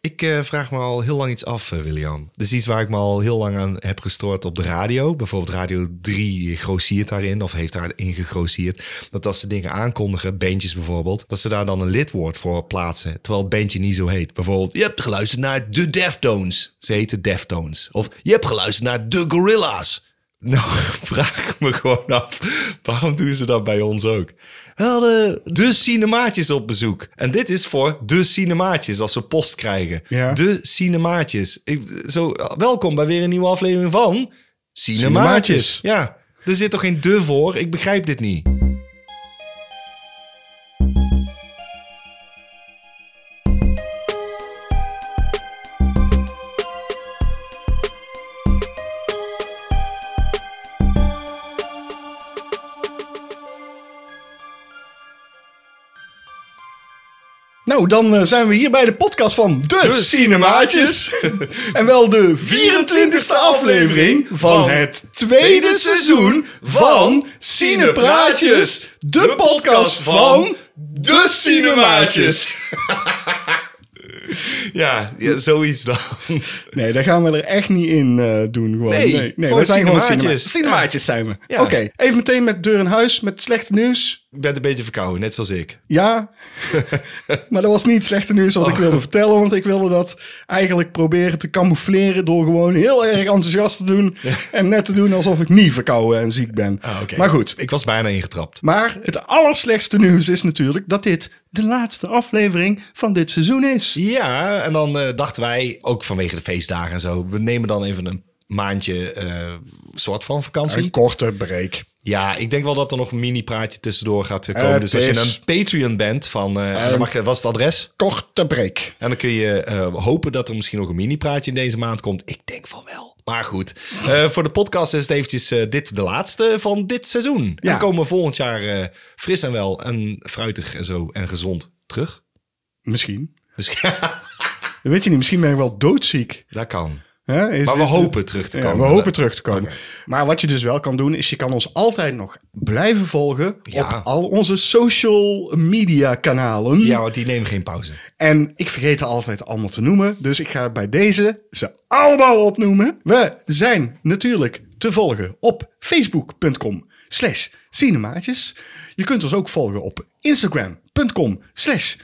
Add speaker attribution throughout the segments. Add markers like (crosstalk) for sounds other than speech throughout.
Speaker 1: Ik eh, vraag me al heel lang iets af, eh, William. Dus iets waar ik me al heel lang aan heb gestoord op de radio. Bijvoorbeeld Radio 3 grossiert daarin of heeft daarin gegrossierd. Dat als ze dingen aankondigen, bandjes bijvoorbeeld, dat ze daar dan een lidwoord voor plaatsen. Terwijl het bandje niet zo heet. Bijvoorbeeld, je hebt geluisterd naar de Deftones. Ze heten Deftones. Of je hebt geluisterd naar de Gorilla's. (laughs) Nou, vraag ik me gewoon af. Waarom doen ze dat bij ons ook? We hadden de cinemaatjes op bezoek. En dit is voor de cinemaatjes, als we post krijgen.
Speaker 2: Ja.
Speaker 1: De cinemaatjes. Ik, zo, welkom bij weer een nieuwe aflevering van... Cinemaatjes.
Speaker 2: Cinemaatjes.
Speaker 1: Ja, er zit toch geen de voor? Ik begrijp dit niet.
Speaker 2: Nou, dan eh, zijn we hier bij de podcast van De, Cinemaatjes. en wel de 24e aflevering van
Speaker 1: Van
Speaker 2: het tweede seizoen van Cinepraatjes. De podcast van De Cinemaatjes.
Speaker 1: (laughs) Ja, ja zoiets dan. (laughs)
Speaker 2: Nee, daar gaan we er echt niet in eh, doen. Gewoon.
Speaker 1: Nee,
Speaker 2: nee, nee
Speaker 1: gewoon
Speaker 2: we zijn gewoon
Speaker 1: cinemaatjes.
Speaker 2: cinemaatjes. Cinemaatjes zijn we.
Speaker 1: Ja.
Speaker 2: Oké, even meteen met deur in huis, met slecht nieuws.
Speaker 1: Ik ben een beetje verkouden, net zoals ik.
Speaker 2: Ja, (laughs) maar dat was niet het slechte nieuws wat ik wilde vertellen. Want ik wilde dat eigenlijk proberen te camoufleren door gewoon heel erg enthousiast te doen. En net te doen alsof ik niet verkouden en ziek ben. Maar goed.
Speaker 1: Ah, Ik was bijna ingetrapt.
Speaker 2: Maar het allerslechtste nieuws is natuurlijk dat dit de laatste aflevering van dit seizoen is.
Speaker 1: Ja, en dan eh, dachten wij, ook vanwege de feestdagen en zo, we nemen dan even een maandje eh, soort van vakantie.
Speaker 2: Een korte break.
Speaker 1: Ja, ik denk wel dat er nog een mini-praatje tussendoor gaat eh, komen.
Speaker 2: Het
Speaker 1: dus als je
Speaker 2: is-
Speaker 1: een Patreon bent van, eh, dan mag je, was het adres?
Speaker 2: Korte break.
Speaker 1: En dan kun je eh, hopen dat er misschien nog een mini-praatje in deze maand komt. Ik denk van wel. Maar goed, Eh, voor de podcast is het eventjes eh, dit de laatste van dit seizoen. En
Speaker 2: Ja.
Speaker 1: dan komen we volgend jaar eh, fris en wel en fruitig en zo en gezond terug.
Speaker 2: Misschien.
Speaker 1: Dus (laughs)
Speaker 2: Dat Weet je niet, misschien ben ik wel doodziek.
Speaker 1: dat kan.
Speaker 2: Hè? Is
Speaker 1: Maar we
Speaker 2: dit-
Speaker 1: hopen terug te
Speaker 2: Ja,
Speaker 1: komen.
Speaker 2: we hopen terug te komen. Maar wat je dus wel kan doen, is je kan ons altijd nog blijven volgen
Speaker 1: Ja.
Speaker 2: op al onze social media kanalen.
Speaker 1: Ja, want die nemen geen pauze.
Speaker 2: En ik vergeet er altijd allemaal te noemen, dus ik ga bij deze ze allemaal opnoemen. We zijn natuurlijk te volgen op facebook.com slash cinemaatjes. Je kunt ons ook volgen op instagram.com slash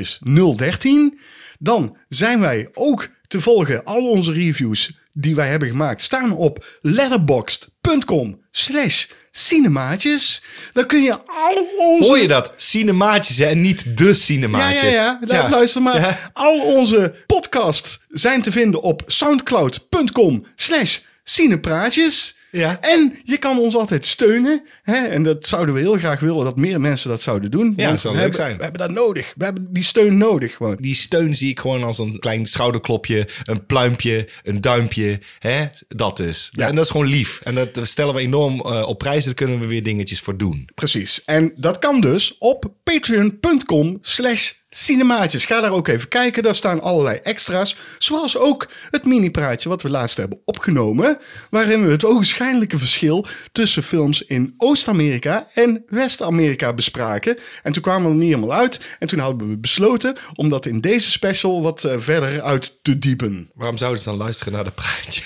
Speaker 2: cinemaatjes013. Dan zijn wij ook te volgen. Al onze reviews die wij hebben gemaakt staan op letterboxd.com slash cinemaatjes. Dan kun je al onze...
Speaker 1: Hoor je dat? Cinemaatjes hè? en niet de cinemaatjes.
Speaker 2: Ja, ja, ja. Lu- Luister maar.
Speaker 1: Ja.
Speaker 2: Al onze podcasts zijn te vinden op soundcloud.com slash cinepraatjes.
Speaker 1: Ja.
Speaker 2: En je kan ons altijd steunen. Hè? En dat zouden we heel graag willen dat meer mensen dat zouden doen.
Speaker 1: dat zou leuk
Speaker 2: we hebben,
Speaker 1: zijn.
Speaker 2: We hebben dat nodig. We hebben die steun nodig gewoon.
Speaker 1: Die steun zie ik gewoon als een klein schouderklopje, een pluimpje, een duimpje. Hè? Dat dus.
Speaker 2: Ja.
Speaker 1: En dat is gewoon lief. En dat stellen we enorm eh, op prijs. Daar kunnen we weer dingetjes voor doen.
Speaker 2: Precies. En dat kan dus op patreon.com slash cinemaatjes. Ga daar ook even kijken. Daar staan allerlei extra's. Zoals ook het mini-praatje wat we laatst hebben opgenomen. Waarin we het ogenschijnlijke verschil tussen films in Oost-Amerika en West-Amerika bespraken. En toen kwamen we er niet helemaal uit. En toen hadden we besloten om dat in deze special wat eh, verder uit te diepen.
Speaker 1: Waarom zouden ze dan luisteren naar dat praatje?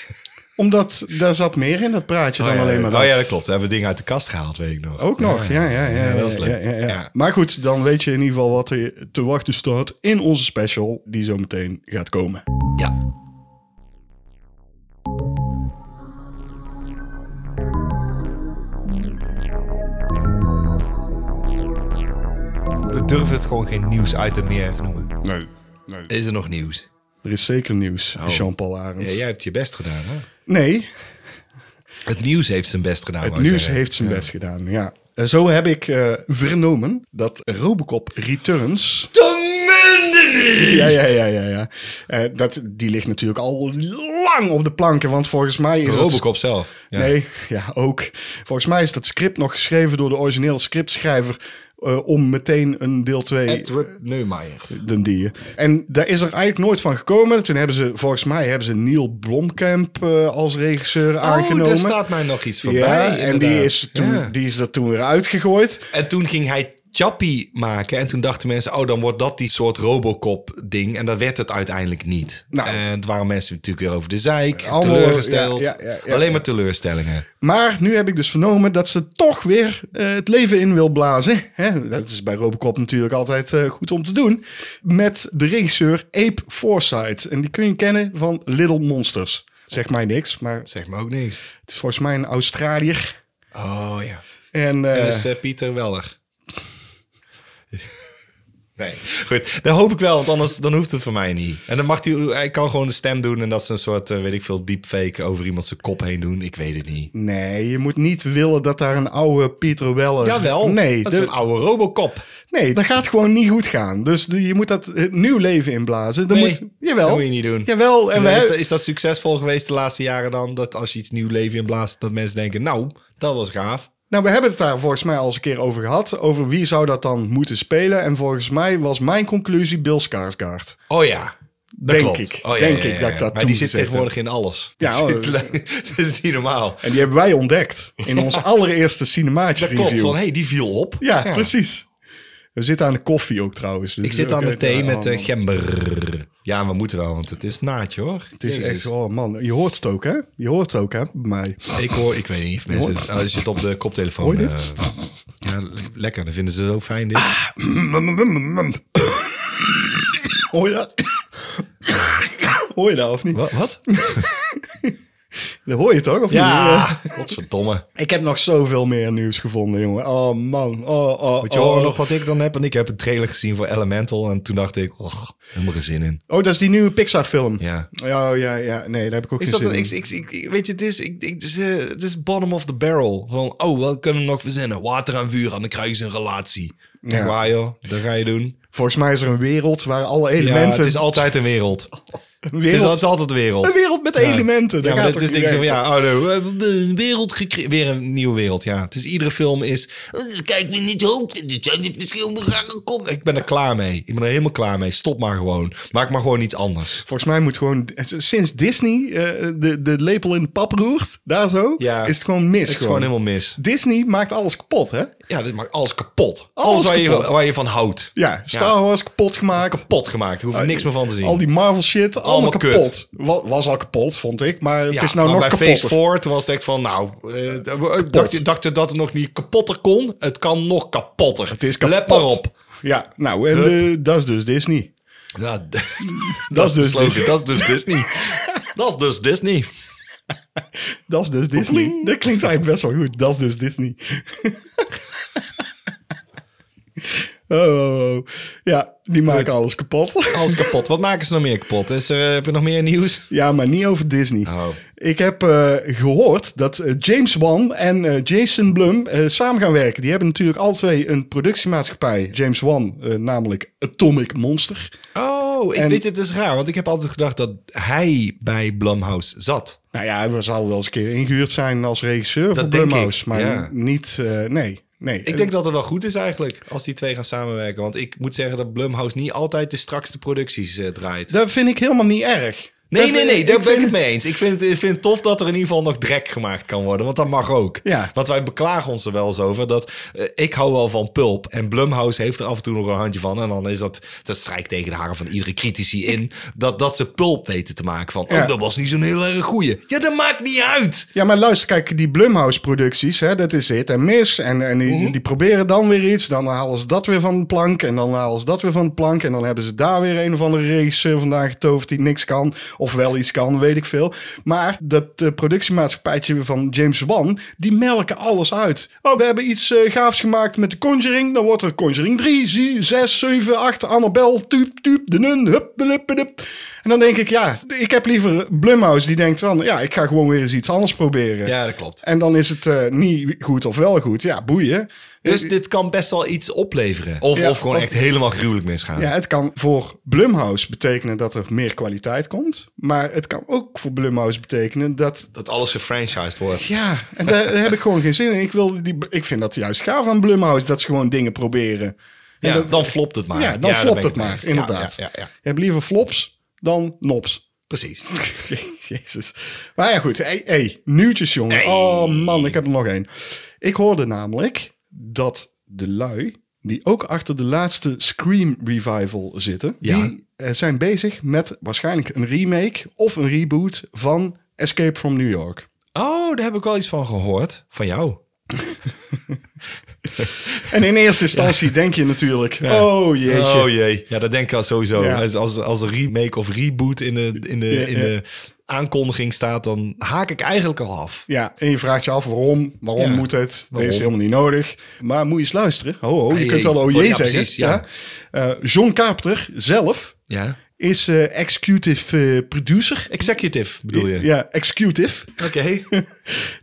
Speaker 2: Omdat daar zat meer in dat praatje dan alleen maar dat. Oh,
Speaker 1: Oh ja, dat klopt. We hebben dingen uit de kast gehaald, weet ik nog.
Speaker 2: Ook nog, ja, ja, ja. ja,
Speaker 1: dat is
Speaker 2: ja,
Speaker 1: leuk.
Speaker 2: ja, ja.
Speaker 1: Ja.
Speaker 2: Maar goed, dan weet je in ieder geval wat er te wachten staat in onze special, die zo meteen gaat komen.
Speaker 1: Ja. We durven het gewoon geen nieuwsitem meer te noemen.
Speaker 2: Nee, nee.
Speaker 1: Is er nog nieuws?
Speaker 2: Er is zeker nieuws, Jean-Paul Arends.
Speaker 1: Oh. Ja, jij hebt je best gedaan, hè?
Speaker 2: Nee,
Speaker 1: Het nieuws heeft zijn best gedaan.
Speaker 2: het
Speaker 1: wou ik
Speaker 2: nieuws
Speaker 1: zeggen.
Speaker 2: heeft zijn best gedaan, ja. En Zo heb ik eh, vernomen dat Robocop Returns... Ja, ja, ja, ja, ja. Eh, dat, die ligt natuurlijk al lang op de planken, want volgens mij is het...
Speaker 1: Robocop zelf. Ja.
Speaker 2: Nee, ja, ook. Volgens mij is dat script nog geschreven door de originele scriptschrijver eh, om meteen een deel 2
Speaker 1: Edward Neumeijer.
Speaker 2: dan die. En daar is er eigenlijk nooit van gekomen. Toen hebben ze, volgens mij, hebben ze Neil Blomkamp eh, als regisseur
Speaker 1: Oh,
Speaker 2: aangenomen.
Speaker 1: daar staat mij nog iets voorbij.
Speaker 2: ja, en die
Speaker 1: inderdaad.
Speaker 2: is, toen,
Speaker 1: Ja.
Speaker 2: die is er toen weer uitgegooid.
Speaker 1: En toen ging hij Chappie maken. En toen dachten mensen, oh, dan wordt dat die soort Robocop-ding. En dat werd het uiteindelijk niet.
Speaker 2: Nou.
Speaker 1: en het waren mensen natuurlijk weer over de zeik,
Speaker 2: Allemaal,
Speaker 1: teleurgesteld.
Speaker 2: ja, ja, ja, ja.
Speaker 1: Alleen maar teleurstellingen.
Speaker 2: Maar nu heb ik dus vernomen dat ze toch weer eh, het leven in wil blazen. Hè? Dat is bij Robocop natuurlijk altijd eh, goed om te doen. Met de regisseur Ape Forsyth. En die kun je kennen van Little Monsters. Zeg mij niks, maar
Speaker 1: Zeg me ook niks.
Speaker 2: het is volgens mij een Australiër.
Speaker 1: Oh ja.
Speaker 2: En, eh,
Speaker 1: Dat is eh, Pieter Weller. (laughs) Nee, goed. Dat hoop ik wel, want anders dan hoeft het voor mij niet. En dan mag hij, hij kan gewoon de stem doen en dat ze een soort, eh, weet ik veel, deepfake over iemand zijn kop heen doen. Ik weet het niet.
Speaker 2: nee, je moet niet willen dat daar een oude Pieter Weller...
Speaker 1: Jawel,
Speaker 2: nee,
Speaker 1: dat is
Speaker 2: de-
Speaker 1: een oude Robocop.
Speaker 2: nee, dat gaat gewoon niet goed gaan. Dus de- je moet dat eh, nieuw leven inblazen. Dan
Speaker 1: Nee,
Speaker 2: moet, jawel.
Speaker 1: dat moet je niet doen.
Speaker 2: Jawel. En
Speaker 1: En
Speaker 2: we
Speaker 1: heeft-
Speaker 2: hebben-
Speaker 1: is dat succesvol geweest de laatste jaren dan? Dat als je iets nieuw leven inblaast, dat mensen denken, nou, dat was gaaf.
Speaker 2: Nou, we hebben het daar volgens mij al eens een keer over gehad. Over wie zou dat dan moeten spelen. En volgens mij was mijn conclusie Bill Skarsgård.
Speaker 1: Oh ja, dat
Speaker 2: Denk
Speaker 1: klopt.
Speaker 2: ik.
Speaker 1: Oh, ja,
Speaker 2: Denk
Speaker 1: ja, ja,
Speaker 2: ik dat ik
Speaker 1: ja.
Speaker 2: dat
Speaker 1: Maar
Speaker 2: toen
Speaker 1: die zit
Speaker 2: gezegd
Speaker 1: tegenwoordig in alles. (laughs)
Speaker 2: Ja, oh,
Speaker 1: dat is niet normaal.
Speaker 2: En die hebben wij ontdekt
Speaker 1: (laughs)
Speaker 2: in ons allereerste cinemaatje
Speaker 1: Dat klopt,
Speaker 2: review.
Speaker 1: van hey, die viel op.
Speaker 2: ja, precies. We zitten aan de koffie ook trouwens. Dus
Speaker 1: Ik zit aan de
Speaker 2: ook,
Speaker 1: thee
Speaker 2: eh,
Speaker 1: met
Speaker 2: oh,
Speaker 1: eh, gember. Ja, we moeten wel, want het is naadje hoor.
Speaker 2: Het is echt, oh man, je hoort het ook hè? Je hoort het ook hè, bij mij.
Speaker 1: Ik hoor, ik weet niet of mensen... het- Oh, je zit op de koptelefoon.
Speaker 2: Hoor je dit?
Speaker 1: eh, ja, le- lekker. Dan vinden ze zo fijn dit.
Speaker 2: Hoor je dat? Hoor je dat of niet?
Speaker 1: Wa- (laughs) Wat?
Speaker 2: Dat hoor je toch of
Speaker 1: Ja,
Speaker 2: niet? Eh,
Speaker 1: godverdomme.
Speaker 2: Ik heb nog zoveel meer nieuws gevonden jongen. Oh man, oh oh
Speaker 1: Moet je
Speaker 2: oh.
Speaker 1: horen nog wat ik dan heb? En ik heb een trailer gezien voor Elemental. En toen dacht ik, och, helemaal geen zin in.
Speaker 2: Oh, dat is die nieuwe Pixar-film.
Speaker 1: Ja.
Speaker 2: Ja, oh, ja, ja. Nee, daar heb ik ook
Speaker 1: Is
Speaker 2: geen
Speaker 1: dat
Speaker 2: zin
Speaker 1: een,
Speaker 2: in.
Speaker 1: ik, ik, ik- weet je, het is, ik, ik, het, is, eh, het is bottom of the barrel. Van, oh, wat kunnen we nog verzinnen? Water en vuur en dan krijgen ze een relatie. Denk
Speaker 2: Ja.
Speaker 1: waar joh, dat ga je doen.
Speaker 2: Volgens mij is er een wereld waar alle
Speaker 1: Ja,
Speaker 2: elementen...
Speaker 1: het is altijd een (laughs) wereld. Het
Speaker 2: een
Speaker 1: is,
Speaker 2: wereld,
Speaker 1: het is altijd een wereld.
Speaker 2: een wereld met
Speaker 1: Ja.
Speaker 2: elementen.
Speaker 1: Ja,
Speaker 2: Daar
Speaker 1: maar
Speaker 2: gaat
Speaker 1: dat is
Speaker 2: toch
Speaker 1: denk ik zo
Speaker 2: niet
Speaker 1: van,
Speaker 2: echt.
Speaker 1: ja, oh, nee, we hebben een wereld gecreëerd. Weer een nieuwe wereld, ja. Het is, iedere film is... oh, Kijk, we niet hoop. Dit zijn de verschillende gangen. Kom. Ik ben er klaar mee. Ik ben er helemaal klaar mee. Stop maar gewoon. Maak maar gewoon iets anders.
Speaker 2: Volgens mij moet gewoon... Sinds Disney eh, de, de lepel in de pap roert, daar zo,
Speaker 1: Ja.
Speaker 2: is het gewoon mis.
Speaker 1: Het is gewoon helemaal mis.
Speaker 2: Disney maakt alles kapot, hè?
Speaker 1: Ja, dit maakt alles kapot. Alles,
Speaker 2: Alles
Speaker 1: waar, Je,
Speaker 2: kapot.
Speaker 1: waar je van houdt.
Speaker 2: Ja, Star Wars kapot gemaakt.
Speaker 1: Kapot gemaakt. Er hoeft niks meer van te zien.
Speaker 2: Al die Marvel shit, allemaal,
Speaker 1: Allemaal kut.
Speaker 2: kapot. Wa- Was al kapot, vond ik. Maar het
Speaker 1: Ja,
Speaker 2: is nou
Speaker 1: maar
Speaker 2: nog
Speaker 1: bij
Speaker 2: kapot.
Speaker 1: Phase 4 toen was het echt van, nou, eh, d- ik dacht, ik dacht dat het nog niet kapotter kon. Het kan nog kapotter.
Speaker 2: Het is kapot.
Speaker 1: Let maar op.
Speaker 2: Ja, nou, en eh, dat is dus Disney.
Speaker 1: Ja, d- (laughs) dat, is dus Disney. dat is dus Disney. dat is dus Disney.
Speaker 2: Dat is dus Disney. Dat klinkt eigenlijk best wel goed. Dat is dus Disney. (laughs) oh, oh, oh. Ja, die maken alles kapot.
Speaker 1: Alles kapot. Wat maken ze nog meer kapot? Is er, eh, heb je nog meer nieuws?
Speaker 2: ja, maar niet over Disney.
Speaker 1: Oh.
Speaker 2: Ik heb eh, gehoord dat eh, James Wan en eh, Jason Blum eh, samen gaan werken. Die hebben natuurlijk alle twee een productiemaatschappij. James Wan, eh, namelijk Atomic Monster.
Speaker 1: Oh, ik
Speaker 2: En-
Speaker 1: weet het, het is raar. Want ik heb altijd gedacht dat hij bij Blumhouse zat.
Speaker 2: Nou ja, hij zal wel eens een keer ingehuurd zijn als regisseur voor
Speaker 1: denk ik,
Speaker 2: Blumhouse. Maar
Speaker 1: ja.
Speaker 2: niet, eh, nee. nee.
Speaker 1: Ik denk dat het wel goed is eigenlijk, als die twee gaan samenwerken. Want ik moet zeggen dat Blumhouse niet altijd de strakste producties eh, draait.
Speaker 2: Dat vind ik helemaal niet erg.
Speaker 1: Nee,
Speaker 2: Dat
Speaker 1: nee,
Speaker 2: vind-
Speaker 1: nee, daar ben ik
Speaker 2: vind-
Speaker 1: het mee eens. Ik vind, ik vind het tof dat er in ieder geval nog drek gemaakt kan worden, want dat mag ook.
Speaker 2: Ja.
Speaker 1: Want wij beklagen ons er wel eens over dat eh, ik hou wel van pulp en Blumhouse heeft er af en toe nog een handje van. En dan is dat, dat strijkt tegen de haren van iedere critici in, dat, dat ze pulp weten te maken van,
Speaker 2: Ja.
Speaker 1: oh, dat was niet zo'n heel erg goeie. Ja, dat maakt niet uit.
Speaker 2: Ja, maar luister, kijk, die Blumhouse-producties, hè, dat is hit en mis. En, en die, die proberen dan weer iets. Dan halen ze dat weer van de plank. En dan halen ze dat weer van de plank. En dan hebben ze daar weer een of andere regisseur vandaan getoverd die niks kan. Of wel iets kan, weet ik veel. Maar dat eh, productiemaatschappijtje van James Wan, die melken alles uit. Oh, we hebben iets eh, gaafs gemaakt met de Conjuring. Dan wordt er Conjuring 3, zie, 6, 7, 8, Annabel, tuup, tuup, de nun, hup, de lup, de lup. En dan denk ik, ja, ik heb liever Blumhouse die denkt van, ja, ik ga gewoon weer eens iets anders proberen.
Speaker 1: Ja, dat klopt.
Speaker 2: En dan is het eh, niet goed of wel goed. Ja, boeien. Eh,
Speaker 1: Dus dit kan best wel iets opleveren. Of,
Speaker 2: Ja,
Speaker 1: of gewoon
Speaker 2: of-
Speaker 1: echt helemaal gruwelijk misgaan.
Speaker 2: Ja, het kan voor Blumhouse betekenen dat er meer kwaliteit komt. Maar het kan ook voor Blumhouse betekenen dat...
Speaker 1: Dat alles gefranchised wordt.
Speaker 2: Ja, en daar, daar heb ik gewoon geen zin in. Ik, wil die, ik vind dat juist gaaf aan Blumhouse, dat ze gewoon dingen proberen. En
Speaker 1: Ja,
Speaker 2: dat-
Speaker 1: dan flopt het maar.
Speaker 2: ja, dan
Speaker 1: daar ben
Speaker 2: flopt
Speaker 1: ik
Speaker 2: het
Speaker 1: mee
Speaker 2: maar,
Speaker 1: eens. Ja,
Speaker 2: inderdaad.
Speaker 1: ja, ja, ja.
Speaker 2: Je hebt liever flops dan nops.
Speaker 1: Precies.
Speaker 2: (laughs) Jezus. Maar ja, goed. Hey, hey, nieuwtjes, jongen.
Speaker 1: Hey.
Speaker 2: Oh man, ik heb er nog één. Ik hoorde namelijk dat de lui die ook achter de laatste Scream revival zitten.
Speaker 1: Ja.
Speaker 2: Die eh, zijn bezig met waarschijnlijk een remake of een reboot van Escape from New York.
Speaker 1: Oh, daar heb ik wel iets van gehoord. Van jou.
Speaker 2: En in eerste instantie denk je natuurlijk, oh jeetje.
Speaker 1: Oh jee. Ja, dat denk ik al sowieso.
Speaker 2: Ja.
Speaker 1: Als, als, als een remake of reboot in de, in, de, in
Speaker 2: ja.
Speaker 1: de aankondiging staat, dan haak ik eigenlijk al af.
Speaker 2: Ja, en je vraagt je af waarom, waarom
Speaker 1: Ja,
Speaker 2: moet het? Dat
Speaker 1: waarom?
Speaker 2: is helemaal niet nodig. Maar moet je eens luisteren. Ho, ho, je
Speaker 1: Hey,
Speaker 2: kunt wel
Speaker 1: hey.
Speaker 2: OJ
Speaker 1: Oh, ja,
Speaker 2: zeggen.
Speaker 1: precies, ja.
Speaker 2: Eh, John Carpenter zelf
Speaker 1: Ja.
Speaker 2: is eh, executive eh, producer.
Speaker 1: Executive bedoel je?
Speaker 2: Ja, executive. (laughs)
Speaker 1: Oké.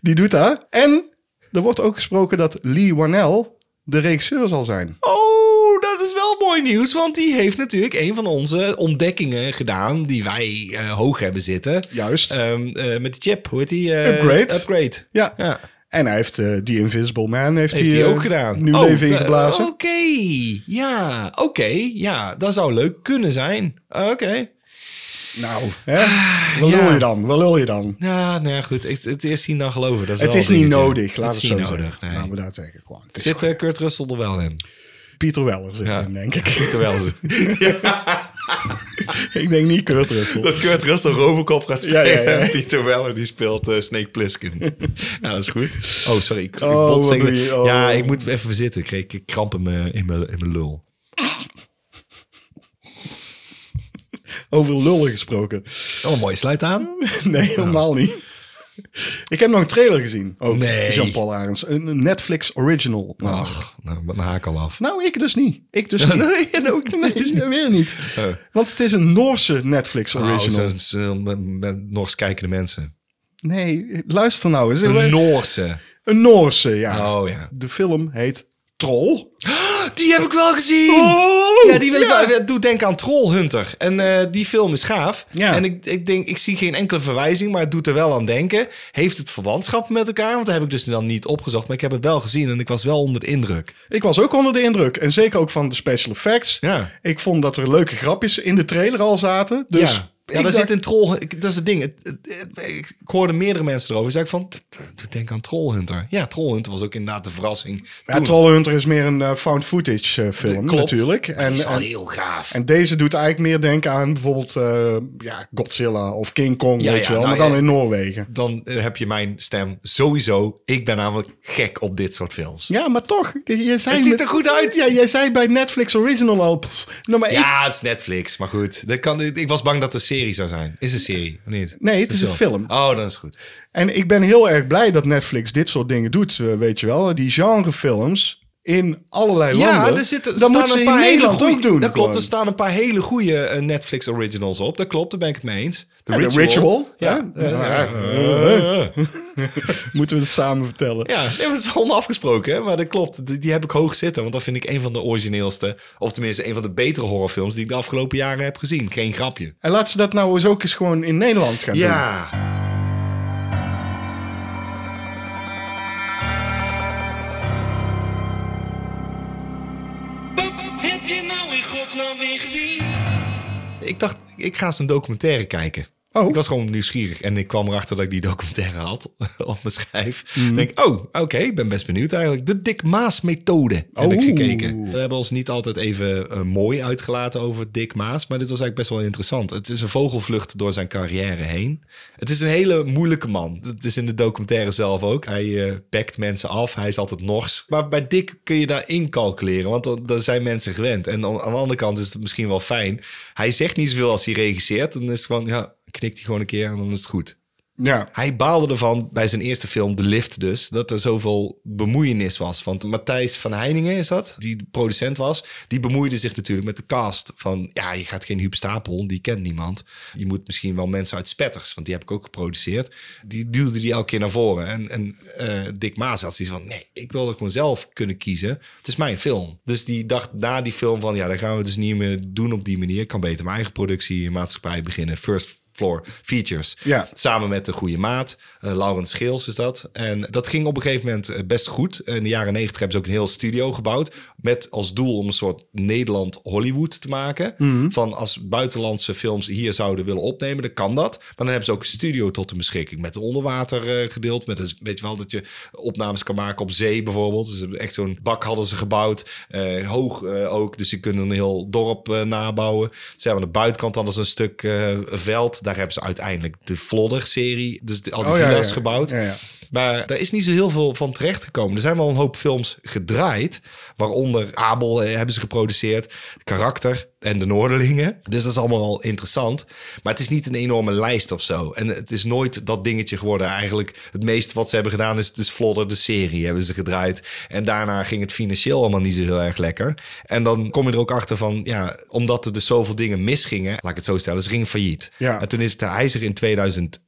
Speaker 2: Die doet dat. En er wordt ook gesproken dat Lee Wanell de regisseur zal zijn.
Speaker 1: Oh, dat is wel mooi nieuws, want die heeft natuurlijk een van onze ontdekkingen gedaan die wij eh, hoog hebben zitten.
Speaker 2: Juist.
Speaker 1: Ehm, eh, met die chip, hoe heet die? eh,
Speaker 2: Upgrade.
Speaker 1: Upgrade.
Speaker 2: ja.
Speaker 1: Ja.
Speaker 2: En hij heeft eh The Invisible Man heeft
Speaker 1: Heeft
Speaker 2: hij,
Speaker 1: hij
Speaker 2: eh,
Speaker 1: ook gedaan.
Speaker 2: nieuw
Speaker 1: Oh,
Speaker 2: leven
Speaker 1: de-
Speaker 2: ingeblazen.
Speaker 1: Oké, ja, oké, ja, dat zou leuk kunnen zijn. Oké.
Speaker 2: Nou, hè? Wat
Speaker 1: Ah, ja.
Speaker 2: wil je dan? Wat wil je dan?
Speaker 1: Nou, nou ja, goed, het, het is zien dan geloven. Dat is
Speaker 2: Het
Speaker 1: wel
Speaker 2: is
Speaker 1: een
Speaker 2: niet
Speaker 1: dingetje.
Speaker 2: nodig,
Speaker 1: Het
Speaker 2: laten we
Speaker 1: is
Speaker 2: het zo
Speaker 1: niet
Speaker 2: zeggen.
Speaker 1: nodig, nee.
Speaker 2: Laten we dat zeggen. Gewoon. Het is
Speaker 1: Zit eh, Kurt Russell er wel
Speaker 2: (laughs)
Speaker 1: in?
Speaker 2: Pieter Weller zit
Speaker 1: Ja.
Speaker 2: erin, denk ik. (laughs)
Speaker 1: Zit er (laughs) wel in.
Speaker 2: ik denk niet Kurt Russell.
Speaker 1: Dat Kurt Russell Robocop gaat
Speaker 2: Ja,
Speaker 1: spelen.
Speaker 2: ja, ja. (laughs)
Speaker 1: En Peter Weller die speelt eh, Snake Plissken. (laughs) ja, dat is goed. Oh, sorry. Ik, ik
Speaker 2: Oh,
Speaker 1: bots
Speaker 2: wat
Speaker 1: tegen
Speaker 2: doe
Speaker 1: de-
Speaker 2: je? Oh.
Speaker 1: Ja, ik moet even verzitten. Ik kreeg ik kramp in mijn, in mijn, in mijn lul.
Speaker 2: Over lullen gesproken. (laughs)
Speaker 1: Oh, mooi. Sluit aan.
Speaker 2: Nee, helemaal niet. Ik heb nog een trailer gezien. Ook
Speaker 1: Nee.
Speaker 2: Jean-Paul Arends. Een Netflix original.
Speaker 1: Ach, nou, dan haak ik al af.
Speaker 2: Nou, ik dus niet.
Speaker 1: (laughs)
Speaker 2: Ik dus niet. nee, en ook nee, dus weer niet. Want het is een Noorse Netflix
Speaker 1: Oh,
Speaker 2: original.
Speaker 1: zo- zo- met- met Noors kijkende mensen.
Speaker 2: nee, luister nou eens.
Speaker 1: Een
Speaker 2: Een,
Speaker 1: Noorse.
Speaker 2: Noorse, ja.
Speaker 1: Oh ja.
Speaker 2: De film heet Troll.
Speaker 1: Die heb ik wel gezien.
Speaker 2: Oh,
Speaker 1: ja, die wil
Speaker 2: ja.
Speaker 1: ik wel. Doe denk aan Trollhunter. En eh, die film is gaaf.
Speaker 2: Ja.
Speaker 1: En ik, ik denk, ik zie geen enkele verwijzing, maar het doet er wel aan denken. Heeft het verwantschap met elkaar? Want dat heb ik dus dan niet opgezocht, maar ik heb het wel gezien en ik was wel onder de indruk.
Speaker 2: Ik was ook onder de indruk. En zeker ook van de special effects.
Speaker 1: Ja.
Speaker 2: Ik vond dat er leuke grapjes in de trailer al zaten. Dus
Speaker 1: ja.
Speaker 2: ik
Speaker 1: Ja, daar
Speaker 2: dacht-
Speaker 1: zit een troll. ik- Dat is het ding. Het- het- het- ik, ik hoorde meerdere mensen erover. Zeg ik van, "Dat- dat doet denk aan Trollhunter. Ja, Trollhunter was ook inderdaad de verrassing.
Speaker 2: Ja, Trollhunter is meer een eh, found footage eh, film
Speaker 1: Klopt.
Speaker 2: natuurlijk.
Speaker 1: En,
Speaker 2: En,
Speaker 1: is wel
Speaker 2: en,
Speaker 1: heel gaaf.
Speaker 2: en deze doet eigenlijk meer denken aan bijvoorbeeld eh, ja, Godzilla of King Kong,
Speaker 1: Ja,
Speaker 2: weet
Speaker 1: ja,
Speaker 2: je
Speaker 1: nou,
Speaker 2: wel. maar dan
Speaker 1: ja.
Speaker 2: in Noorwegen.
Speaker 1: dan eh, heb je mijn stem sowieso. Ik ben namelijk gek op dit soort films.
Speaker 2: Ja, maar toch. Je zei
Speaker 1: Het ziet
Speaker 2: met-
Speaker 1: er goed uit.
Speaker 2: Ja, jij zei bij Netflix Original al. pff, nou, maar ik-
Speaker 1: Ja, het is Netflix, maar goed. Dat kan, ik was bang dat het een serie zou zijn. Is een serie, of niet?
Speaker 2: Nee, het is een film.
Speaker 1: Oh, dan is het goed.
Speaker 2: En ik ben heel erg blij dat Netflix dit soort dingen doet, eh, weet je wel. Die genrefilms in allerlei landen.
Speaker 1: zitten,
Speaker 2: dat moeten ze in Nederland
Speaker 1: goeie-
Speaker 2: ook doen.
Speaker 1: Dat klopt,
Speaker 2: gewoon.
Speaker 1: er staan een paar hele goede eh, Netflix originals op. Dat klopt, daar ben ik het mee eens. The
Speaker 2: Ja, The Ritual,
Speaker 1: Ja.
Speaker 2: hè? Ja.
Speaker 1: Ja. Eh.
Speaker 2: (laughs) Moeten we het samen vertellen.
Speaker 1: Ja, nee, maar dat is onafgesproken, hè? maar dat klopt. Die, die heb ik hoog zitten, want dat vind ik een van de origineelste... of tenminste een van de betere horrorfilms die ik de afgelopen jaren heb gezien. Geen grapje.
Speaker 2: En laat ze dat nou eens ook eens gewoon in Nederland gaan doen.
Speaker 1: Ja.
Speaker 3: Wat heb je nou in godsnaam weer gezien?
Speaker 1: Ik dacht, ik ga eens een documentaire kijken.
Speaker 2: Oh.
Speaker 1: Ik was gewoon nieuwsgierig en ik kwam erachter dat ik die documentaire had (laughs) op mijn schijf. Ik denk, oh, oké, ik ben best benieuwd eigenlijk. De Dick Maas methode heb ik
Speaker 2: Oeh.
Speaker 1: gekeken. We hebben ons niet altijd even eh, mooi uitgelaten over Dick Maas, maar dit was eigenlijk best wel interessant. Het is een vogelvlucht door zijn carrière heen. Het is een hele moeilijke man. Het is in de documentaire zelf ook. Hij eh bekt mensen af, hij is altijd nors. Maar bij Dick kun je daar incalculeren, want dan, dan zijn mensen gewend. En aan aan de andere kant is het misschien wel fijn. Hij zegt niet zoveel als hij regisseert. Dan is het gewoon, ja, knikt hij gewoon een keer en dan is het goed.
Speaker 2: Ja.
Speaker 1: Hij baalde ervan bij zijn eerste film, De Lift dus, dat er zoveel bemoeienis was. Want Matthijs van Heiningen is dat, die de producent was, die bemoeide zich natuurlijk met de cast. Van ja, je gaat geen Huub Stapel, die kent niemand. Je moet misschien wel mensen uit Spetters, want die heb ik ook geproduceerd. Die duwde die elke keer naar voren. En, en eh, Dick Maas had zoiets van, nee, ik wil er gewoon zelf kunnen kiezen. Het is mijn film. Dus die dacht na die film van, ja, dat gaan we dus niet meer doen op die manier. Ik kan beter mijn eigen productiemaatschappij beginnen. First Floor Features.
Speaker 2: Ja.
Speaker 1: Samen met de goede maat, eh Laurens Scheels is dat. En dat ging op een gegeven moment eh, best goed. In de jaren negentig hebben ze ook een heel studio gebouwd. Met als doel om een soort Nederland-Hollywood te maken. Van als buitenlandse films hier zouden willen opnemen, dan kan dat. Maar dan hebben ze ook een studio tot hun beschikking. Met een onderwater eh gedeelte. Met een, weet je wel, dat je opnames kan maken op zee bijvoorbeeld. Dus ze hebben echt zo'n bak hadden ze gebouwd. eh, hoog eh, ook, dus ze kunnen een heel dorp eh, nabouwen. Ze hebben aan de buitenkant anders een stuk eh, veld. Daar hebben ze uiteindelijk de Flodder-serie. Dus de, al die
Speaker 2: Oh, ja,
Speaker 1: villa's
Speaker 2: ja.
Speaker 1: gebouwd.
Speaker 2: Ja, ja.
Speaker 1: Maar daar is niet zo heel veel van terechtgekomen. Er zijn wel een hoop films gedraaid. Waaronder Abel eh, hebben ze geproduceerd. Karakter en de Noorderlingen. Dus dat is allemaal wel interessant. Maar het is niet een enorme lijst of zo. En het is nooit dat dingetje geworden. Eigenlijk het meeste wat ze hebben gedaan is dus Flodder, de serie hebben ze gedraaid. En daarna ging het financieel allemaal niet zo heel erg lekker. En dan kom je er ook achter van, ja, omdat er dus zoveel dingen misgingen. Laat ik het zo stellen, ze gingen failliet.
Speaker 2: Ja.
Speaker 1: En toen is het, hij zich in 2001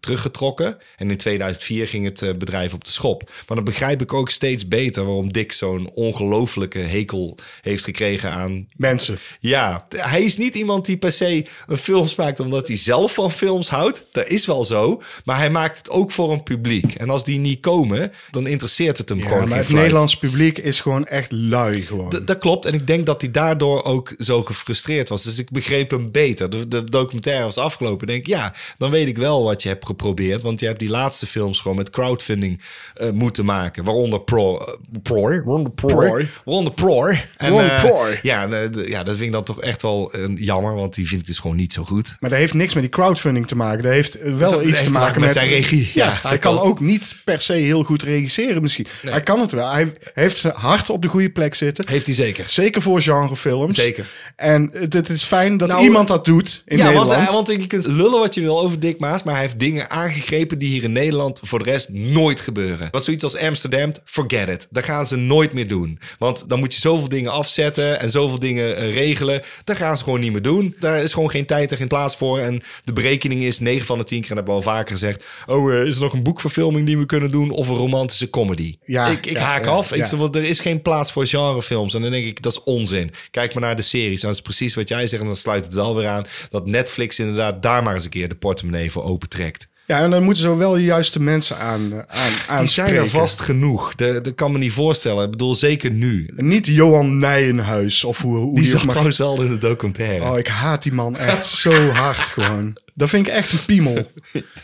Speaker 1: teruggetrokken. En in 2004 ging het eh, bedrijf op de schop. Maar dan begrijp ik ook steeds beter waarom Dick zo'n ongelofelijke hekel heeft gekregen aan
Speaker 2: Mensen.
Speaker 1: ja, t- hij is niet iemand die per se een films maakt omdat hij zelf van films houdt. Dat is wel zo. Maar hij maakt het ook voor een publiek. En als die niet komen, dan interesseert het hem
Speaker 2: Ja,
Speaker 1: gewoon
Speaker 2: maar
Speaker 1: geen
Speaker 2: het
Speaker 1: fluit.
Speaker 2: Nederlands publiek is gewoon echt lui gewoon.
Speaker 1: D- dat klopt. En ik denk dat hij daardoor ook zo gefrustreerd was. Dus ik begreep hem beter. De, de documentaire was afgelopen. Ik denk, ja, dan weet ik wel wat je hebt geprobeerd. Want je hebt die laatste films gewoon met crowdfunding eh, moeten maken. Waaronder Pro... eh, Proor? Waaronder Proor?
Speaker 2: Proor.
Speaker 1: Waaronder Proor. En,
Speaker 2: Waaronder
Speaker 1: eh,
Speaker 2: Proor.
Speaker 1: ja, en, eh, d- ja, dat vind ik dan toch echt wel eh, jammer. Want die vind ik dus gewoon niet zo goed.
Speaker 2: Maar dat heeft niks met die crowdfunding te maken. Dat heeft eh, wel
Speaker 1: Dat
Speaker 2: iets
Speaker 1: heeft
Speaker 2: te maken met,
Speaker 1: met zijn regie.
Speaker 2: Ja,
Speaker 1: Ja,
Speaker 2: hij
Speaker 1: dat
Speaker 2: kan
Speaker 1: kan.
Speaker 2: ook niet per se heel goed regisseren misschien. Hij kan het wel. Hij heeft zijn hart op de goede plek zitten.
Speaker 1: Heeft hij zeker.
Speaker 2: Zeker voor genrefilms.
Speaker 1: Zeker.
Speaker 2: En eh, het is fijn dat
Speaker 1: Nou,
Speaker 2: iemand dat doet in
Speaker 1: ja,
Speaker 2: Nederland.
Speaker 1: Want, eh, want je kunt lullen wat je wil over Dick Maas, maar hij heeft dingen aangegrepen die hier in Nederland voor de rest nooit gebeuren. Wat zoiets als Amsterdam, forget it. Dat gaan ze nooit meer doen. Want dan moet je zoveel dingen afzetten en zoveel dingen eh, regelen. Dat gaan ze gewoon niet meer doen. Daar is gewoon geen tijd en geen plaats voor. En de berekening is 9 van de 10 keer, en dat hebben we al vaker gezegd. Oh, eh, is er nog een boekverfilming die we kunnen doen of een romantische comedy?
Speaker 2: Ja,
Speaker 1: ik ik
Speaker 2: ja,
Speaker 1: haak
Speaker 2: ja,
Speaker 1: af. Ik
Speaker 2: ja.
Speaker 1: zeg, want er is geen plaats voor genrefilms. En dan denk ik, dat is onzin. Kijk maar naar de series. En dat is precies wat jij zegt. En dan sluit het wel weer aan dat Netflix inderdaad daar maar eens een keer de portemonnee voor opentrekt.
Speaker 2: Ja, en dan moeten ze wel de juiste mensen aan, eh, aan
Speaker 1: Die zijn er
Speaker 2: aanspreken.
Speaker 1: vast genoeg. Dat dat kan me niet voorstellen. Ik bedoel, zeker nu.
Speaker 2: Niet Johan Nijenhuis of hoe, hoe
Speaker 1: Die
Speaker 2: die ook
Speaker 1: zag
Speaker 2: mag-
Speaker 1: trouwens wel in de documentaire.
Speaker 2: Oh, ik haat die man echt zo hard gewoon. Dat vind ik echt een piemel.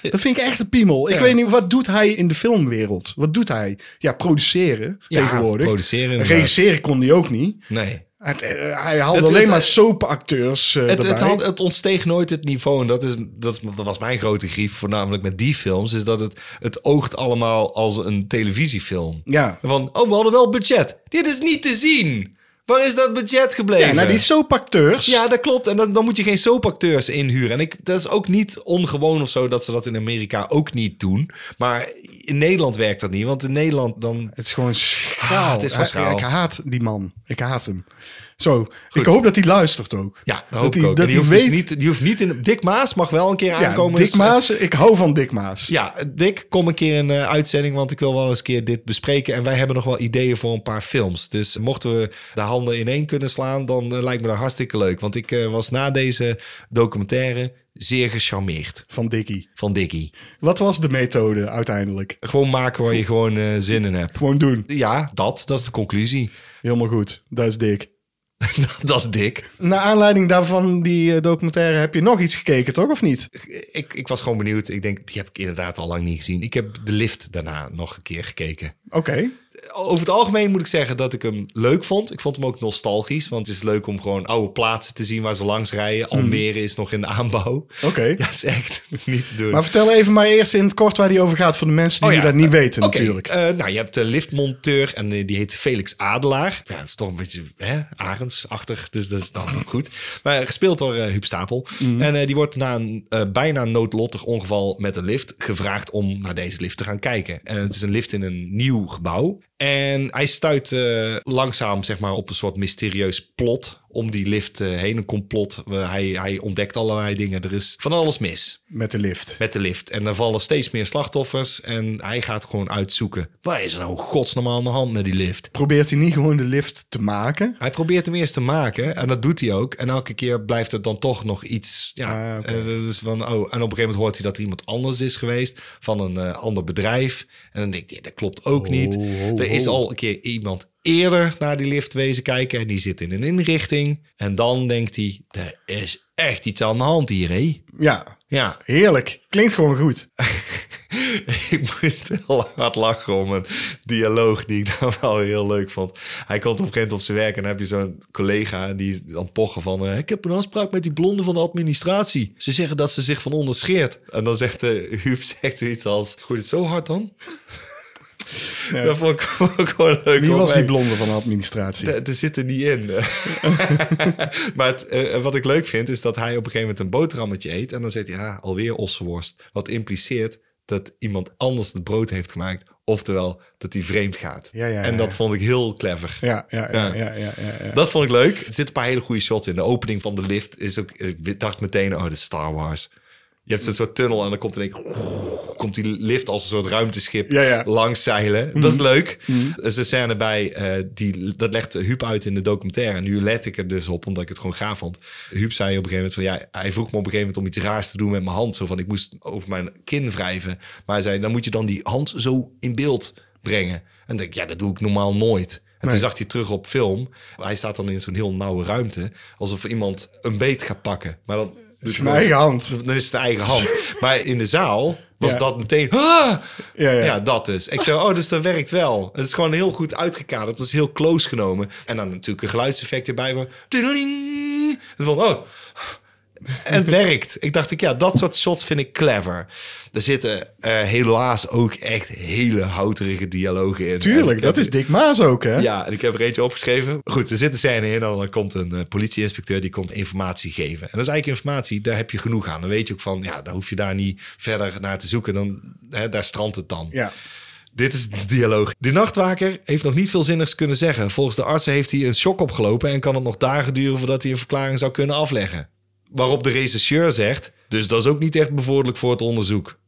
Speaker 2: Dat vind ik echt een piemel. Ik weet niet, wat doet hij in de filmwereld? Wat doet hij? Ja, produceren
Speaker 1: Ja,
Speaker 2: tegenwoordig.
Speaker 1: produceren inderdaad.
Speaker 2: Regisseren kon hij ook niet.
Speaker 1: Nee.
Speaker 2: Het, eh, hij haalde
Speaker 1: Het-
Speaker 2: alleen
Speaker 1: het-
Speaker 2: maar soapacteurs eh,
Speaker 1: Het,
Speaker 2: erbij.
Speaker 1: het, had, het ontsteeg nooit het niveau. En dat, is, dat, is- dat was mijn grote grief, voornamelijk met die films. Is dat het, het oogt allemaal als een televisiefilm.
Speaker 2: Ja.
Speaker 1: Van, oh, we hadden wel budget. Dit is niet te zien. Waar is dat budget gebleven?
Speaker 2: ja, nou die soapacteurs.
Speaker 1: Ja, dat klopt. En dan, dan moet je geen soapacteurs inhuren. En ik, dat is ook niet ongewoon of zo dat ze dat in Amerika ook niet doen. Maar in Nederland werkt dat niet. Want in Nederland dan...
Speaker 2: Het is gewoon schaal.
Speaker 1: Ah, het is gewoon
Speaker 2: Ik-
Speaker 1: schaal.
Speaker 2: Ik, haat die man. Ik haat hem. Zo, ik hoop dat hij luistert ook.
Speaker 1: Ja, dat
Speaker 2: dat
Speaker 1: hoop ik
Speaker 2: hij-
Speaker 1: ook.
Speaker 2: Dat
Speaker 1: En die,
Speaker 2: hij
Speaker 1: hoeft
Speaker 2: weet...
Speaker 1: dus niet, die hoeft niet in... Dick Maas mag wel een keer
Speaker 2: ja,
Speaker 1: aankomen.
Speaker 2: Dick
Speaker 1: Dus, eh,
Speaker 2: Maas. Ik hou van Dick Maas.
Speaker 1: Ja, Dick, kom een keer een eh, uitzending, want ik wil wel eens een keer dit bespreken. En wij hebben nog wel ideeën voor een paar films. Dus mochten we de handen ineen kunnen slaan, dan eh, lijkt me dat hartstikke leuk. Want ik eh, was na deze documentaire zeer gecharmeerd
Speaker 2: Van Dickie.
Speaker 1: van Dickie.
Speaker 2: Wat was de methode uiteindelijk?
Speaker 1: Gewoon maken waar je gewoon eh, zin in hebt.
Speaker 2: Gewoon doen.
Speaker 1: Ja, dat, dat is de conclusie. (laughs)
Speaker 2: Helemaal goed. Dat is dik.
Speaker 1: dat is Dick.
Speaker 2: Naar aanleiding daarvan, die eh, documentaire, heb je nog iets gekeken, toch? Of niet?
Speaker 1: Ik, ik was gewoon benieuwd. Ik denk, die heb ik inderdaad al lang niet gezien. Ik heb de lift daarna nog een keer gekeken.
Speaker 2: Oké.
Speaker 1: over het algemeen moet ik zeggen dat ik hem leuk vond. Ik vond hem ook nostalgisch, want het is leuk om gewoon oude plaatsen te zien waar ze langs rijden. Almere is nog in de aanbouw.
Speaker 2: Mhm. Oké.
Speaker 1: (laughs) Ja, dat is echt dat is niet te doen.
Speaker 2: Maar vertel even maar eerst in het kort waar die over gaat voor de mensen die
Speaker 1: Oh ja,
Speaker 2: dat niet weten
Speaker 1: Oké,
Speaker 2: natuurlijk.
Speaker 1: eh, nou, je hebt de liftmonteur en eh, die heet Felix Adelaar. Ja, dat is toch een beetje hè, arendsachtig, dus dat is dan (laughs) ook goed. Maar gespeeld door eh Huub Stapel.
Speaker 2: Mhm.
Speaker 1: En eh, die wordt na een eh, bijna noodlottig ongeval met een lift gevraagd om naar deze lift te gaan kijken. En het is een lift in een nieuw gebouw. En hij stuit eh, langzaam zeg maar, op een soort mysterieus plot om die lift eh, heen. Een complot. Eh, hij, hij ontdekt allerlei dingen. Er is van alles mis
Speaker 2: Met de lift.
Speaker 1: met de lift. En er vallen steeds meer slachtoffers. En hij gaat gewoon uitzoeken. Waar is er nou godsnormaal aan de hand met die lift?
Speaker 2: Probeert hij niet gewoon de lift te maken?
Speaker 1: Hij probeert hem eerst te maken en dat doet hij ook. En elke keer blijft het dan toch nog iets. Ja,
Speaker 2: Ah, oké.
Speaker 1: eh, dat is van, oh. En op een gegeven moment hoort hij dat er iemand anders is geweest van een eh, ander bedrijf. En dan denkt hij, dat klopt ook niet.
Speaker 2: ho,
Speaker 1: er is
Speaker 2: ho.
Speaker 1: al een keer iemand eerder naar die lift wezen kijken en die zit in een inrichting. En dan denkt hij, er is echt iets aan de hand hier, hé?
Speaker 2: Ja,
Speaker 1: Ja,
Speaker 2: heerlijk. Klinkt gewoon goed.
Speaker 1: (laughs) ik moest heel hard lachen om een dialoog die ik dan wel heel leuk vond. Hij komt op een gegeven moment op zijn werk en dan heb je zo'n collega en die is aan het pochen van... eh, ik heb een afspraak met die blonde van de administratie. Ze zeggen dat ze zich van onderscheert. En dan zegt de Huub zegt zoiets als... Goed, het zo hard dan? (laughs) Dat vond ik ook gewoon leuk.
Speaker 2: Wie
Speaker 1: om
Speaker 2: was
Speaker 1: mee-
Speaker 2: die blonde van de administratie?
Speaker 1: er zit er niet
Speaker 2: (laughs)
Speaker 1: in. (laughs) maar het, eh, wat ik leuk vind, is dat hij op een gegeven moment een boterhammetje eet. En dan zegt hij, ja, alweer ossenworst. Wat impliceert dat iemand anders het brood heeft gemaakt. Oftewel, dat hij vreemd gaat.
Speaker 2: Ja, ja,
Speaker 1: en
Speaker 2: ja,
Speaker 1: dat
Speaker 2: ja.
Speaker 1: vond ik heel clever.
Speaker 2: Ja, ja, ja,
Speaker 1: Ja.
Speaker 2: ja, ja, ja, ja.
Speaker 1: Dat vond ik leuk. Er zitten een paar hele goede shots in. De opening van de lift is ook... Ik dacht meteen, oh, de Star Wars. Je hebt zo'n soort tunnel en dan komt in één keer- komt die lift als een soort ruimteschip
Speaker 2: Ja, ja.
Speaker 1: langs zeilen. Dat is leuk. Er is een scène bij, eh, die, dat legt Huub uit in de documentaire. En nu let ik er dus op, omdat ik het gewoon gaaf vond. Huub zei op een gegeven moment van, ja, hij vroeg me op een gegeven moment om iets raars te doen met mijn hand. Zo van, ik moest over mijn kin wrijven. Maar hij zei, dan moet je dan die hand zo in beeld brengen. En dan denk ik, ja, dat doe ik normaal nooit. En toen zag hij terug op film. Hij staat dan in zo'n heel nauwe ruimte. Alsof iemand een beet gaat pakken. Maar dan...
Speaker 2: Het Dus is mijn eigen hand.
Speaker 1: Dan is het de eigen
Speaker 2: (laughs)
Speaker 1: hand. Maar in de zaal was
Speaker 2: Ja.
Speaker 1: dat meteen... "Ah!" Ja,
Speaker 2: Ja, ja.
Speaker 1: dat dus. Ik zei, oh, dus dat werkt wel. Het is gewoon heel goed uitgekaderd. Het is heel close genomen. En dan natuurlijk een geluidseffect erbij. Van, "Tudeling." En van, oh... En
Speaker 2: (laughs)
Speaker 1: het werkt. Ik dacht, ik, ja, dat soort shots vind ik clever. Er zitten eh, helaas ook echt hele houterige dialogen in. En
Speaker 2: Tuurlijk,
Speaker 1: ik
Speaker 2: dat
Speaker 1: heb-
Speaker 2: is Dick Maas ook, hè?
Speaker 1: ja, en ik heb er eentje opgeschreven. Goed, er zit een scène in en dan komt een eh, politieinspecteur die komt informatie geven. En dat is eigenlijk informatie, daar heb je genoeg aan. Dan weet je ook van, ja, daar hoef je daar niet verder naar te zoeken. Dan, hè, daar strandt het dan.
Speaker 2: Ja.
Speaker 1: Dit is de dialoog. De nachtwaker heeft nog niet veel zinnigs kunnen zeggen. Volgens de artsen heeft hij een shock opgelopen en kan het nog dagen duren voordat hij een verklaring zou kunnen afleggen. Waarop de rechercheur zegt, dus dat is ook niet echt bevorderlijk voor het onderzoek.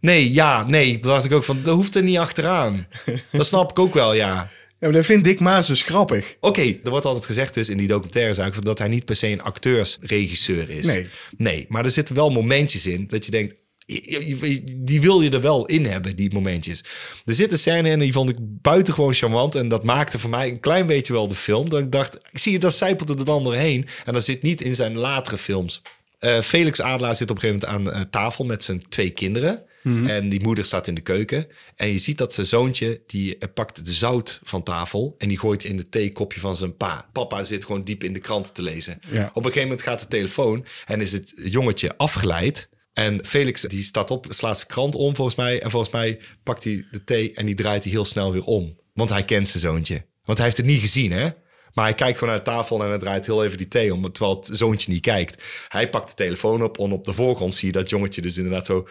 Speaker 1: Nee, ja, nee. Toen dacht ik ook van, dat hoeft er niet achteraan. Dat snap ik ook wel, ja.
Speaker 2: Ja, maar dat vindt Dick Maas dus grappig.
Speaker 1: Oké, er wordt altijd gezegd dus in die documentaire zaak dat hij niet per se een acteursregisseur is.
Speaker 2: Nee.
Speaker 1: Nee, maar er zitten wel momentjes in dat je denkt, je- je- je- die wil je er wel in hebben, die momentjes. Er zitten scènes in die vond ik buitengewoon charmant en dat maakte voor mij een klein beetje wel de film. Dat ik dacht, ik zie je, dat zijpelt er dan doorheen en dat zit niet in zijn latere films. Eh, Felix Adelaar zit op een gegeven moment aan eh, tafel met zijn twee kinderen. En die moeder staat in de keuken. En je ziet dat zijn zoontje, die eh, pakt de zout van tafel... en die gooit in het theekopje van zijn pa. Papa zit gewoon diep in de krant te lezen.
Speaker 2: Ja.
Speaker 1: Op een gegeven moment gaat de telefoon en is het jongetje afgeleid. En Felix die staat op, slaat zijn krant om volgens mij. En volgens mij pakt hij de thee en die draait hij heel snel weer om. Want hij kent zijn zoontje. Want hij heeft het niet gezien, hè? Maar hij kijkt gewoon naar de tafel en hij draait heel even die thee om. Terwijl het zoontje niet kijkt. Hij pakt de telefoon op en op de voorgrond zie je dat jongetje dus inderdaad zo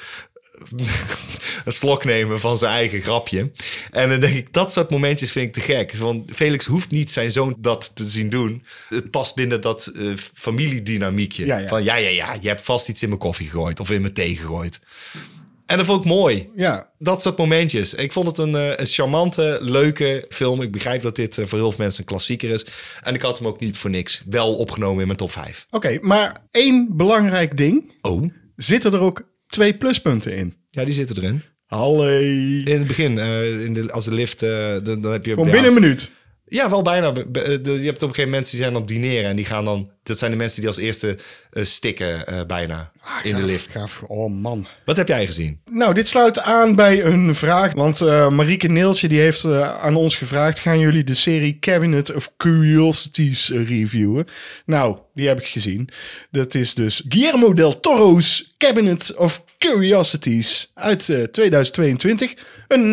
Speaker 1: een slok nemen van zijn eigen grapje. En dan denk ik, dat soort momentjes vind ik te gek. Want Felix hoeft niet zijn zoon dat te zien doen. Het past binnen dat eh, familiedynamiekje.
Speaker 2: Ja, ja.
Speaker 1: Van ja, ja, ja, je hebt vast iets in mijn koffie gegooid of in mijn thee gegooid. En dat vond ik mooi.
Speaker 2: Ja,
Speaker 1: Dat soort momentjes. Ik vond het een, eh, een charmante, leuke film. Ik begrijp dat dit eh, voor heel veel mensen een klassieker is. En ik had hem ook niet voor niks wel opgenomen in mijn top 5.
Speaker 2: oké. maar één belangrijk ding.
Speaker 1: Oh,
Speaker 2: Zitten er ook twee pluspunten in?
Speaker 1: ja, die zitten erin.
Speaker 2: Allee.
Speaker 1: In het begin, eh, in de, als de lift, eh, dan, dan heb je...
Speaker 2: Gewoon
Speaker 1: ja.
Speaker 2: binnen een minuut.
Speaker 1: Ja, wel bijna. Be- be- eh, de- Je hebt op een gegeven moment mensen die zijn aan het dineren. En die gaan dan... Dat zijn de mensen die als eerste eh, stikken eh, bijna in de
Speaker 2: Gaaf,
Speaker 1: lift.
Speaker 2: gaaf. Oh man.
Speaker 1: Wat heb jij gezien?
Speaker 2: Nou, dit sluit aan bij een vraag. Want eh, Marieke Neeltje die heeft eh, aan ons gevraagd... gaan jullie de serie Cabinet of Curiosities eh, reviewen? Nou, die heb ik gezien. Dat is dus Guillermo del Toro's Cabinet of Curiosities uit eh, 2022. Een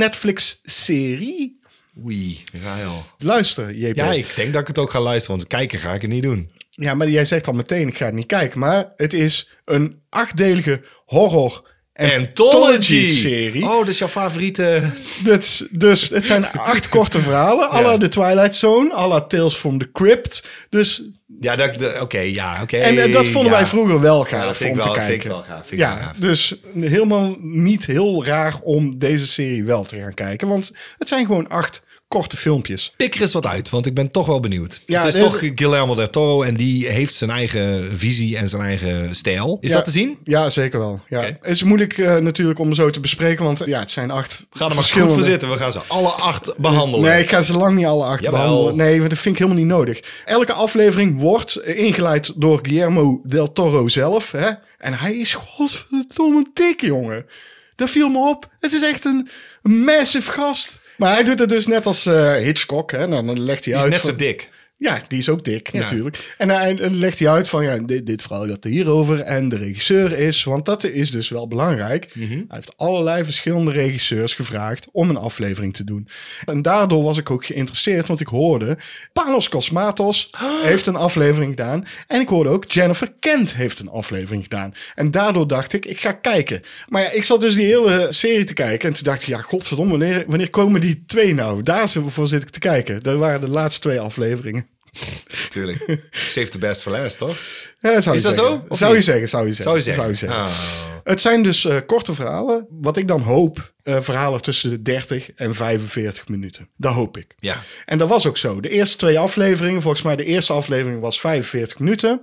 Speaker 2: Netflix-serie.
Speaker 1: Oei, ruil.
Speaker 2: Luister, JP.
Speaker 1: Ja, ik denk dat ik het ook ga luisteren. Want kijken ga ik het niet doen.
Speaker 2: Ja, maar jij zegt al meteen, ik ga het niet kijken. Maar het is een achtdelige horror
Speaker 1: Anthology-serie.
Speaker 2: serie.
Speaker 1: Oh, dat is jouw favoriete...
Speaker 2: Dat is-
Speaker 1: (laughs)
Speaker 2: dus het zijn acht korte verhalen. à la The Twilight Zone, à la Tales from the Crypt. Dus
Speaker 1: Ja, dat- dat- oké, ja, oké.
Speaker 2: En eh, dat vonden
Speaker 1: ja.
Speaker 2: wij vroeger wel
Speaker 1: Ja, dat
Speaker 2: gaaf
Speaker 1: vind
Speaker 2: om
Speaker 1: ik wel,
Speaker 2: te
Speaker 1: vind ik
Speaker 2: kijken.
Speaker 1: wel gaaf. Vind ik wel
Speaker 2: Ja,
Speaker 1: gaaf.
Speaker 2: dus helemaal niet heel raar om deze serie wel te gaan kijken. Want het zijn gewoon acht korte filmpjes.
Speaker 1: Pik er eens wat uit, want ik ben toch wel benieuwd.
Speaker 2: Ja,
Speaker 1: het is
Speaker 2: er is-
Speaker 1: toch Guillermo del Toro en die heeft zijn eigen visie en zijn eigen stijl. Is
Speaker 2: Ja.
Speaker 1: dat te zien?
Speaker 2: Ja, zeker wel. Ja.
Speaker 1: Oké.
Speaker 2: Het is moeilijk eh, natuurlijk om zo te bespreken, want eh, ja, het zijn acht
Speaker 1: Ga er maar eens goed
Speaker 2: verschillende...
Speaker 1: voor zitten. We gaan ze alle acht behandelen.
Speaker 2: Nee, ik ga ze lang niet alle acht
Speaker 1: Jawel.
Speaker 2: behandelen. Nee, want dat vind ik helemaal niet nodig. Elke aflevering wordt eh, ingeleid door Guillermo del Toro zelf. Hè? En hij is godverdomme dik, jongen. Dat viel me op. Het is echt een massive gast. Maar hij doet het dus net als eh, Hitchcock. Hè? Nou, dan legt
Speaker 1: die
Speaker 2: hij
Speaker 1: is
Speaker 2: uit
Speaker 1: net
Speaker 2: van-
Speaker 1: zo dik.
Speaker 2: ja, die is ook dik natuurlijk. En hij en legt hij uit van ja, dit, dit verhaal gaat hierover en de regisseur is, want dat is dus wel belangrijk. Hij heeft allerlei verschillende regisseurs gevraagd om een aflevering te doen. En daardoor was ik ook geïnteresseerd, want ik hoorde Panos Cosmatos heeft een aflevering gedaan en ik hoorde ook Jennifer Kent heeft een aflevering gedaan. En daardoor dacht ik, ik ga kijken. Maar ja, ik zat dus die hele serie te kijken en toen dacht ik, ja, godverdomme, wanneer, wanneer komen die twee nou? Daar zit- voor zit ik te kijken. Dat waren de laatste twee afleveringen.
Speaker 1: Natuurlijk. Save the best for last, toch?
Speaker 2: Ja, zou
Speaker 1: Is
Speaker 2: je
Speaker 1: dat
Speaker 2: zeggen.
Speaker 1: zo, of
Speaker 2: Zou je
Speaker 1: niet?
Speaker 2: zeggen, zou je zeggen.
Speaker 1: Zou je zeggen? Ah.
Speaker 2: Het zijn dus eh, korte verhalen. Wat ik dan hoop, eh, verhalen tussen de 30 en 45 minuten. Dat hoop ik.
Speaker 1: Ja.
Speaker 2: En dat was ook zo. De eerste twee afleveringen, volgens mij de eerste aflevering was 45 minuten.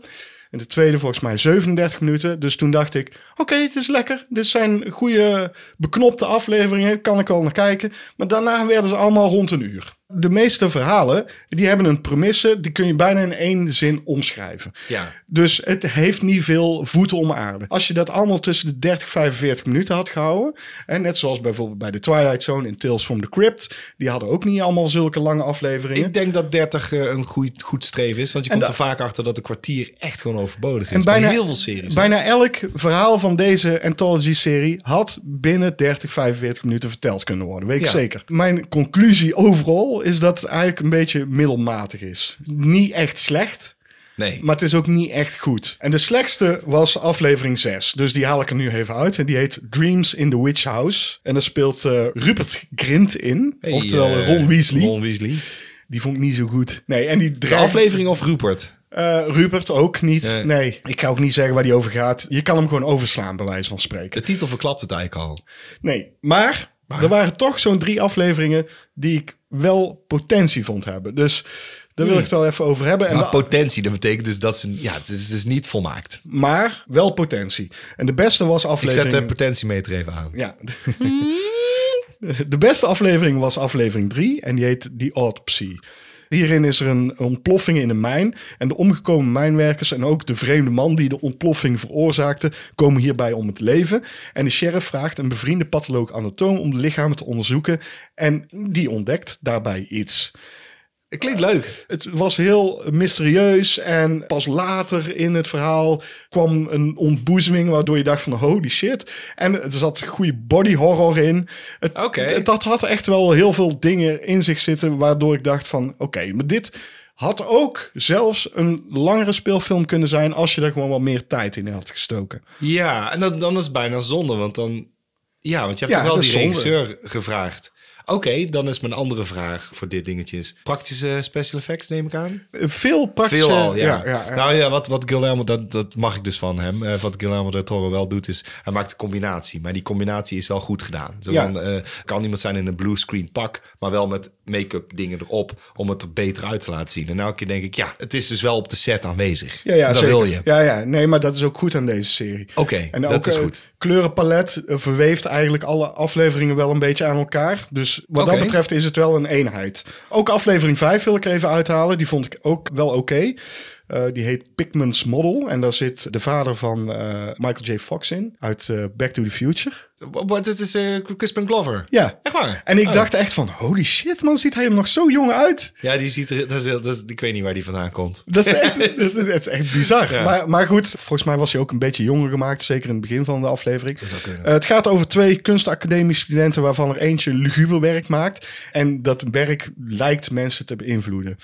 Speaker 2: En de tweede volgens mij 37 minuten. Dus toen dacht ik, oké, het is lekker. Dit zijn goede beknopte afleveringen. Kan ik wel naar kijken. Maar daarna werden ze allemaal rond een uur. De meeste verhalen, die hebben een premisse. Die kun je bijna in één zin omschrijven.
Speaker 1: Ja.
Speaker 2: Dus het heeft niet veel voeten om aarde. Als je dat allemaal tussen de 30 45 minuten had gehouden. En net zoals bijvoorbeeld bij de Twilight Zone en Tales from the Crypt. Die hadden ook niet allemaal zulke lange afleveringen.
Speaker 1: Ik denk dat 30 eh, een goed, goed streven is. Want je komt
Speaker 2: da-
Speaker 1: er vaak achter dat een kwartier echt gewoon overbodig is.
Speaker 2: En
Speaker 1: bij
Speaker 2: bijna,
Speaker 1: heel veel series.
Speaker 2: bijna elk verhaal van deze anthology-serie had binnen 30, 45 minuten verteld kunnen worden. Weet ik
Speaker 1: Ja.
Speaker 2: zeker. Mijn conclusie overal is dat het eigenlijk een beetje middelmatig is. Niet echt slecht,
Speaker 1: nee.
Speaker 2: Maar het is ook niet echt goed. En de slechtste was aflevering 6. Dus die haal ik er nu even uit. En die heet Dreams in the Witch House. En daar speelt eh, Rupert Grint in.
Speaker 1: Hey,
Speaker 2: oftewel
Speaker 1: eh,
Speaker 2: Ron Weasley.
Speaker 1: Ron Weasley.
Speaker 2: Die vond ik niet zo goed. Nee, en die
Speaker 1: De
Speaker 2: dreigt...
Speaker 1: aflevering of Rupert?
Speaker 2: Eh, Rupert ook niet. Nee.
Speaker 1: Nee.
Speaker 2: ik ga ook niet zeggen waar die over gaat. Je kan hem gewoon overslaan, bij wijze van spreken.
Speaker 1: De titel verklapt het eigenlijk al.
Speaker 2: Nee, maar, er waren toch zo'n drie afleveringen die ik wel potentie vond hebben. Dus daar wil ik het wel even over hebben. En
Speaker 1: Hmm. Maar
Speaker 2: de-
Speaker 1: potentie, dat betekent dus dat ze... Ja, het is dus niet volmaakt.
Speaker 2: maar wel potentie. En de beste was
Speaker 1: Ik
Speaker 2: aflevering...
Speaker 1: zet de potentiemeter even aan.
Speaker 2: Ja. (laughs) De beste aflevering was aflevering 3 en die heet The Autopsy. Hierin is er een ontploffing in een mijn. En de omgekomen mijnwerkers en ook de vreemde man die de ontploffing veroorzaakte, komen hierbij om het leven. En de sheriff vraagt een bevriende patholoog anatoom om de lichamen te onderzoeken. En die ontdekt daarbij iets.
Speaker 1: Het klinkt leuk.
Speaker 2: Het was heel mysterieus en pas later in het verhaal kwam een ontboezeming waardoor je dacht van holy shit. En er zat goede body horror in. Het,
Speaker 1: Oké.
Speaker 2: het- Dat had echt wel heel veel dingen in zich zitten waardoor ik dacht van oké, maar dit had ook zelfs een langere speelfilm kunnen zijn als je daar gewoon wat meer tijd in had gestoken.
Speaker 1: Ja, en dat, dan is het bijna zonde, want dan... Ja, want je hebt
Speaker 2: Ja,
Speaker 1: toch wel
Speaker 2: dat is
Speaker 1: die
Speaker 2: zonde.
Speaker 1: regisseur gevraagd. Oké, dan is mijn andere vraag voor dit dingetje is... Praktische special effects neem ik aan?
Speaker 2: Veel praktische...
Speaker 1: Veel al, ja.
Speaker 2: eh, ja, ja.
Speaker 1: Nou ja, wat, wat Guillermo, dat, dat mag ik dus van hem. Eh, wat Guillermo del Toro wel doet is, hij maakt een combinatie. Maar die combinatie is wel goed gedaan. Zo
Speaker 2: Ja.
Speaker 1: van, eh, kan iemand zijn in een bluescreen pak, maar wel met make-up dingen erop... om het er beter uit te laten zien. En elke keer denk ik, ja, het is dus wel op de set aanwezig.
Speaker 2: Ja, ja,
Speaker 1: dat
Speaker 2: zeker.
Speaker 1: wil je.
Speaker 2: Ja, ja, nee, maar dat is ook goed aan deze serie.
Speaker 1: Oké,
Speaker 2: En
Speaker 1: dat
Speaker 2: ook,
Speaker 1: is
Speaker 2: eh,
Speaker 1: goed.
Speaker 2: kleurenpalet eh, verweeft eigenlijk alle afleveringen wel een beetje aan elkaar. Dus wat
Speaker 1: Oké.
Speaker 2: dat betreft is het wel een eenheid. Ook aflevering 5 wil ik er even uithalen. Die vond ik ook wel oké. Eh, die heet Pigment's Model. En daar zit de vader van eh, Michael J. Fox in. Uit eh, Back to the Future.
Speaker 1: Wat, het is eh, Crispin Glover.
Speaker 2: Ja.
Speaker 1: Echt waar?
Speaker 2: En ik
Speaker 1: Oh.
Speaker 2: dacht echt van, holy shit man, ziet hij er nog zo jong uit.
Speaker 1: Ja, die ziet er... Dat is, heel- dat is, ik weet niet waar die vandaan komt.
Speaker 2: Dat is echt, dat is- dat is echt bizar.
Speaker 1: Ja.
Speaker 2: Maar, maar goed, volgens mij was hij ook een beetje jonger gemaakt. Zeker in het begin van de aflevering.
Speaker 1: zou kunnen.
Speaker 2: Eh, het gaat over twee kunstacademisch studenten... waarvan er eentje luguber werk maakt. Eh, En dat werk lijkt mensen te beïnvloeden.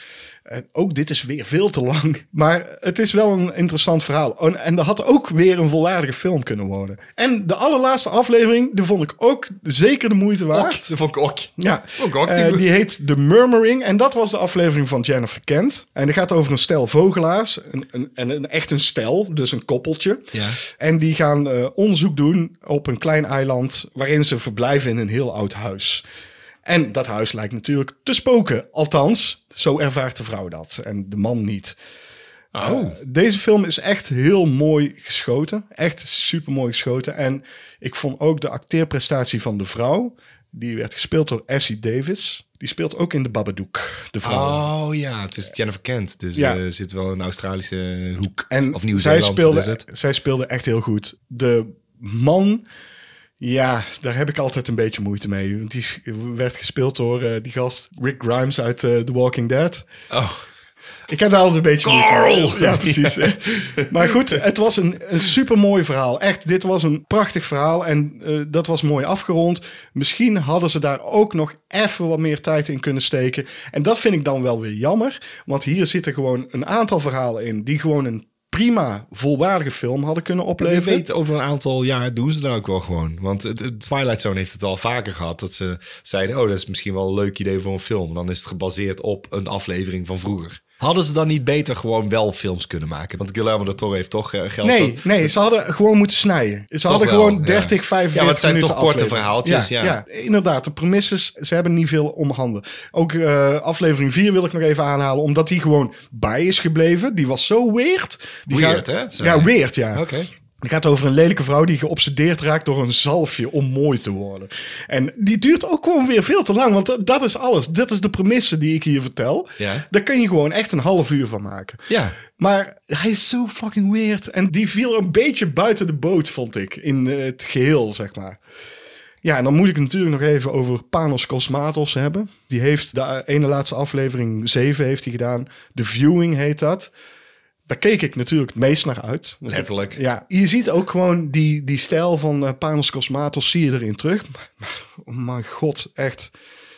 Speaker 2: En ook dit is weer veel te lang. Maar het is wel een interessant verhaal. Oh, En, en er had ook weer een volwaardige film kunnen worden. En de allerlaatste aflevering, die vond ik ook zeker de moeite waard.
Speaker 1: Kok, van Kok.
Speaker 2: Ja,
Speaker 1: Ook ook
Speaker 2: Eh,
Speaker 1: Oh die-
Speaker 2: die heet The Murmuring. En dat was de aflevering van Jennifer Kent. En die gaat over een stel vogelaars. Een, een, en een, echt een stel, dus een koppeltje.
Speaker 1: Ja.
Speaker 2: En die gaan eh, onderzoek doen op een klein eiland... waarin ze verblijven in een heel oud huis. En dat huis lijkt natuurlijk te spoken. Althans, zo ervaart de vrouw dat. En de man niet.
Speaker 1: Oh.
Speaker 2: Eh, deze film is echt heel mooi geschoten. Echt super mooi geschoten. En ik vond ook de acteerprestatie van de vrouw. Die werd gespeeld door Essie Davis. Die speelt ook in de Babadook, de vrouw.
Speaker 1: Oh ja, het is Jennifer Kent. Dus
Speaker 2: Ja.
Speaker 1: eh, zit wel een Australische hoek.
Speaker 2: En
Speaker 1: of Nieuw-Zeeland
Speaker 2: zij speelde,
Speaker 1: is het.
Speaker 2: zij speelde echt heel goed. De man, ja, daar heb ik altijd een beetje moeite mee. Want die is- werd gespeeld door eh, die gast Rick Grimes uit eh, The Walking Dead.
Speaker 1: Oh.
Speaker 2: Ik heb daar altijd een beetje
Speaker 1: Carl!
Speaker 2: moeite mee. Ja, precies. maar goed, het was een, een supermooi verhaal. Echt, dit was een prachtig verhaal en eh, dat was mooi afgerond. Misschien hadden ze daar ook nog even wat meer tijd in kunnen steken. En dat vind ik dan wel weer jammer, want hier zitten gewoon een aantal verhalen in die gewoon een prima, volwaardige film hadden kunnen
Speaker 1: Je
Speaker 2: opleveren.
Speaker 1: weet, over een aantal jaar doen ze dat ook wel gewoon. Want het, het Twilight Zone heeft het al vaker gehad. Dat ze zeiden, oh, dat is misschien wel een leuk idee voor een film. Dan is het gebaseerd op een aflevering van vroeger. Hadden ze dan niet beter gewoon wel films kunnen maken? Want Guillermo del Toro heeft toch eh, geld...
Speaker 2: Nee, nee, ze hadden gewoon moeten snijden. Ze hadden
Speaker 1: wel,
Speaker 2: gewoon
Speaker 1: ja.
Speaker 2: 30, 45 minuten
Speaker 1: Ja, want het zijn toch korte
Speaker 2: aflevering.
Speaker 1: verhaaltjes, ja.
Speaker 2: inderdaad. De premisses, ze hebben niet veel om handen. Ook eh, aflevering 4 wil ik nog even aanhalen, omdat die gewoon bij is gebleven. Die was zo weird. Die
Speaker 1: Weird, hè?
Speaker 2: gaat,
Speaker 1: Sorry.
Speaker 2: Ja, weird, ja.
Speaker 1: Oké.
Speaker 2: Het gaat over een lelijke vrouw die geobsedeerd raakt door een zalfje om mooi te worden. En die duurt ook gewoon weer veel te lang, want dat- dat is alles. Dat is de premisse die ik hier vertel.
Speaker 1: Ja.
Speaker 2: Daar kun je gewoon echt een half uur van maken.
Speaker 1: Ja.
Speaker 2: Maar hij is zo fucking weird. En die viel een beetje buiten de boot, vond ik. In eh, het geheel, zeg maar. Ja, en dan moet ik het natuurlijk nog even over Panos Cosmatos hebben. Die heeft de eh, ene laatste aflevering, 7 heeft hij gedaan. The Viewing heet dat. Daar keek ik natuurlijk het meest naar uit. Want
Speaker 1: Letterlijk.
Speaker 2: ik- Ja, je ziet ook gewoon die, die stijl van eh, Panos Cosmatos zie je erin terug. (laughs) Maar, maar, oh mijn god, echt.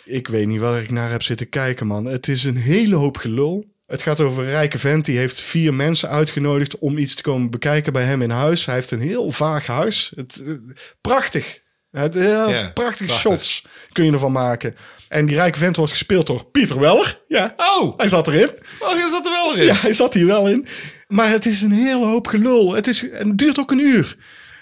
Speaker 2: Ik weet niet waar ik naar heb zitten kijken, man. Het is een hele hoop gelul. Het gaat over een rijke vent. Die heeft vier mensen uitgenodigd om iets te komen bekijken bij hem in huis. Hij heeft een heel vaag huis. Het, eh, prachtig. Het, heel
Speaker 1: Ja,
Speaker 2: prachtige
Speaker 1: prachtig.
Speaker 2: shots kun je ervan maken. En die rijke vent wordt gespeeld door Pieter Weller. Ja,
Speaker 1: Oh,
Speaker 2: hij zat erin.
Speaker 1: oh, je zat er wel in.
Speaker 2: Ja, hij zat hier wel in. Maar het is een hele hoop gelul. Het, is, en het duurt ook een uur.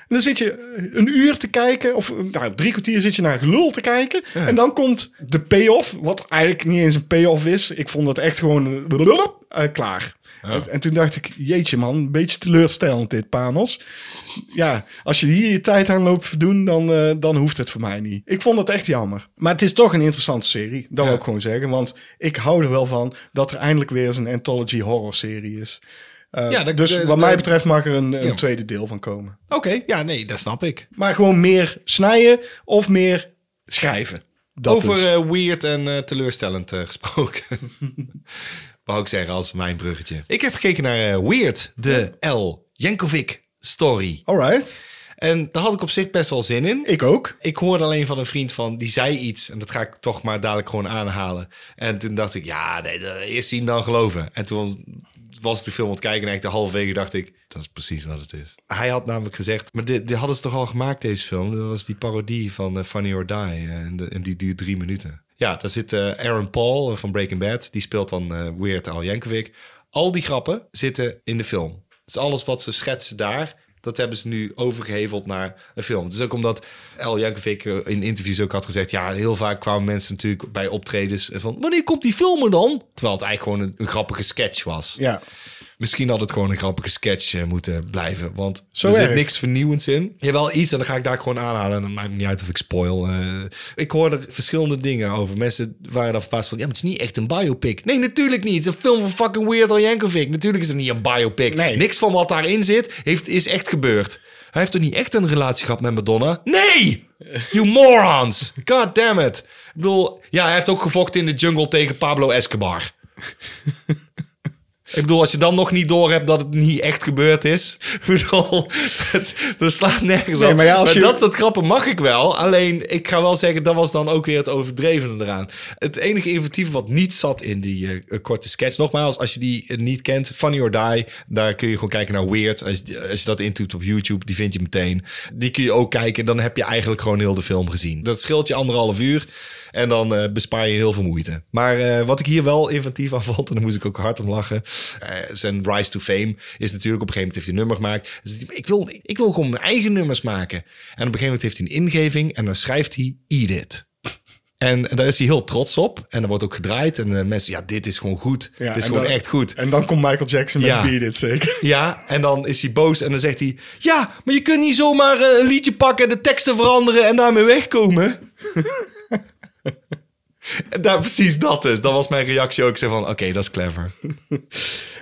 Speaker 2: En dan zit je eh, een uur te kijken, of nou, drie kwartier zit je naar gelul te kijken. En dan komt de payoff, wat eigenlijk niet eens een payoff is. Ik vond dat echt gewoon eh, blubblub, eh, klaar. En, en toen dacht ik, jeetje man, een beetje teleurstellend dit, Panos. Ja, als je hier je tijd aan loopt verdoen, dan, eh, dan hoeft het voor mij niet. Ik vond het echt jammer. Maar het is toch een interessante serie, dat wil ik gewoon zeggen. Want ik hou er wel van dat er eindelijk weer eens een anthology horror serie is. Eh,
Speaker 1: Ja, dat-
Speaker 2: dus
Speaker 1: dat-
Speaker 2: wat mij
Speaker 1: dat-
Speaker 2: betreft mag er een, een
Speaker 1: Ja.
Speaker 2: tweede deel van komen.
Speaker 1: Oké, ja, nee, dat snap ik.
Speaker 2: Maar gewoon meer snijden of meer schrijven. Dat
Speaker 1: Over
Speaker 2: dus.
Speaker 1: eh, weird en eh, teleurstellend eh, gesproken. (laughs) Wou ik zeggen als mijn bruggetje. Ik heb gekeken naar eh, Weird, de L. Jankovic story.
Speaker 2: Alright,
Speaker 1: En daar had ik op zich best wel zin in.
Speaker 2: ik ook.
Speaker 1: Ik hoorde alleen van een vriend van, die zei iets. En dat ga ik toch maar dadelijk gewoon aanhalen. En toen dacht ik, ja, nee, dat- eerst zien dan geloven. En toen was ik de film aan het kijken en eigenlijk de halve week dacht ik... dat is precies wat het is. Hij had namelijk gezegd, maar dit, dit hadden ze toch al gemaakt, deze film? Dat was die parodie van eh, Funny or Die. eh, en, de- en die duurt drie minuten. Ja, daar zit eh, Aaron Paul eh, van Breaking Bad. Die speelt dan eh, Weird Al Yankovic. Al die grappen zitten in de film. Dus alles wat ze schetsen daar... Dat hebben ze nu overgeheveld naar een film. Dus ook omdat El Jankovic eh, in interviews ook had gezegd... ja, heel vaak kwamen mensen natuurlijk bij optredens van... wanneer komt die film er dan? Terwijl het eigenlijk gewoon een, een grappige sketch was.
Speaker 2: Ja,
Speaker 1: Misschien had het gewoon een grappige sketch eh, moeten blijven. Want
Speaker 2: Zo
Speaker 1: er zit
Speaker 2: erg.
Speaker 1: niks vernieuwends in. Jawel, iets en dan ga ik daar gewoon aanhalen. En dan maakt het niet uit of ik spoil. eh. ik hoorde verschillende dingen over. Mensen waren dan verbaasd van... ja, maar het is niet echt een biopic. Nee, natuurlijk niet. Het is een film van fucking Weird Al Yankovic. Natuurlijk is het niet een biopic.
Speaker 2: Nee.
Speaker 1: Niks van wat daarin zit heeft, is echt gebeurd. Hij heeft toch niet echt een relatie gehad met Madonna?
Speaker 2: (laughs)
Speaker 1: Nee! You morons! God damn it. Ik bedoel, ja, hij heeft ook gevochten in de jungle tegen Pablo Escobar. Ik bedoel, als je dan nog niet door hebt dat het niet echt gebeurd is. (laughs) Ik bedoel, het, dat slaat nergens
Speaker 2: Nee,
Speaker 1: op.
Speaker 2: maar ja, als je-
Speaker 1: dat soort grappen mag ik wel. Alleen, ik ga wel zeggen, dat was dan ook weer het overdrevene eraan. Het enige inventieve wat niet zat in die eh, korte sketch. Nogmaals, als je die eh, niet kent, Funny or Die. Daar kun je gewoon kijken naar Weird. Als, je- als je dat intoept op YouTube, die vind je meteen. Die kun je ook kijken. Dan heb je eigenlijk gewoon heel de film gezien. Dat scheelt je anderhalf uur. En dan eh, bespaar je heel veel moeite. Maar eh, wat ik hier wel inventief aan vond, en daar moest ik ook hard om lachen. eh, zijn Rise to Fame is natuurlijk op een gegeven moment heeft hij een nummer gemaakt. Dus hij, ik, wil, ik wil gewoon mijn eigen nummers maken. En op een gegeven moment heeft hij een ingeving en dan schrijft hij Edith. En daar is hij heel trots op. En er wordt ook gedraaid. En eh, mensen, ja, dit is gewoon goed.
Speaker 2: Ja,
Speaker 1: dit is
Speaker 2: en
Speaker 1: gewoon
Speaker 2: dan-
Speaker 1: echt goed.
Speaker 2: En dan komt Michael Jackson met
Speaker 1: Ja.
Speaker 2: Beat It, zeker. (laughs)
Speaker 1: Ja, en dan is hij boos en dan zegt hij... Ja, maar je kunt niet zomaar eh, een liedje pakken, de teksten veranderen en daarmee wegkomen. (laughs) En daar, precies dat dus. Dat was mijn reactie ook. Ik zei van, oké, dat is clever.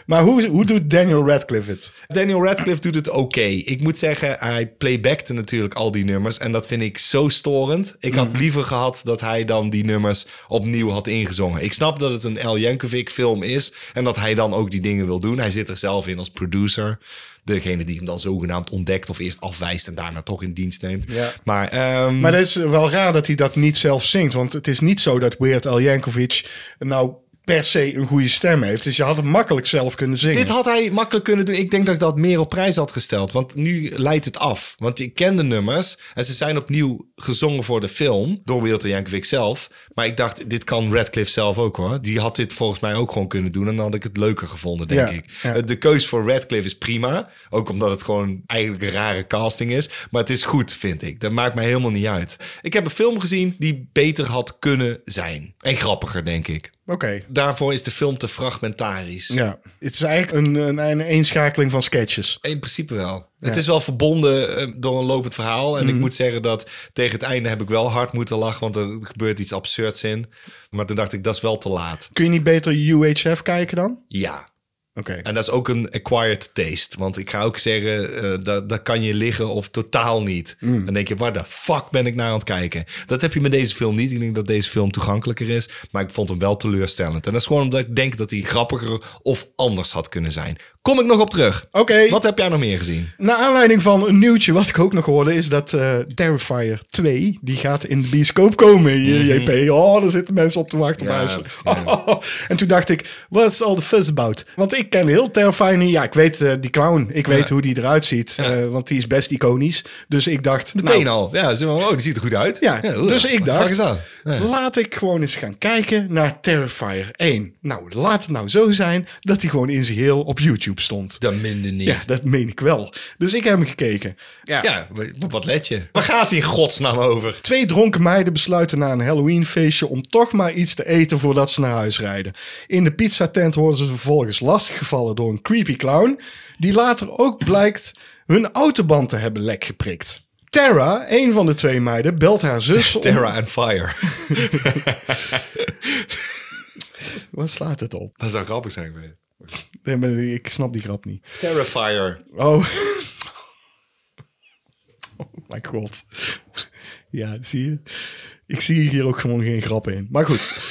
Speaker 2: Maar hoe, hoe doet Daniel Radcliffe het?
Speaker 1: Daniel Radcliffe doet het oké. Ik moet zeggen, hij playbackte natuurlijk al die nummers. En dat vind ik zo storend. Ik
Speaker 2: Mhm.
Speaker 1: had liever gehad dat hij dan die nummers opnieuw had ingezongen. Ik snap dat het een El Jankovic film is. En dat hij dan ook die dingen wil doen. Hij zit er zelf in als producer. Degene die hem dan zogenaamd ontdekt of eerst afwijst en daarna toch in dienst neemt.
Speaker 2: Ja.
Speaker 1: Maar, ehm,
Speaker 2: Maar het is wel raar dat hij dat niet zelf zingt. Want het is niet zo dat Weird Al Yankovic nou per se een goede stem heeft. Dus je had hem makkelijk zelf kunnen zingen.
Speaker 1: Dit had hij makkelijk kunnen doen. Ik denk dat ik dat meer op prijs had gesteld. Want nu leidt het af. Want ik ken de nummers. En ze zijn opnieuw gezongen voor de film. Door Wilde Jankovic zelf. Maar ik dacht, dit kan Radcliffe zelf ook hoor. Die had dit volgens mij ook gewoon kunnen doen. En dan had ik het leuker gevonden, denk
Speaker 2: Ja,
Speaker 1: ik.
Speaker 2: ja.
Speaker 1: Eh, De keus voor Radcliffe is prima. Ook omdat het gewoon eigenlijk een rare casting is. Maar het is goed, vind ik. Dat maakt mij helemaal niet uit. Ik heb een film gezien die beter had kunnen zijn. En grappiger, denk ik.
Speaker 2: Oké.
Speaker 1: Daarvoor is de film te fragmentarisch.
Speaker 2: Ja, het is eigenlijk een, een, een eenschakeling van sketches.
Speaker 1: In principe wel. Het is wel verbonden eh, door een lopend verhaal. En ik moet zeggen dat tegen het einde heb ik wel hard moeten lachen, want er gebeurt iets absurds in. Maar toen dacht ik, dat is wel te laat.
Speaker 2: Kun je niet beter UHF kijken dan?
Speaker 1: Ja.
Speaker 2: Oké.
Speaker 1: En dat is ook een acquired taste. Want ik ga ook zeggen, eh dat, dat kan je liggen of totaal niet. Dan denk je, waar de fuck ben ik naar aan het kijken? Dat heb je met deze film niet. Ik denk dat deze film toegankelijker is. Maar ik vond hem wel teleurstellend. En dat is gewoon omdat ik denk dat hij grappiger of anders had kunnen zijn. Kom ik nog op terug.
Speaker 2: Oké.
Speaker 1: Wat heb jij nog meer gezien?
Speaker 2: Naar aanleiding van een nieuwtje wat ik ook nog hoorde... is dat eh Terrifier 2, die gaat in de bioscoop komen. hier, JP, oh, daar zitten mensen op te wachten.
Speaker 1: Mhm. Ja,
Speaker 2: buiten.
Speaker 1: ja.
Speaker 2: oh. En toen dacht ik, what's all the fuss about? Want ik ken heel Terrifier niet. Ja, ik weet eh, die clown. Ik weet hoe die eruit ziet. eh, want die is best iconisch. Dus ik dacht...
Speaker 1: Meteen
Speaker 2: nou,
Speaker 1: al. Ja, ze van, oh, die ziet er goed uit.
Speaker 2: Ja,
Speaker 1: oeh,
Speaker 2: dus
Speaker 1: wat
Speaker 2: ik
Speaker 1: de fuck
Speaker 2: dacht,
Speaker 1: is dat? Ja.
Speaker 2: laat ik gewoon eens gaan kijken naar Terrifier 1. Nou, laat het nou zo zijn dat hij gewoon in zijn heel op YouTube stond.
Speaker 1: Dat minder niet.
Speaker 2: Ja,
Speaker 1: Ja.
Speaker 2: dat meen ik wel. Dus ik heb hem gekeken.
Speaker 1: w- wat let je? Waar gaat hij in godsnaam over?
Speaker 2: Twee dronken meiden besluiten na een Halloweenfeestje om toch maar iets te eten voordat ze naar huis rijden. In de pizzatent worden ze vervolgens lastiggevallen door een creepy clown, die later ook blijkt hun autoband te hebben lek geprikt. Tara, een van de twee meiden, belt haar zus om...
Speaker 1: Terra and Fire.
Speaker 2: Wat slaat het op?
Speaker 1: (laughs) dat zou grappig zijn geweest.
Speaker 2: Nee, maar Ik snap die grap niet.
Speaker 1: Terra Fire.
Speaker 2: Oh. Oh mijn god. Ja, zie je? Ik zie hier ook gewoon geen grappen in. Maar goed.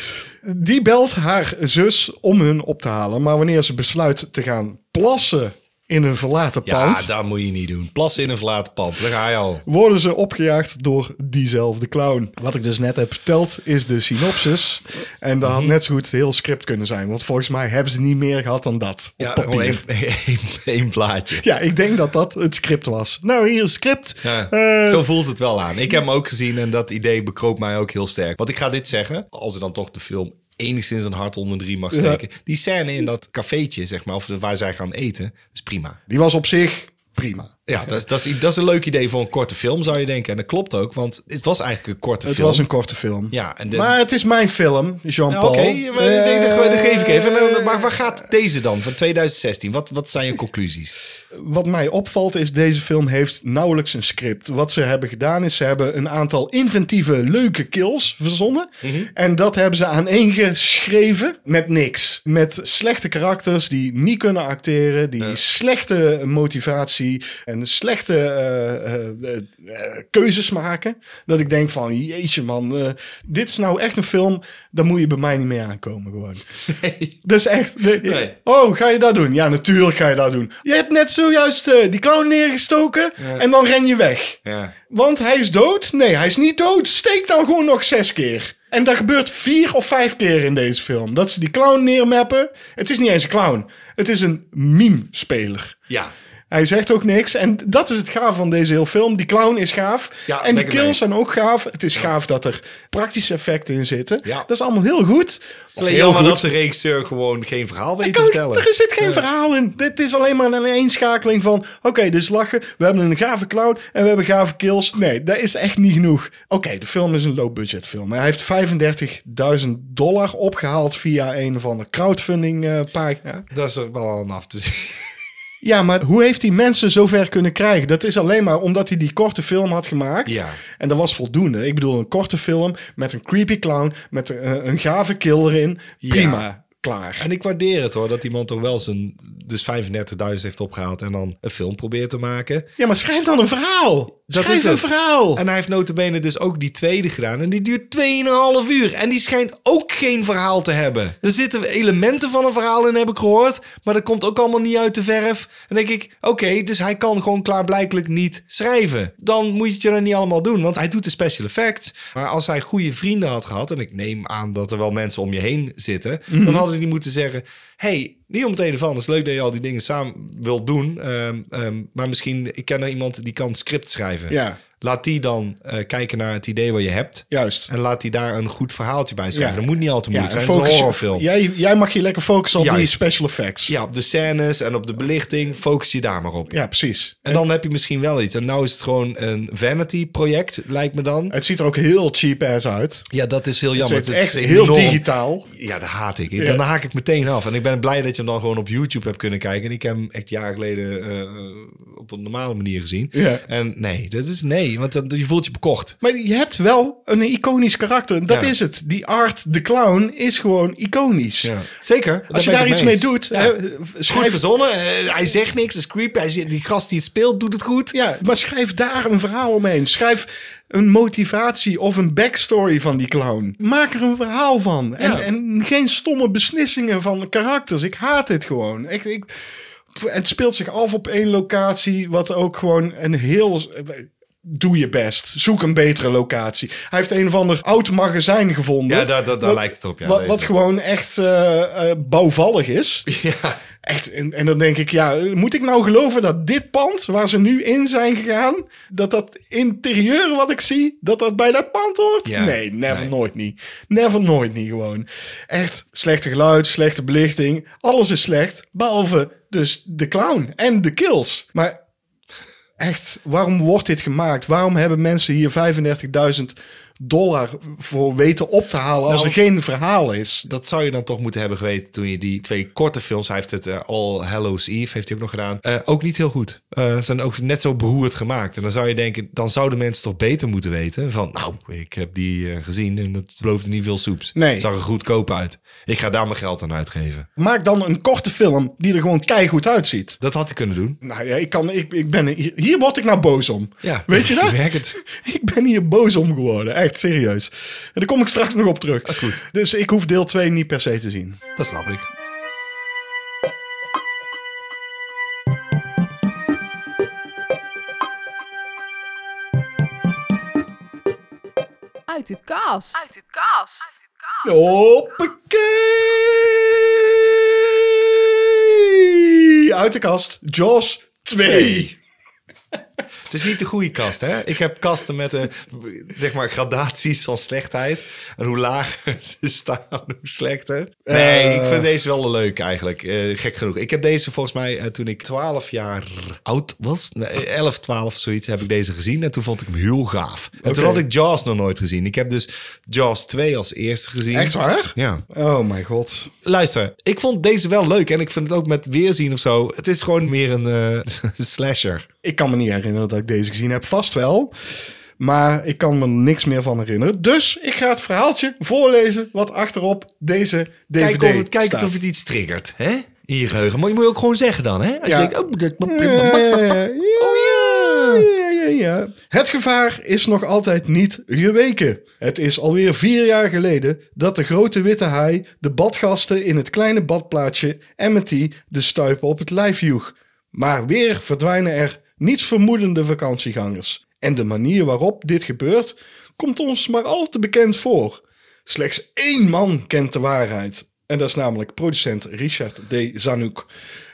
Speaker 2: Die belt haar zus om hun op te halen. Maar wanneer ze besluit te gaan plassen in een verlaten
Speaker 1: Ja,
Speaker 2: pand...
Speaker 1: dat moet je niet doen. Plassen in een verlaten pand. Daar ga je al.
Speaker 2: worden ze opgejaagd door diezelfde clown. Wat ik dus net heb verteld is de synopsis. En dat
Speaker 1: Mhm.
Speaker 2: had net zo goed heel script kunnen zijn. Want volgens mij hebben ze niet meer gehad dan dat. Op
Speaker 1: Ja, gewoon
Speaker 2: papier.
Speaker 1: één, (laughs) één, één blaadje.
Speaker 2: Ja, ik denk dat dat het script was. Nou, hier is het script.
Speaker 1: Ja,
Speaker 2: (laughs) Eh,
Speaker 1: zo voelt het wel aan. Ik heb hem ook gezien en dat idee bekroop mij ook heel sterk. Want ik ga dit zeggen, als er dan toch de film enigszins een hart onder de riem mag steken. Die scène in dat cafeetje, zeg maar, of waar zij gaan eten, is prima.
Speaker 2: Die was op zich prima.
Speaker 1: Ja, dat is, dat, is, dat is een leuk idee voor een korte film, zou je denken. En dat klopt ook, want het was eigenlijk een korte
Speaker 2: Het
Speaker 1: film.
Speaker 2: was een korte film.
Speaker 1: Ja, en de-
Speaker 2: Maar het is mijn film,
Speaker 1: Ja,
Speaker 2: Jean-Paul.
Speaker 1: Oké, maar ik denk, dat, dat geef ik even. En dan-
Speaker 2: Eh,
Speaker 1: Maar waar gaat deze dan, van 2016? Wat, wat zijn je conclusies?
Speaker 2: Wat mij opvalt is, deze film heeft nauwelijks een script. Wat ze hebben gedaan is, ze hebben een aantal inventieve, leuke kills verzonnen. En dat hebben ze aaneengeschreven met niks. Met slechte karakters die niet kunnen acteren, die slechte motivatie. En en slechte eh, eh, eh, keuzes maken. Dat ik denk van, jeetje man, eh, dit is nou echt een film, daar moet je bij mij niet mee aankomen gewoon. Dat is echt... nee,
Speaker 1: Nee.
Speaker 2: Oh, ga je dat doen? Ja, natuurlijk ga je dat doen. Je hebt net zojuist eh, die clown neergestoken
Speaker 1: Ja.
Speaker 2: en dan ren je weg.
Speaker 1: Ja.
Speaker 2: Want hij is dood? Nee, hij is niet dood. Steek dan gewoon nog zes keer. En dat gebeurt vier of vijf keer in deze film. Dat ze die clown neermappen. Het is niet eens een clown. Het is een meme-speler.
Speaker 1: Ja.
Speaker 2: Hij zegt ook niks. En dat is het gaaf van deze hele film. Die clown is gaaf.
Speaker 1: Ja,
Speaker 2: en die
Speaker 1: lekker
Speaker 2: kills
Speaker 1: mee.
Speaker 2: zijn ook gaaf. Het is gaaf dat er praktische effecten in zitten.
Speaker 1: Ja.
Speaker 2: Dat is allemaal heel goed.
Speaker 1: Het is alleen jammer dat de regisseur gewoon geen verhaal weet te
Speaker 2: Kan ik-
Speaker 1: vertellen.
Speaker 2: er zit geen verhaal in. Dit is alleen maar een eenschakeling van... Oké, dus lachen. We hebben een gave clown en we hebben gave kills. Nee, dat is echt niet genoeg. Oké, de film is een low-budget film. Hij heeft 35.000 dollar opgehaald via een of andere crowdfunding eh, pagina.
Speaker 1: Dat is er wel aan af te zien.
Speaker 2: Ja, maar hoe heeft hij mensen zover kunnen krijgen? Dat is alleen maar omdat hij die korte film had gemaakt.
Speaker 1: Ja.
Speaker 2: En dat was voldoende. Ik bedoel, een korte film met een creepy clown... met eh, een gave kill erin. Prima. Klaar.
Speaker 1: En ik waardeer het hoor, dat iemand toch wel zijn dus 35.000 heeft opgehaald en dan een film probeert te maken.
Speaker 2: Ja, maar schrijf dan een verhaal.
Speaker 1: Dat
Speaker 2: schrijf
Speaker 1: is
Speaker 2: een
Speaker 1: het.
Speaker 2: verhaal.
Speaker 1: En hij heeft notabene dus ook die tweede gedaan. En die duurt 2,5 uur. En die schijnt ook geen verhaal te hebben. Er zitten elementen van een verhaal in, heb ik gehoord. Maar dat komt ook allemaal niet uit de verf. En dan denk ik, oké, dus hij kan gewoon klaarblijkelijk niet schrijven. Dan moet je het je dan niet allemaal doen. Want hij doet de special effects. Maar als hij goede vrienden had gehad... en ik neem aan dat er wel mensen om je heen zitten... dan hadden die moeten zeggen... hey, niet om het een of ander. Het is leuk dat je al die dingen samen wilt doen. ehm, ehm, maar misschien, ik ken er iemand die kan script schrijven.
Speaker 2: Ja.
Speaker 1: Laat die dan eh, kijken naar het idee wat je hebt.
Speaker 2: Juist.
Speaker 1: En laat die daar een goed verhaaltje bij schrijven.
Speaker 2: Ja.
Speaker 1: Dat moet niet al te moeilijk
Speaker 2: en
Speaker 1: zijn. Het is een horrorfilm. Ja.
Speaker 2: Jij, jij mag je lekker focussen op die
Speaker 1: Juist.
Speaker 2: special effects.
Speaker 1: op de scènes en op de belichting. Focus je daar maar op.
Speaker 2: Ja, precies.
Speaker 1: En dan heb je misschien wel iets. En nou is het gewoon een vanity project, lijkt me dan.
Speaker 2: Het ziet er ook heel cheap ass uit.
Speaker 1: Ja, dat is heel jammer.
Speaker 2: het is
Speaker 1: Dat
Speaker 2: echt
Speaker 1: is
Speaker 2: heel
Speaker 1: enorm-
Speaker 2: digitaal.
Speaker 1: Ja, dat haat ik. Dan haak ik meteen af. En ik ben blij dat je hem dan gewoon op YouTube hebt kunnen kijken. En ik heb hem echt jaren geleden eh, op een normale manier gezien.
Speaker 2: Ja.
Speaker 1: En nee, dat is nee. Want dat, je voelt je bekocht.
Speaker 2: Maar je hebt wel een iconisch karakter. Dat
Speaker 1: Ja.
Speaker 2: is het. Die Art de Clown is gewoon iconisch.
Speaker 1: Zeker.
Speaker 2: Als je daar iets mee doet, hè,
Speaker 1: Goed
Speaker 2: schrijf,
Speaker 1: verzonnen. eh, hij zegt niks. Het is creepy. Hij zit- die gast die het speelt doet het goed.
Speaker 2: ja, maar schrijf daar een verhaal omheen. Schrijf een motivatie of een backstory van die clown. Maak er een verhaal van. En,
Speaker 1: Ja.
Speaker 2: en geen stomme beslissingen van karakters. Ik haat dit gewoon. Ik, ik, pff, het speelt zich af op één locatie, wat ook gewoon een heel... Doe je best. Zoek een betere locatie. Hij heeft een of ander oud magazijn gevonden.
Speaker 1: Ja, daar- daar- daar
Speaker 2: Wat-
Speaker 1: lijkt het op, ja,
Speaker 2: wat,
Speaker 1: deze.
Speaker 2: wat gewoon echt eh, eh, bouwvallig is.
Speaker 1: (laughs) Ja.
Speaker 2: Echt, en, en dan denk ik, ja, moet ik nou geloven dat dit pand waar ze nu in zijn gegaan, dat dat interieur wat ik zie, dat dat bij dat pand hoort?
Speaker 1: Ja,
Speaker 2: nee, never,
Speaker 1: nee.
Speaker 2: nooit niet. Never, nooit niet gewoon. Echt, slechte geluid, slechte belichting, alles is slecht, behalve dus de clown en de kills. Maar echt, waarom wordt dit gemaakt? Waarom hebben mensen hier 35.000 dollar voor weten op te halen als
Speaker 1: Nou,
Speaker 2: er geen verhaal is?
Speaker 1: Dat zou je dan toch moeten hebben geweten toen je die twee korte films... Hij heeft het eh, All Hallows Eve, heeft hij ook nog gedaan. eh, ook niet heel goed. Eh zijn ook net zo beroerd gemaakt. En dan zou je denken, dan zouden mensen toch beter moeten weten. Van, nou, ik heb die eh, gezien en het beloofde niet veel soeps.
Speaker 2: Nee.
Speaker 1: Het zag er goedkoop uit. Ik ga daar mijn geld aan uitgeven.
Speaker 2: Maak dan een korte film die er gewoon keigoed uitziet.
Speaker 1: Dat had hij kunnen doen.
Speaker 2: Nou ja, ik kan, ik, ik ben, hier, hier word ik nou boos om. (laughs)
Speaker 1: Ja,
Speaker 2: Weet
Speaker 1: (laughs)
Speaker 2: je dat?
Speaker 1: Ik merk het.
Speaker 2: Ik ben hier boos om geworden, echt serieus. En daar kom ik straks nog op terug.
Speaker 1: is goed.
Speaker 2: Dus ik hoef deel 2 niet per se te zien.
Speaker 1: Dat snap ik.
Speaker 4: Uit de kast. Uit de kast.
Speaker 2: Hoppakee! Uit de kast, Jaws 2.
Speaker 1: Het is niet de goede kast, hè? Ik heb kasten met eh, zeg maar gradaties van slechtheid. En hoe lager (laughs) ze staan, hoe slechter. Nee,
Speaker 2: Eh.
Speaker 1: ik vind deze wel leuk eigenlijk. Eh, gek genoeg. Ik heb deze volgens mij eh, toen ik 12 jaar oud was. nee, 11, 12 zoiets heb ik deze gezien. En toen vond ik hem heel gaaf. En toen had ik Jaws nog nooit gezien. Ik heb dus Jaws 2 als eerste gezien.
Speaker 2: Echt waar?
Speaker 1: Ja.
Speaker 2: Oh mijn god.
Speaker 1: Luister, ik vond deze wel leuk. En ik vind het ook met weerzien of zo. Het is gewoon meer een eh, (laughs) slasher.
Speaker 2: Ik kan me niet herinneren dat ik deze gezien heb. Vast wel. Maar ik kan me niks meer van herinneren. Dus ik ga het verhaaltje voorlezen wat achterop deze DVD
Speaker 1: Kijken of het, kijken
Speaker 2: staat.
Speaker 1: of het iets triggert, hè? In je geheugen. Maar je moet je ook gewoon zeggen dan, hè? Als
Speaker 2: Ja.
Speaker 1: je denkt, oh, dat...
Speaker 2: Eh,
Speaker 1: Oh, ja.
Speaker 2: Ja, ja, ja. Het gevaar is nog altijd niet geweken. Het is alweer vier jaar geleden dat de grote witte haai de badgasten in het kleine badplaatsje Amity de stuipen op het lijf joeg. Maar weer verdwijnen er niets vermoedende vakantiegangers. En de manier waarop dit gebeurt komt ons maar al te bekend voor. Slechts één man kent de waarheid. En dat is namelijk producent Richard D. Zanuck.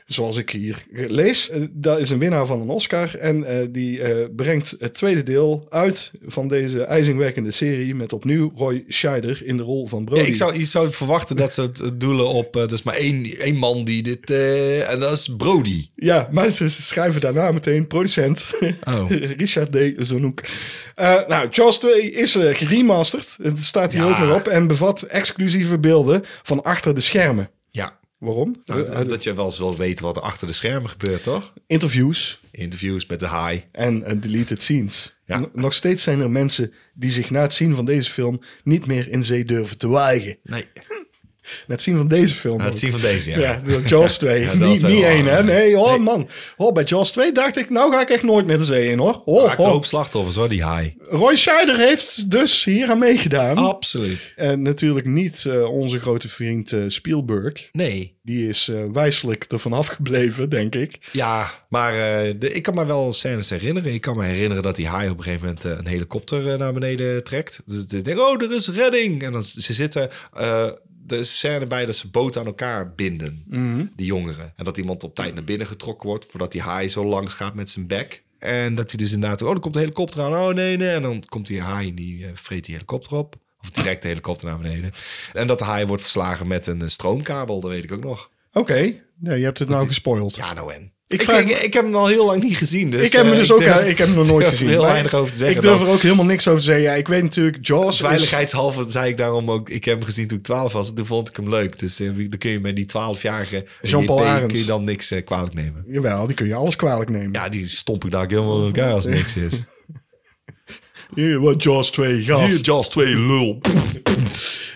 Speaker 2: Zoals ik hier lees, Eh, dat is een winnaar van een Oscar. En eh, die eh, brengt het tweede deel uit van deze ijzingwekkende serie. Met opnieuw Roy Scheider in de rol van Brody.
Speaker 1: Ja, ik zou, je zou verwachten dat ze het eh, doelen op... eh, dus maar één, één man die dit... eh, en dat is Brody.
Speaker 2: Ja, mensen schrijven daarna meteen producent
Speaker 1: Oh.
Speaker 2: (laughs) Richard D. Zonoek. Eh, nou, Jaws 2 is eh, geremasterd. Het staat hier
Speaker 1: Ja.
Speaker 2: ook weer op. En bevat exclusieve beelden van achter de schermen.
Speaker 1: Ja.
Speaker 2: Waarom?
Speaker 1: Nou,
Speaker 2: Eh, eh,
Speaker 1: dat je wel eens wil weten wat er achter de schermen gebeurt, toch?
Speaker 2: interviews
Speaker 1: Interviews met de haai.
Speaker 2: en eh, deleted scenes.
Speaker 1: Ja.
Speaker 2: N- Nog steeds zijn er mensen die zich na het zien van deze film niet meer in zee durven te wagen.
Speaker 1: Nee.
Speaker 2: Na het zien van deze film.
Speaker 1: het
Speaker 2: ook.
Speaker 1: zien van deze, ja.
Speaker 2: Ja, dat
Speaker 1: (laughs)
Speaker 2: Jaws 2.
Speaker 1: Ja, dat
Speaker 2: niet
Speaker 1: zijn
Speaker 2: niet
Speaker 1: wel-
Speaker 2: één, hè? Nee, oh
Speaker 1: Nee.
Speaker 2: man. Oh, bij Jaws 2 dacht ik, nou ga ik echt nooit meer de zee in, hoor. Oh,
Speaker 1: Maakt een
Speaker 2: oh.
Speaker 1: hoop slachtoffers, hoor, die haai.
Speaker 2: Roy Scheider heeft dus hier aan meegedaan.
Speaker 1: Absoluut.
Speaker 2: En natuurlijk niet eh, onze grote vriend eh, Spielberg.
Speaker 1: Nee.
Speaker 2: Die is eh, wijselijk ervan afgebleven, denk ik.
Speaker 1: Ja, maar eh, de, ik kan me wel scènes herinneren. Ik kan me herinneren dat die haai op een gegeven moment eh, een helikopter eh, naar beneden trekt. Dus ik denk, oh, er is redding. En dan z- ze zitten... eh er is scène bij dat ze boten aan elkaar binden, die jongeren. En dat iemand op tijd naar binnen getrokken wordt... voordat die haai zo langs gaat met zijn bek. En dat hij dus inderdaad... Oh, er komt een helikopter aan. Oh, nee, nee. En dan komt die haai en die eh, vreet die helikopter op. Of trekt de helikopter naar beneden. En dat de haai wordt verslagen met een eh, stroomkabel. Dat weet ik ook nog.
Speaker 2: Oké, nee, je hebt het nou gespoild.
Speaker 1: Ja, nou en.
Speaker 2: Ik
Speaker 1: Ik,
Speaker 2: vraag
Speaker 1: ik,
Speaker 2: me-
Speaker 1: ik heb hem al heel lang niet gezien. Dus,
Speaker 2: ik heb me
Speaker 1: eh,
Speaker 2: dus ook,
Speaker 1: durf-
Speaker 2: eh, ik heb hem nog
Speaker 1: (laughs)
Speaker 2: nooit
Speaker 1: durf
Speaker 2: gezien.
Speaker 1: heel
Speaker 2: maar
Speaker 1: weinig over te zeggen.
Speaker 2: Ik durf
Speaker 1: dan.
Speaker 2: er ook helemaal niks over te zeggen. Ja, ik weet natuurlijk, Jaws is...
Speaker 1: Veiligheidshalve zei ik daarom ook, ik heb hem gezien toen ik 12 was. en Toen vond ik hem leuk. Dus eh, dan kun je met die 12-jarige
Speaker 2: Jean-Paul
Speaker 1: JP kun
Speaker 2: Arends.
Speaker 1: je dan niks eh, kwalijk nemen.
Speaker 2: Jawel, die kun je alles kwalijk nemen.
Speaker 1: Ja, die stomp ik daar ook helemaal in elkaar als het niks
Speaker 2: (laughs)
Speaker 1: is.
Speaker 2: Hier, wat Jaws 2, gast.
Speaker 1: Hier, Jaws 2, lul.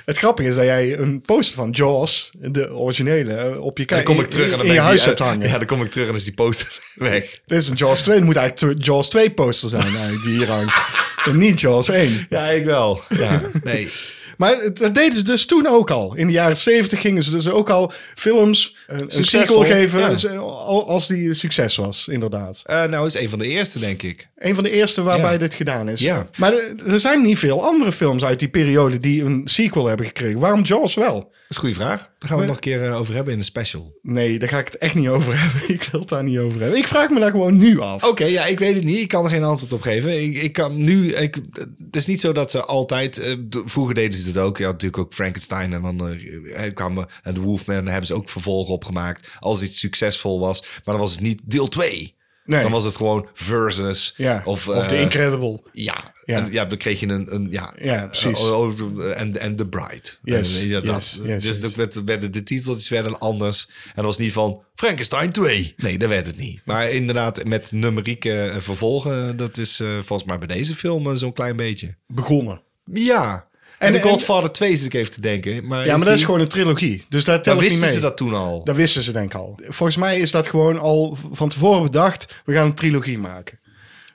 Speaker 2: Het grappige is dat jij een poster van Jaws, de originele, eh, op je,
Speaker 1: En
Speaker 2: kijk,
Speaker 1: dan kom ik terug en dan
Speaker 2: in
Speaker 1: ben
Speaker 2: je
Speaker 1: ik
Speaker 2: huis
Speaker 1: die- eh,
Speaker 2: hebt
Speaker 1: (laughs)
Speaker 2: hangen.
Speaker 1: Ja, dan kom ik terug en is die poster (laughs) weg.
Speaker 2: Dit is een Jaws 2. Het moet eigenlijk de Jaws 2 poster zijn eigenlijk, die hier
Speaker 1: (laughs)
Speaker 2: hangt. en niet Jaws 1.
Speaker 1: Ja, ik wel. Ja, nee.
Speaker 2: Maar het- dat deden ze dus toen ook al. In de jaren 70 gingen ze dus ook al films eh, een
Speaker 1: Succesvol,
Speaker 2: sequel geven
Speaker 1: ja.
Speaker 2: ze- al- als die een succes was, inderdaad.
Speaker 1: Eh, nou, is een van de eerste, denk ik.
Speaker 2: Een van de eerste waarbij
Speaker 1: Ja.
Speaker 2: dit gedaan is.
Speaker 1: Ja.
Speaker 2: Maar er- er zijn niet veel andere films uit die periode die een sequel hebben gekregen. Waarom Jaws wel?
Speaker 1: Dat is een goede vraag. Daar gaan we het nog een keer eh, over hebben in een special.
Speaker 2: Nee, daar ga ik het echt niet over (laughs) hebben. Ik wil het daar niet over hebben. Ik vraag me daar gewoon nu af.
Speaker 1: Oké, ja, ik weet het niet. Ik kan er geen antwoord op geven. Ik, ik kan nu. Ik, het is niet zo dat ze altijd. eh, d- vroeger deden ze het ook. Je had natuurlijk ook Frankenstein en dan eh, eh, kwamen en de Wolfman. Daar hebben ze ook vervolgen op gemaakt. Als iets succesvol was, maar dan was het niet deel 2.
Speaker 2: Nee.
Speaker 1: Dan was het gewoon versus.
Speaker 2: ja. of,
Speaker 1: Of,
Speaker 2: The
Speaker 1: eh,
Speaker 2: Incredible.
Speaker 1: Ja,
Speaker 2: Ja.
Speaker 1: ja. En, ja, dan kreeg je een, een ja,
Speaker 2: Ja, precies.
Speaker 1: eh, over- En en The Bride.
Speaker 2: Yes,
Speaker 1: En, ja, dat,
Speaker 2: yes, yes,
Speaker 1: dus
Speaker 2: yes.
Speaker 1: ook werd, werden de titeltjes werden anders. En dat was niet van Frankenstein 2. Nee, dat werd het niet. Maar inderdaad, met numerieke eh, vervolgen, dat is eh, volgens mij bij deze film eh, zo'n klein beetje.
Speaker 2: Begonnen.
Speaker 1: Ja.
Speaker 2: En-
Speaker 1: En, de
Speaker 2: en-
Speaker 1: Godfather 2 zit ik even te denken. Maar
Speaker 2: Ja, maar dat
Speaker 1: die-
Speaker 2: is gewoon een trilogie. Dus daar tel
Speaker 1: Dan
Speaker 2: ik niet
Speaker 1: wisten
Speaker 2: mee.
Speaker 1: ze dat toen al.
Speaker 2: Dat wisten ze denk ik al. Volgens mij is dat gewoon al van tevoren bedacht. We gaan een trilogie maken.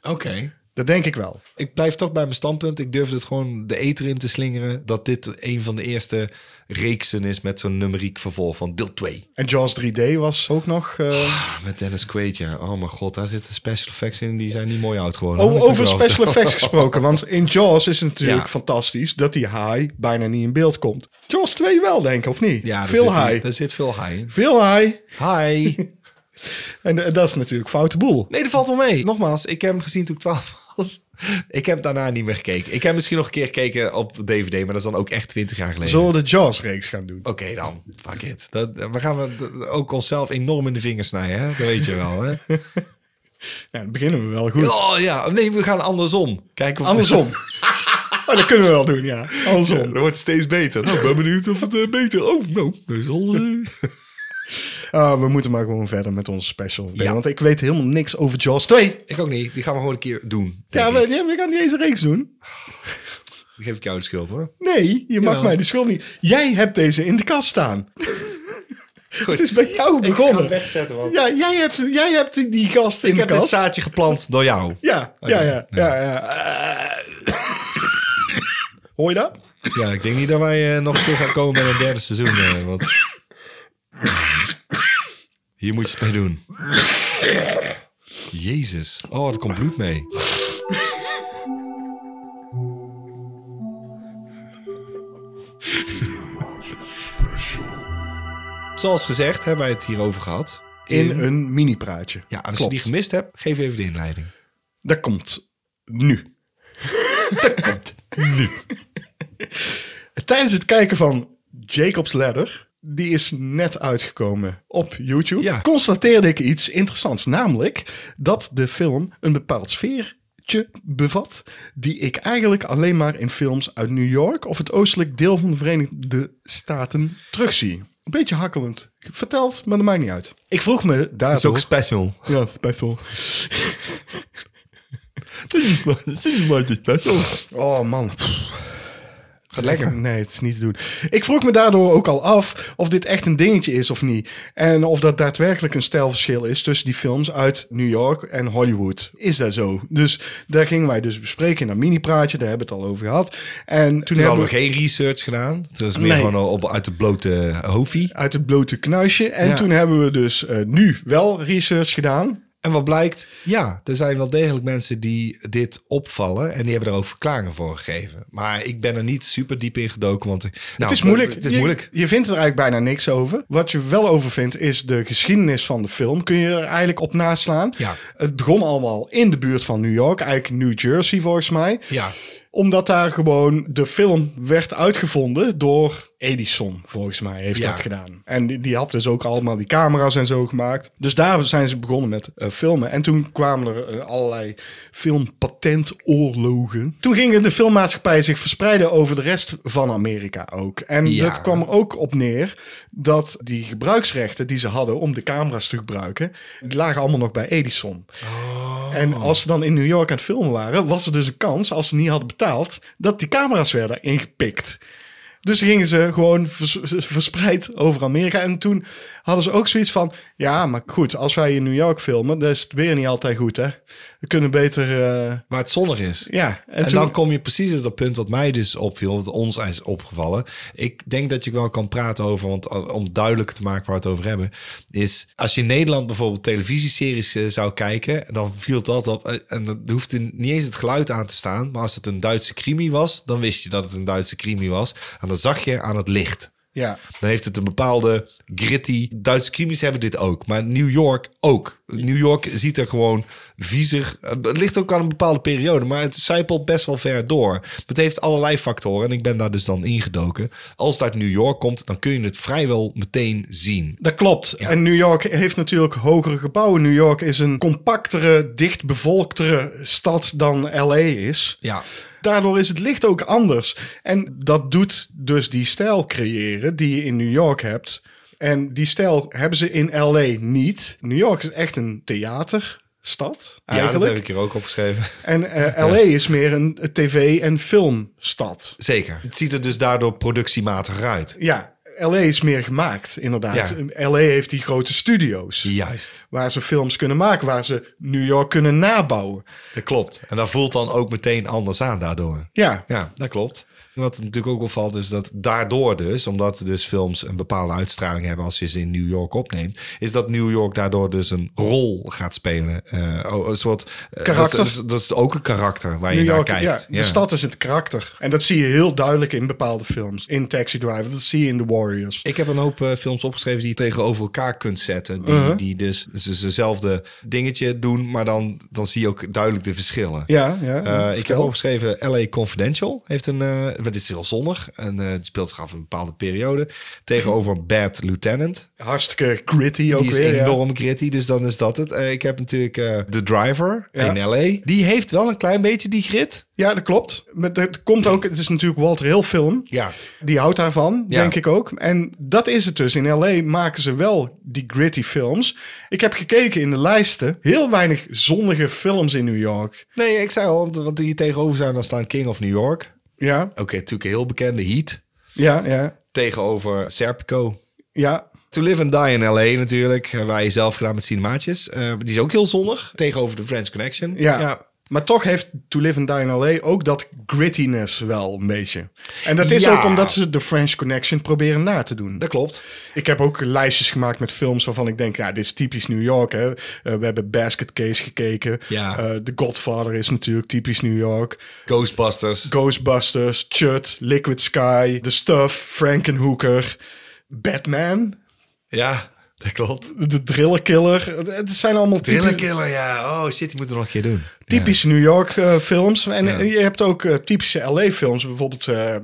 Speaker 1: Oké.
Speaker 2: Dat denk ik wel.
Speaker 1: Ik blijf toch bij mijn standpunt. Ik durf het gewoon de eter in te slingeren. Dat dit een van de eerste reeksen is met zo'n numeriek vervolg van deel 2.
Speaker 2: En Jaws 3D was ook nog... eh,
Speaker 1: Ah, Met Dennis Quaid, ja. Oh mijn god, daar zitten special effects in. Die zijn niet mooi oud geworden.
Speaker 2: o-
Speaker 1: hoor. Dat
Speaker 2: Oh, over
Speaker 1: kan ik wel
Speaker 2: special effects gesproken. Want in Jaws is het natuurlijk
Speaker 1: (laughs) Ja.
Speaker 2: fantastisch dat die haai bijna niet in beeld komt. Jaws 2 wel, denk ik, of niet?
Speaker 1: vertellen. Ja,
Speaker 2: veel
Speaker 1: daar
Speaker 2: haai.
Speaker 1: Zit, daar zit veel high in.
Speaker 2: Veel haai.
Speaker 1: Hi.
Speaker 2: En eh, dat is natuurlijk foute boel.
Speaker 1: (laughs) Nee, dat valt wel mee. Nogmaals, ik heb hem gezien toen ik 12 was. Ik heb daarna niet meer gekeken. Ik heb misschien nog een keer gekeken op DVD, maar dat is dan ook echt 20 jaar geleden.
Speaker 2: Zullen we de Jaws-reeks gaan doen?
Speaker 1: Oké dan, fuck it. Dat, we gaan we d- ook onszelf enorm in de vingers snijden, hè? Dat weet je wel, hè?
Speaker 2: Ja, dan beginnen we wel goed.
Speaker 1: Oh ja, nee, we gaan andersom. Kijken of (laughs)
Speaker 2: Andersom. oh, dat kunnen we wel doen, ja. Andersom.
Speaker 1: dat wordt steeds beter. Nou, ik ben benieuwd of het eh, beter... Oh, nou, dat is al... eh.
Speaker 2: Ah, we moeten maar gewoon verder met onze special.
Speaker 1: Ja.
Speaker 2: Want ik weet helemaal niks over Jaws 2.
Speaker 1: Ik ook niet. Die gaan we gewoon een keer doen.
Speaker 2: Ja,
Speaker 1: denk
Speaker 2: we,
Speaker 1: ik.
Speaker 2: ja, we gaan niet eens een reeks doen.
Speaker 1: Dan geef ik jou de schuld hoor.
Speaker 2: Nee, je mag
Speaker 1: Jawel.
Speaker 2: mij de schuld niet. Jij hebt deze in de kast staan. Het is bij jou
Speaker 1: Ik
Speaker 2: begonnen.
Speaker 1: ga hem wegzetten, want-
Speaker 2: Ja, jij hebt, jij hebt die gast in
Speaker 1: Ik
Speaker 2: de
Speaker 1: heb dit
Speaker 2: kast. Oh,
Speaker 1: zaadje geplant door jou.
Speaker 2: Ja,
Speaker 1: Oké,
Speaker 2: ja, ja, ja. ja. Eh, Hoor je dat?
Speaker 1: Ja, ik denk niet dat wij eh, nog terug gaan komen bij een derde seizoen. eh, want... Hier moet je het mee doen. Jezus. Oh, er komt bloed mee. Zoals gezegd hebben wij het hierover gehad.
Speaker 2: In een mini-praatje.
Speaker 1: Ja, als je
Speaker 2: Klopt.
Speaker 1: die gemist hebt, geef even de inleiding.
Speaker 2: Dat komt nu. Dat komt nu. Tijdens het kijken van Jacob's Ladder, die is net uitgekomen op YouTube,
Speaker 1: Ja.
Speaker 2: constateerde ik iets interessants. Namelijk dat de film een bepaald sfeertje bevat, die ik eigenlijk alleen maar in films uit New York of het oostelijk deel van de Verenigde Staten terugzie. Een beetje hakkelend verteld, maar dat maakt niet uit. Ik vroeg me
Speaker 1: Dat is
Speaker 2: daardoor...
Speaker 1: ook special. (laughs)
Speaker 2: Ja, special.
Speaker 1: Het is maar special.
Speaker 2: Oh man. Pff.
Speaker 1: Gaat lekker.
Speaker 2: Nee, het is niet te doen. Ik vroeg me daardoor ook al af of dit echt een dingetje is of niet. En of dat daadwerkelijk een stijlverschil is tussen die films uit New York en Hollywood. Is dat zo? Dus daar gingen wij dus bespreken in een mini-praatje. Daar hebben we het al over gehad. En toen
Speaker 1: Toen
Speaker 2: hebben
Speaker 1: hadden
Speaker 2: we
Speaker 1: we geen research gedaan. Het was meer
Speaker 2: Nee.
Speaker 1: gewoon op, uit de blote hoofie.
Speaker 2: uit het blote knuisje. En
Speaker 1: Ja.
Speaker 2: toen hebben we dus eh, nu wel research gedaan.
Speaker 1: En wat blijkt? Ja, er zijn wel degelijk mensen die dit opvallen. En die hebben er ook verklaringen voor gegeven. Maar ik ben er niet super diep in gedoken. Want ik- nou,
Speaker 2: het is moeilijk.
Speaker 1: Het is
Speaker 2: je,
Speaker 1: moeilijk.
Speaker 2: Je vindt er eigenlijk bijna niks over. Wat je wel over vindt is de geschiedenis van de film. Kun je er eigenlijk op naslaan.
Speaker 1: Ja.
Speaker 2: Het begon allemaal in de buurt van New York. Eigenlijk New Jersey volgens mij.
Speaker 1: Ja.
Speaker 2: Omdat daar gewoon de film werd uitgevonden door Edison volgens mij heeft
Speaker 1: Ja.
Speaker 2: dat gedaan. En die, die had dus ook allemaal die camera's en zo gemaakt. Dus daar zijn ze begonnen met eh, filmen. En toen kwamen er eh, allerlei filmpatentoorlogen. Toen gingen de filmmaatschappij zich verspreiden over de rest van Amerika ook. En
Speaker 1: Ja.
Speaker 2: dat kwam er ook op neer dat die gebruiksrechten die ze hadden om de camera's te gebruiken, die lagen allemaal nog bij Edison.
Speaker 1: Oh.
Speaker 2: En als ze dan in New York aan het filmen waren, was er dus een kans, als ze niet hadden betaald, dat die camera's werden ingepikt. Dus gingen ze gewoon vers- verspreid over Amerika. En toen hadden ze ook zoiets van: ja, maar goed, als wij in New York filmen, dan is het weer niet altijd goed, hè? We kunnen beter. eh,
Speaker 1: Waar het zonnig is.
Speaker 2: ja, en,
Speaker 1: En,
Speaker 2: toen,
Speaker 1: dan kom je precies op dat punt wat mij dus opviel, wat ons is opgevallen. Ik denk dat je wel kan praten over, want uh, om duidelijk te maken waar we het over hebben, is als je in Nederland bijvoorbeeld televisieseries eh, zou kijken, dan viel dat op. eh, En dan hoeft er niet eens het geluid aan te staan, maar als het een Duitse crimi was, dan wist je dat het een Duitse crimi was. En dan zag je aan het licht.
Speaker 2: ja.
Speaker 1: Dan heeft het een bepaalde gritty. Duitse crimies hebben dit ook, maar New York ook. New York ziet er gewoon viezig. Het ligt ook aan een bepaalde periode, maar het zijpelt best wel ver door. Het heeft allerlei factoren en ik ben daar dus dan ingedoken. Als het uit New York komt, dan kun je het vrijwel meteen zien.
Speaker 2: Dat klopt. En New York heeft natuurlijk hogere gebouwen. New York is een compactere, dichtbevolktere stad dan LA is.
Speaker 1: Ja,
Speaker 2: Daardoor is het licht ook anders. En dat doet dus die stijl creëren die je in New York hebt. En die stijl hebben ze in LA niet. New York is echt een theaterstad
Speaker 1: ja dat
Speaker 2: eigenlijk.
Speaker 1: heb ik hier ook opgeschreven.
Speaker 2: En eh, LA is meer een tv- en filmstad.
Speaker 1: (laughs) Zeker. Het ziet er dus daardoor productiematiger uit.
Speaker 2: Ja, LA is meer gemaakt, inderdaad. LA heeft die grote studio's.
Speaker 1: Juist.
Speaker 2: Waar ze films kunnen maken, waar ze New York kunnen nabouwen.
Speaker 1: Dat klopt. En dat voelt dan ook meteen anders aan daardoor.
Speaker 2: Ja,
Speaker 1: Ja, dat klopt. Wat natuurlijk ook opvalt is dat daardoor dus, omdat dus films een bepaalde uitstraling hebben als je ze in New York opneemt, is dat New York daardoor dus een rol gaat spelen. Eh, oh, een soort eh,
Speaker 2: Karakter.
Speaker 1: Dat is, dat is ook een karakter waar je
Speaker 2: New
Speaker 1: naar
Speaker 2: York, ja,
Speaker 1: kijkt.
Speaker 2: de stad is het karakter. En dat zie je heel duidelijk in bepaalde films. In Taxi Driver, dat zie je in The Warriors.
Speaker 1: Ik heb een hoop eh, films opgeschreven die je tegenover elkaar kunt zetten. Die,
Speaker 2: Uh-huh.
Speaker 1: die dus ze- zezelfde dingetje doen, maar dan, dan zie je ook duidelijk de verschillen.
Speaker 2: Ja, ja.
Speaker 1: Eh, ik heb
Speaker 2: vertel.
Speaker 1: opgeschreven LA Confidential. Heeft een, eh dit is heel zonnig. En eh, het speelt zich af in een bepaalde periode. Tegenover Bad Lieutenant.
Speaker 2: Hartstikke gritty ook
Speaker 1: Die is
Speaker 2: weer. ja.
Speaker 1: enorm gritty, dus dan is dat het. Eh, ik heb natuurlijk eh The Driver
Speaker 2: Ja.
Speaker 1: in L.A. Die heeft wel een klein beetje die grit.
Speaker 2: Ja, dat klopt. Maar dat komt ook, het is natuurlijk Walter Hill film.
Speaker 1: Ja.
Speaker 2: Die houdt daarvan,
Speaker 1: Ja.
Speaker 2: denk ik ook. En dat is het dus. In L.A. maken ze wel die gritty films. Ik heb gekeken in de lijsten. Heel weinig zonnige films in New York.
Speaker 1: Nee, ik zei al, want die tegenover zijn dan staan King of New York.
Speaker 2: Ja,
Speaker 1: Oké, natuurlijk een heel bekende Heat.
Speaker 2: ja, ja,
Speaker 1: Tegenover Serpico.
Speaker 2: ja.
Speaker 1: To Live and Die in L.A. natuurlijk. Hebben wij zelf gedaan met Cinemaatjes. Eh, die is ook heel zonnig. Tegenover de Friends Connection.
Speaker 2: Ja. Maar toch heeft To Live and Die in L.A. ook dat grittiness wel een beetje. En dat is
Speaker 1: Ja.
Speaker 2: ook omdat ze de French Connection proberen na te doen.
Speaker 1: Dat klopt.
Speaker 2: Ik heb ook lijstjes gemaakt met films waarvan ik denk, ja, dit is typisch New York. Hè? Eh, we hebben Basket Case gekeken.
Speaker 1: Ja.
Speaker 2: Eh, The Godfather is natuurlijk typisch New York.
Speaker 1: Ghostbusters.
Speaker 2: Ghostbusters, Chut, Liquid Sky, The Stuff, Frankenhooker, Batman,
Speaker 1: Ja, dat klopt.
Speaker 2: The Driller Killer. Het zijn allemaal typi-
Speaker 1: Thriller Killer, ja. Oh shit, die moeten we nog een keer doen.
Speaker 2: typisch New York eh, films. En eh, je hebt ook eh, typische LA films, bijvoorbeeld eh,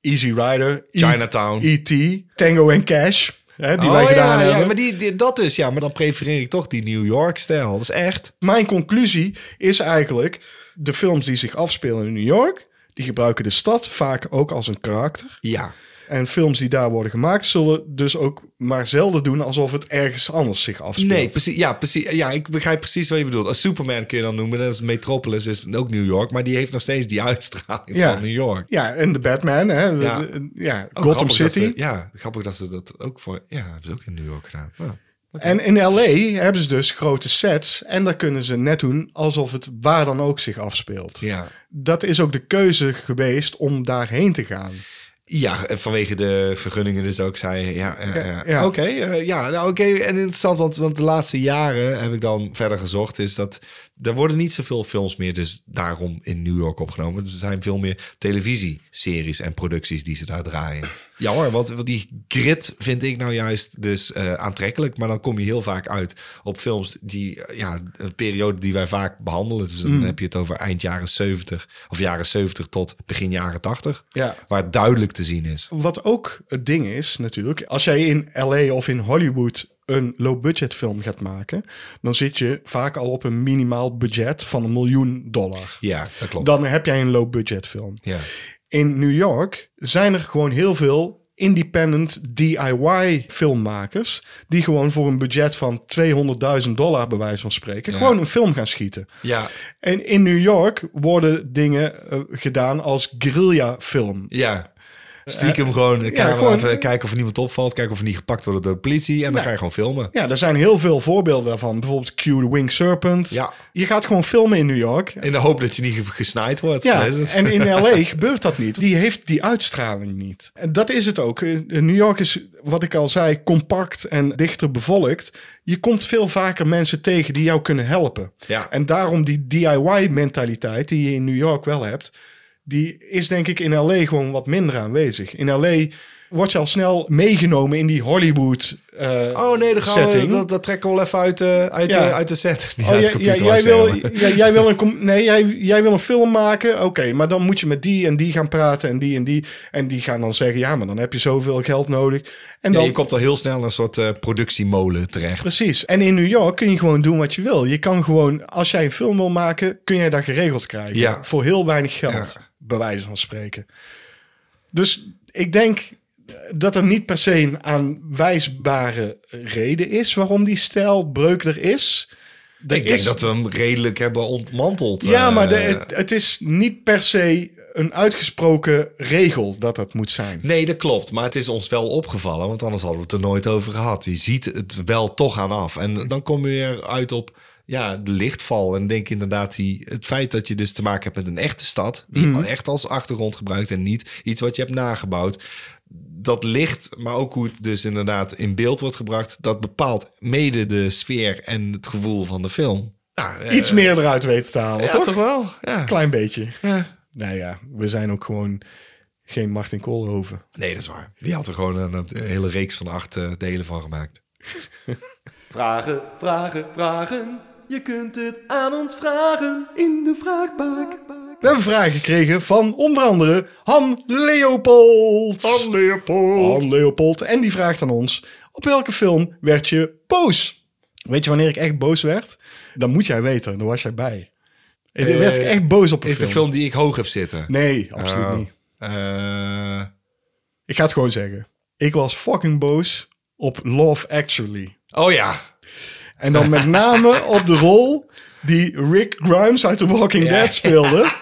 Speaker 2: Easy Rider, E-
Speaker 1: Chinatown.
Speaker 2: E.T., Tango and Cash, hè, die
Speaker 1: Oh,
Speaker 2: wij gedaan
Speaker 1: ja,
Speaker 2: hebben.
Speaker 1: Ja, maar die, die- dat dus, ja. Maar dan prefereer ik toch die New York-stijl. Dat is echt.
Speaker 2: Mijn conclusie is eigenlijk: de films die zich afspelen in New York, die gebruiken de stad vaak ook als een karakter.
Speaker 1: Ja.
Speaker 2: En films die daar worden gemaakt, zullen dus ook maar zelden doen alsof het ergens anders zich afspeelt.
Speaker 1: Nee, precies. Ja, precies. Ja, ik begrijp precies wat je bedoelt. Als Superman kun je dan noemen. Dat is Metropolis, is ook New York. Maar die heeft nog steeds die uitstraling
Speaker 2: Ja.
Speaker 1: van New York.
Speaker 2: Ja, en de Batman, hè? de-
Speaker 1: Ja.
Speaker 2: de- ja,
Speaker 1: Ook
Speaker 2: Gotham
Speaker 1: grappig dat
Speaker 2: City.
Speaker 1: ze- ja, grappig dat ze dat ook voor... Ja, hebben ze ook in New York gedaan. Ja.
Speaker 2: En in LA hebben ze dus grote sets. En daar kunnen ze net doen alsof het waar dan ook zich afspeelt.
Speaker 1: Ja.
Speaker 2: Dat is ook de keuze geweest om daarheen te gaan.
Speaker 1: Ja, en vanwege de vergunningen dus ook zei. Ja, eh, eh,
Speaker 2: ja.
Speaker 1: oké. eh, ja, nou, oké. En interessant, want, want de laatste jaren heb ik dan verder gezocht, is dat er worden niet zoveel films meer dus daarom in New York opgenomen. Er zijn veel meer televisieseries en producties die ze daar draaien. Ja hoor, want, want die grit vind ik nou juist dus eh, aantrekkelijk. Maar dan kom je heel vaak uit op films die, eh, ja, een periode die wij vaak behandelen. Dus dan
Speaker 2: Hmm.
Speaker 1: heb je het over eind jaren 70 of jaren 70 tot begin jaren 80
Speaker 2: Ja.
Speaker 1: waar het duidelijk te zien is.
Speaker 2: Wat ook het ding is natuurlijk, als jij in LA of in Hollywood een low-budget film gaat maken, dan zit je vaak al op een minimaal budget van een miljoen dollar.
Speaker 1: Ja, dat klopt.
Speaker 2: Dan heb jij een low-budget film.
Speaker 1: ja.
Speaker 2: In New York zijn er gewoon heel veel independent DIY filmmakers die gewoon voor een budget van 200.000 dollar bij wijze van spreken gewoon een film gaan schieten.
Speaker 1: Ja,
Speaker 2: En in New York worden dingen eh, gedaan als guerrilla film.
Speaker 1: ja. Stiekem Eh, gewoon de camera
Speaker 2: gewoon-
Speaker 1: even kijken of er niemand opvalt. Kijken of we niet gepakt worden door de politie. En dan ga je gewoon filmen.
Speaker 2: Ja, er zijn heel veel voorbeelden daarvan. Bijvoorbeeld Q the Winged Serpent.
Speaker 1: Ja.
Speaker 2: Je gaat gewoon filmen in New York.
Speaker 1: In de hoop dat je niet ge- gesnaaid wordt.
Speaker 2: Ja,
Speaker 1: Dat is het.
Speaker 2: en
Speaker 1: (laughs)
Speaker 2: in LA gebeurt dat niet. Die heeft die uitstraling niet. En dat is het ook. Eh, New York is, wat ik al zei, compact en dichter bevolkt. Je komt veel vaker mensen tegen die jou kunnen helpen.
Speaker 1: Ja.
Speaker 2: En daarom die DIY-mentaliteit die je in New York wel hebt, die is denk ik in LA gewoon wat minder aanwezig. In LA word je al snel meegenomen in die Hollywood eh
Speaker 1: Oh nee, dan gaan
Speaker 2: setting.
Speaker 1: we, dat, dat trekken we wel even uit, eh, uit,
Speaker 2: Ja.
Speaker 1: eh, uit de set. (laughs) Niet
Speaker 2: Oh,
Speaker 1: uit de
Speaker 2: jij, jij,
Speaker 1: computer,
Speaker 2: jij,
Speaker 1: wou ik
Speaker 2: wil,
Speaker 1: zeggen, maar-
Speaker 2: jij, jij wil een com- nee, jij, jij wil een film maken. Oké, maar dan moet je met die en die gaan praten en die en die. En die gaan dan zeggen, ja, maar dan heb je zoveel geld nodig. En
Speaker 1: Ja,
Speaker 2: dan,
Speaker 1: je komt al heel snel in een soort eh, productiemolen terecht.
Speaker 2: Precies. En in New York kun je gewoon doen wat je wil. Je kan gewoon, als jij een film wil maken, kun jij dat geregeld krijgen.
Speaker 1: Ja.
Speaker 2: Voor heel weinig geld,
Speaker 1: Ja.
Speaker 2: bij wijze van spreken. Dus ik denk dat er niet per se een aanwijsbare reden is waarom die stijlbreuk er is. Er
Speaker 1: Ik denk
Speaker 2: is-
Speaker 1: dat we hem redelijk hebben ontmanteld.
Speaker 2: Ja,
Speaker 1: eh,
Speaker 2: maar de- het, het is niet per se een uitgesproken regel dat dat moet zijn.
Speaker 1: Nee, dat klopt. Maar het is ons wel opgevallen, want anders hadden we het er nooit over gehad. Je ziet het wel toch aan af. En dan kom je weer uit op ja, de lichtval. En denk inderdaad, die, het feit dat je dus te maken hebt met een echte stad, die
Speaker 2: Mhm.
Speaker 1: je echt als achtergrond gebruikt en niet iets wat je hebt nagebouwd. Dat licht, maar ook hoe het dus inderdaad in beeld wordt gebracht, dat bepaalt mede de sfeer en het gevoel van de film. Nou, eh,
Speaker 2: Iets meer eruit weten te halen,
Speaker 1: ja,
Speaker 2: toch?
Speaker 1: toch? wel? Ja.
Speaker 2: Klein beetje.
Speaker 1: Ja.
Speaker 2: Nou ja, we zijn ook gewoon geen Martin Koolhoven.
Speaker 1: Nee, dat is waar. Die had er gewoon een, een hele reeks van acht eh, delen van gemaakt.
Speaker 5: Vragen, vragen, vragen. Je kunt het aan ons vragen in de vraagbak.
Speaker 2: We hebben vragen gekregen van onder andere Han Leopold. Han Leopold. Han Leopold. En die vraagt aan ons, op welke film werd je boos? Weet je wanneer ik echt boos werd? Dan moet jij weten, daar was jij bij. En dan werd ik echt boos op een
Speaker 1: Eh, Is de
Speaker 2: film.
Speaker 1: film die ik hoog heb zitten?
Speaker 2: Nee, absoluut
Speaker 1: Oh.
Speaker 2: niet.
Speaker 1: Eh,
Speaker 2: Ik ga het gewoon zeggen. Ik was fucking boos op Love Actually.
Speaker 1: oh ja.
Speaker 2: En dan met
Speaker 1: (laughs)
Speaker 2: name op de rol die Rick Grimes uit The Walking Dead speelde.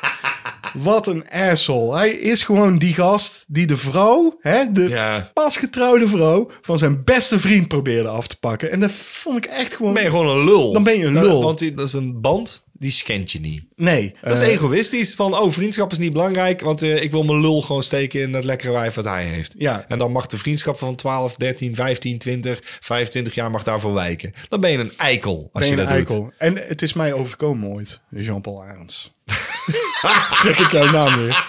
Speaker 2: Wat een asshole. Hij is gewoon die gast die de vrouw, hè, de
Speaker 1: Ja.
Speaker 2: pasgetrouwde vrouw, van zijn beste vriend probeerde af te pakken. En dat vond ik echt gewoon...
Speaker 1: Dan ben je gewoon een lul. Eh,
Speaker 2: Dan ben je een lul.
Speaker 1: Want die- dat is een band, die schendt je niet.
Speaker 2: Nee.
Speaker 1: Dat is
Speaker 2: eh,
Speaker 1: egoïstisch. Van, oh, vriendschap is niet belangrijk, want eh, ik wil mijn lul gewoon steken in dat lekkere wijf wat hij heeft.
Speaker 2: Ja.
Speaker 1: En dan mag de vriendschap van 12, 13, 15, 20, 25 jaar mag daarvoor wijken. Dan ben je een eikel als je,
Speaker 2: ben je een
Speaker 1: dat doet.
Speaker 2: eikel. En het is mij overkomen ooit, Jean-Paul Arends. (laughs) zeg ik jouw naam weer.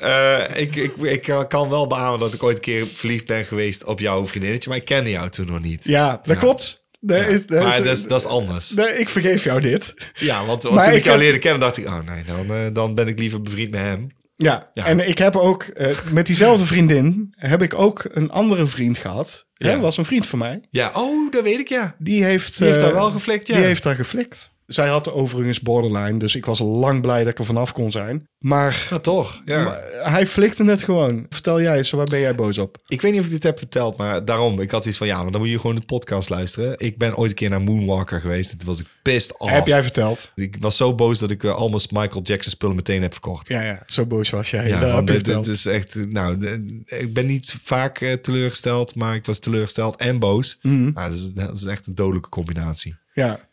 Speaker 1: Eh, ik, ik, ik eh, kan wel beamen dat ik ooit een keer verliefd ben geweest op jouw vriendinnetje, maar ik kende jou toen nog niet.
Speaker 2: Ja, dat klopt. Dat
Speaker 1: Ja.
Speaker 2: is, dat
Speaker 1: maar
Speaker 2: is,
Speaker 1: dat is, dat is anders.
Speaker 2: (laughs) Nee, ik vergeef jou dit.
Speaker 1: Ja, want want
Speaker 2: Maar
Speaker 1: toen ik
Speaker 2: ik
Speaker 1: jou
Speaker 2: heb-
Speaker 1: leerde kennen, dacht ik, oh nee, dan, eh, dan ben ik liever bevriend met hem.
Speaker 2: Ja,
Speaker 1: Ja.
Speaker 2: en ik heb ook eh, met diezelfde vriendin heb ik ook een andere vriend gehad.
Speaker 1: Ja.
Speaker 2: Hè, was een vriend van mij.
Speaker 1: Ja, oh, dat weet ik, ja.
Speaker 2: Die heeft,
Speaker 1: Die heeft
Speaker 2: eh,
Speaker 1: daar wel geflikt, ja.
Speaker 2: Die heeft daar geflikt. Zij had overigens borderline, dus ik was al lang blij dat ik er vanaf kon zijn. Maar
Speaker 1: Maar toch, ja.
Speaker 2: hij flikte het gewoon. Vertel jij eens, waar ben jij boos op?
Speaker 1: Ik weet niet of ik dit heb verteld, maar daarom. Ik had iets van, ja, maar dan moet je gewoon de podcast luisteren. Ik ben ooit een keer naar Moonwalker geweest. En toen was ik pissed off.
Speaker 2: Heb jij verteld?
Speaker 1: Ik was zo boos dat ik eh, almost Michael Jackson spullen meteen heb verkocht.
Speaker 2: Ja, ja, zo boos was
Speaker 1: Ja,
Speaker 2: jij. Ja, dat
Speaker 1: want
Speaker 2: heb je
Speaker 1: dit,
Speaker 2: verteld.
Speaker 1: dit is echt, nou, de- ik ben niet vaak eh, teleurgesteld, maar ik was teleurgesteld en boos.
Speaker 2: Mhm.
Speaker 1: Nou, dat, is, dat is echt een dodelijke combinatie.
Speaker 2: Ja.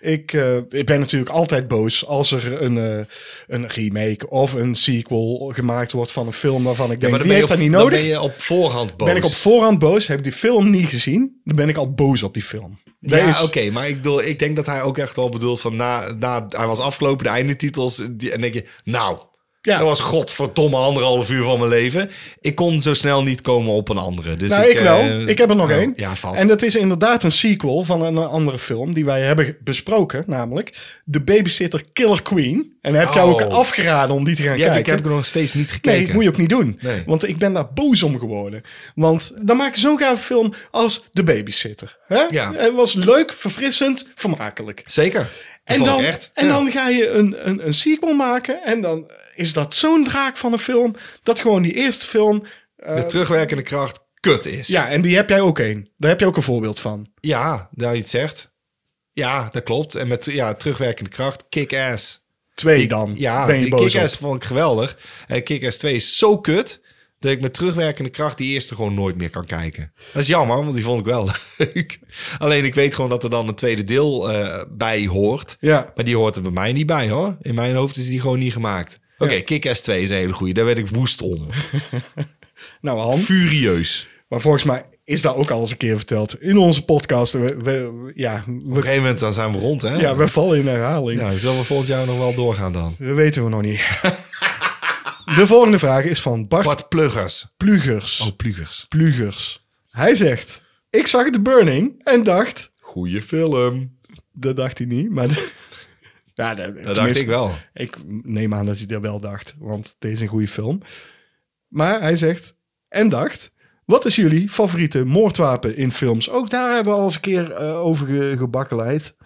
Speaker 2: Ik, eh, ik ben natuurlijk altijd boos als er een, eh, een remake of een sequel gemaakt wordt van een film waarvan ik denk, die heeft
Speaker 1: op-
Speaker 2: dat niet
Speaker 1: dan
Speaker 2: nodig.
Speaker 1: ben je op voorhand boos.
Speaker 2: Ben ik op voorhand boos, heb ik die film niet gezien, dan ben ik al boos op die film. Dat
Speaker 1: ja,
Speaker 2: is-
Speaker 1: oké, maar ik, bedoel, ik denk dat hij ook echt al bedoelt van na, na hij was afgelopen, de eindetitels, die, en denk je, nou,
Speaker 2: Ja.
Speaker 1: dat was godverdomme anderhalf uur van mijn leven. Ik kon zo snel niet komen op een andere. Dus
Speaker 2: Nou, ik, wel.
Speaker 1: eh,
Speaker 2: ik heb er nog
Speaker 1: oh,
Speaker 2: één.
Speaker 1: Ja, vast.
Speaker 2: En dat is inderdaad een sequel van een andere film die wij hebben besproken, namelijk De Babysitter Killer Queen. En heb ik jou ook
Speaker 1: Oh.
Speaker 2: afgeraden om die te gaan
Speaker 1: ja, ik
Speaker 2: kijken.
Speaker 1: heb ik nog steeds niet gekeken.
Speaker 2: Nee, moet je ook niet doen.
Speaker 1: Nee.
Speaker 2: Want ik ben daar boos om geworden. Want dan maak je zo'n gave film als De Babysitter. Hè?
Speaker 1: Ja.
Speaker 2: Het was leuk, verfrissend, vermakelijk.
Speaker 1: Zeker. Dat
Speaker 2: en
Speaker 1: vond ik
Speaker 2: dan,
Speaker 1: echt.
Speaker 2: en
Speaker 1: Ja.
Speaker 2: dan ga je een, een, een sequel maken. En dan is dat zo'n draak van een film. Dat gewoon die eerste film. eh,
Speaker 1: de terugwerkende kracht kut is.
Speaker 2: Ja, en die heb jij ook één. Daar heb je ook een voorbeeld van.
Speaker 1: ja nou, je het zegt. Ja, dat klopt. En met ja, terugwerkende kracht, kick-ass.
Speaker 2: Twee
Speaker 1: Ik-
Speaker 2: dan.
Speaker 1: Ja,
Speaker 2: ben je
Speaker 1: die
Speaker 2: boos op.
Speaker 1: Kick-Ass vond ik geweldig. En Kick-Ass 2 is zo kut... dat ik met terugwerkende kracht die eerste gewoon nooit meer kan kijken. Dat is jammer, want die vond ik wel (laughs) leuk. Alleen ik weet gewoon dat er dan een tweede deel eh, bij hoort.
Speaker 2: Ja.
Speaker 1: Maar die hoort er bij mij niet bij, hoor. In mijn hoofd is die gewoon niet gemaakt. Oké, Kick-Ass 2 is een hele goeie. Daar werd ik woest om.
Speaker 2: Nou,
Speaker 1: (laughs)
Speaker 2: Han.
Speaker 1: Furieus.
Speaker 2: Maar volgens mij is dat ook al eens een keer verteld. In onze podcast. We, we- ja,
Speaker 1: Op een
Speaker 2: we,
Speaker 1: gegeven moment dan zijn we rond, hè?
Speaker 2: ja, we vallen in herhaling.
Speaker 1: Ja, zullen we volgend jaar nog wel doorgaan dan?
Speaker 2: Dat weten we nog niet. (laughs) De volgende vraag is van Bart
Speaker 1: Wat pluggers.
Speaker 2: Plugers.
Speaker 1: Oh, plugers.
Speaker 2: Plugers. Hij zegt: Ik zag The Burning en dacht.
Speaker 1: Goeie film.
Speaker 2: Dat dacht hij niet, maar. (laughs) ja, dat
Speaker 1: Dat dacht
Speaker 2: tenminste,
Speaker 1: ik wel.
Speaker 2: Ik neem aan dat hij dat wel dacht, want deze is een goede film. Maar hij zegt: En dacht. Wat is jullie favoriete moordwapen in films? Ook daar hebben we al eens een keer eh, over ge- gebakkeleid.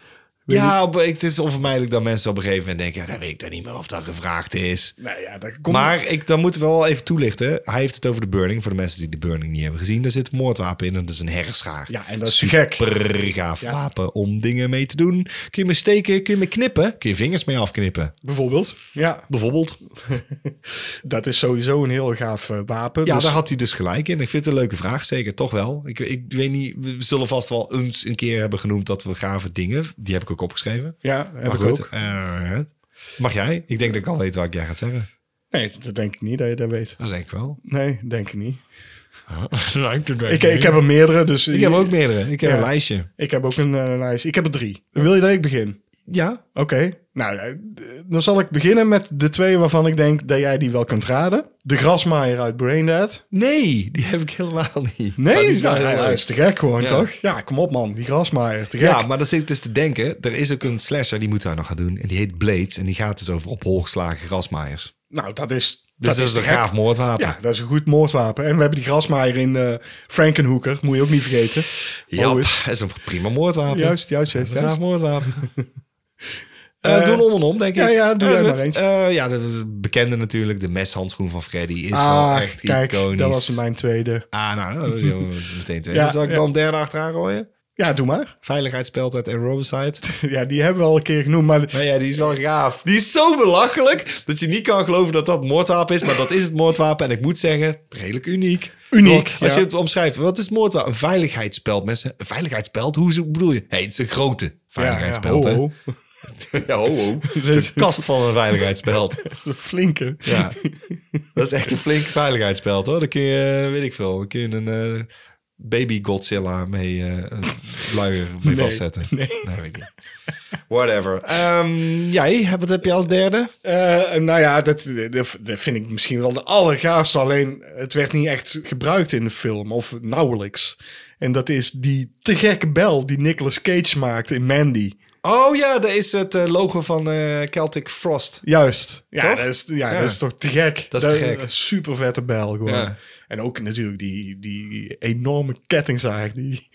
Speaker 2: Weet
Speaker 1: ja, op- ik- het is onvermijdelijk dat mensen op een gegeven moment denken... Ja, dan weet ik dan niet meer of dat gevraagd is.
Speaker 2: Nou ja, daar komt.
Speaker 1: Maar ik, dan moeten we wel even toelichten. Hij heeft het over de burning. Voor de mensen die de burning niet hebben gezien. Daar zit een moordwapen in en dat is een hersenschaar.
Speaker 2: ja, en dat is te gek.
Speaker 1: Super gaaf
Speaker 2: Ja.
Speaker 1: wapen om dingen mee te doen. Kun je me steken, kun je me knippen. Kun je vingers mee afknippen.
Speaker 2: Bijvoorbeeld. Ja,
Speaker 1: Bijvoorbeeld.
Speaker 2: (laughs) dat is sowieso een heel gaaf eh, wapen.
Speaker 1: Ja,
Speaker 2: dus-
Speaker 1: daar had hij dus gelijk in. Ik vind het een leuke vraag, zeker. Toch wel. Ik, ik weet niet, we zullen vast wel eens een keer hebben genoemd... dat we gave dingen, die heb ik ook opgeschreven...
Speaker 2: ja heb
Speaker 1: Maar
Speaker 2: ik
Speaker 1: Ah, goed,
Speaker 2: ook.
Speaker 1: eh, mag jij? Ik denk dat ik al weet wat jij gaat zeggen.
Speaker 2: Nee, dat denk ik niet dat je dat weet.
Speaker 1: Dat denk ik wel.
Speaker 2: Nee, denk ik niet. (laughs)
Speaker 1: Lijkt het
Speaker 2: Ik, ik heb er meerdere, dus
Speaker 1: ik heb ook meerdere. Ik heb
Speaker 2: Ja.
Speaker 1: een lijstje.
Speaker 2: Ik heb ook een eh, lijst. Ik heb er drie. Wil je dat ik begin?
Speaker 1: Ja.
Speaker 2: Oké. Nou, eh, dan zal ik beginnen met de twee waarvan ik denk dat jij die wel kunt raden. De grasmaaier uit Braindead.
Speaker 1: Nee, die heb ik helemaal niet. Maar
Speaker 2: Nee,
Speaker 1: die
Speaker 2: dat
Speaker 1: is
Speaker 2: is,
Speaker 1: wel heel leuk.
Speaker 2: te gek gewoon,
Speaker 1: Ja.
Speaker 2: toch? Ja, kom op man, die grasmaaier, te gek.
Speaker 1: Ja, maar dan zit ik dus te denken. Er is ook een slasher, die moeten wij nog gaan doen. En die heet Blades. En die gaat dus over op hol geslagen grasmaaiers. Dus
Speaker 2: Nou, dat is...
Speaker 1: dat, is
Speaker 2: te
Speaker 1: een
Speaker 2: gek.
Speaker 1: gaaf moordwapen.
Speaker 2: Ja, dat is een goed moordwapen. En we hebben die grasmaaier in eh Frankenhoeker, moet je ook niet vergeten.
Speaker 1: Ja,
Speaker 2: Oh, is-
Speaker 1: (laughs) dat is een prima moordwapen.
Speaker 2: Juist, juist,
Speaker 1: Dat is
Speaker 2: juist.
Speaker 1: een gaaf
Speaker 2: juist.
Speaker 1: moordwapen. (laughs) Eh,
Speaker 2: Eh,
Speaker 1: doe een om en om, denk ik.
Speaker 2: ja, ja, doe
Speaker 1: Eh,
Speaker 2: jij maar
Speaker 1: met-
Speaker 2: eentje.
Speaker 1: eh, ja, de, de bekende natuurlijk. De meshandschoen van Freddy is wel
Speaker 2: Ah,
Speaker 1: echt
Speaker 2: kijk,
Speaker 1: iconisch.
Speaker 2: dat was mijn tweede. (laughs)
Speaker 1: Ah, nou, dat was heel- meteen twee.
Speaker 2: Ja,
Speaker 1: Zal ik
Speaker 2: ja.
Speaker 1: dan derde achteraan gooien?
Speaker 2: Ja, doe maar. (laughs)
Speaker 1: Veiligheid, speeltijd en robicide.
Speaker 2: Ja, die hebben we al een keer genoemd, maar
Speaker 1: (laughs) Maar ja, die is wel gaaf. Die is zo belachelijk dat je niet kan geloven dat dat moordwapen is. Maar dat is het moordwapen. En ik moet zeggen, redelijk uniek.
Speaker 2: Uniek,
Speaker 1: Want Als
Speaker 2: ja.
Speaker 1: je het omschrijft, wat is het moordwapen? Een veiligheidsspeld, mensen. Een veiligheidsspeld? Hoe ze- bedoel je? Hé, het is een grote veiligheidsspeld,
Speaker 2: ja,
Speaker 1: ja,
Speaker 2: ho,
Speaker 1: (laughs)
Speaker 2: (laughs)
Speaker 1: Ja, ho, ho. Het is een kast van een veiligheidsspeld.
Speaker 2: (laughs) ho. flinke.
Speaker 1: Ja, (laughs) dat is echt een flink veiligheidsspeld, hoor. Dan kun je, eh, weet ik veel, dan kun je een eh, baby Godzilla mee, eh, een (laughs) luier mee
Speaker 2: Nee,
Speaker 1: vastzetten. Nee. weet ik niet. Whatever. Ehm, jij, wat heb je als derde?
Speaker 2: Eh, nou ja, dat, dat dat vind ik misschien wel de allergaafste. Alleen, het werd niet echt gebruikt in de film, of nauwelijks. En dat is die te gekke bel die Nicolas Cage maakt in Mandy.
Speaker 1: Oh ja, dat is het eh, logo van eh, Celtic Frost.
Speaker 2: Juist. Ja,
Speaker 1: Toch?
Speaker 2: Dat is, ja,
Speaker 1: Ja.
Speaker 2: dat is toch te gek.
Speaker 1: Dat is te gek.
Speaker 2: Super vette bijl gewoon.
Speaker 1: Ja.
Speaker 2: En ook natuurlijk die, die enorme kettingzaag die,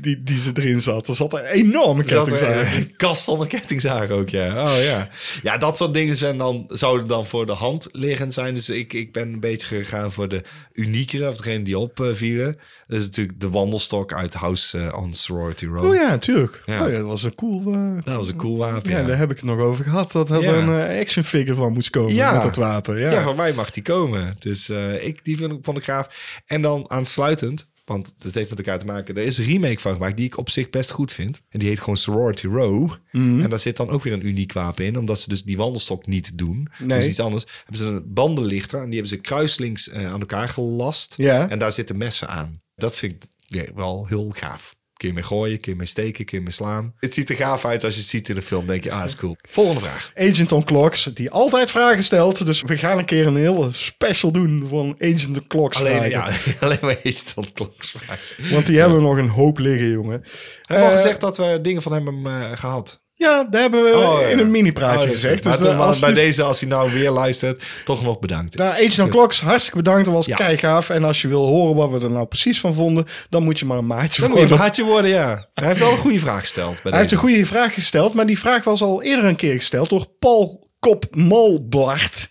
Speaker 2: die, die ze erin zat. Er zat eh, een enorme
Speaker 1: Dat is
Speaker 2: kettingzaag. in.
Speaker 1: een (laughs) kast van een kettingzaag ook, ja. Oh ja. Ja, dat soort dingen zijn dan, zouden dan voor de hand liggend zijn. Dus ik, ik ben een beetje gegaan voor de uniekere, of degene die opvielen. Dat is natuurlijk de wandelstok uit House eh, on Sorority Row.
Speaker 2: Oh ja, natuurlijk.
Speaker 1: Ja.
Speaker 2: Oh ja, dat was een cool... eh,
Speaker 1: Dat was een cool wapen,
Speaker 2: ja,
Speaker 1: ja.
Speaker 2: daar heb ik het nog over gehad. Dat had
Speaker 1: Ja.
Speaker 2: er een eh, action figure van moest komen
Speaker 1: Ja.
Speaker 2: met dat wapen. Ja.
Speaker 1: Ja, van mij mag die komen. Dus eh, ik, die vind, ik- vond ik gaaf. En dan aansluitend, want het heeft met elkaar te maken. Er is een remake van gemaakt die ik op zich best goed vind. En die heet gewoon Sorority Row.
Speaker 2: Mhm.
Speaker 1: En daar zit dan ook weer een uniek wapen in. Omdat ze dus die wandelstok niet doen.
Speaker 2: Nee.
Speaker 1: Dus iets anders. Hebben ze een bandenlichter en die hebben ze kruislinks eh, aan elkaar gelast.
Speaker 2: Ja.
Speaker 1: En daar zitten messen aan. Dat vind ik ja, wel heel gaaf. Kun je mee gooien, kun je mee steken, kun je mee slaan. Het ziet er gaaf uit als je het ziet in de film. denk je, ah, is cool. Volgende vraag.
Speaker 2: Agent on Clocks, die altijd vragen stelt. Dus we gaan een keer een hele special doen van Agent on Clocks
Speaker 1: Alleen,
Speaker 2: vragen.
Speaker 1: ja, (laughs) alleen maar iets tot kloksvraag.
Speaker 2: Want die hebben we nog een hoop liggen, jongen.
Speaker 1: We hebben al
Speaker 2: Eh,
Speaker 1: gezegd dat we dingen van hem hebben eh, gehad.
Speaker 2: Ja, daar hebben we
Speaker 1: Oh, ja.
Speaker 2: in een mini-praatje
Speaker 1: Oh, dat is
Speaker 2: gezegd.
Speaker 1: goed. Maar
Speaker 2: Dus
Speaker 1: toen-
Speaker 2: dan als
Speaker 1: bij
Speaker 2: bij
Speaker 1: deze, als hij nou weer luistert, toch nog bedankt.
Speaker 2: nou, Agent on Clocks, hartstikke bedankt. Dat was
Speaker 1: Ja.
Speaker 2: keigaaf. En als je wil horen wat we er nou precies van vonden, dan moet je maar een maatje
Speaker 1: Dan moet je
Speaker 2: worden.
Speaker 1: een haatje worden, ja. Hij heeft wel een goede vraag gesteld. Bij
Speaker 2: Hij heeft
Speaker 1: deze.
Speaker 2: een goede vraag gesteld, maar die vraag was al eerder een keer gesteld door Paul Kop Molblart.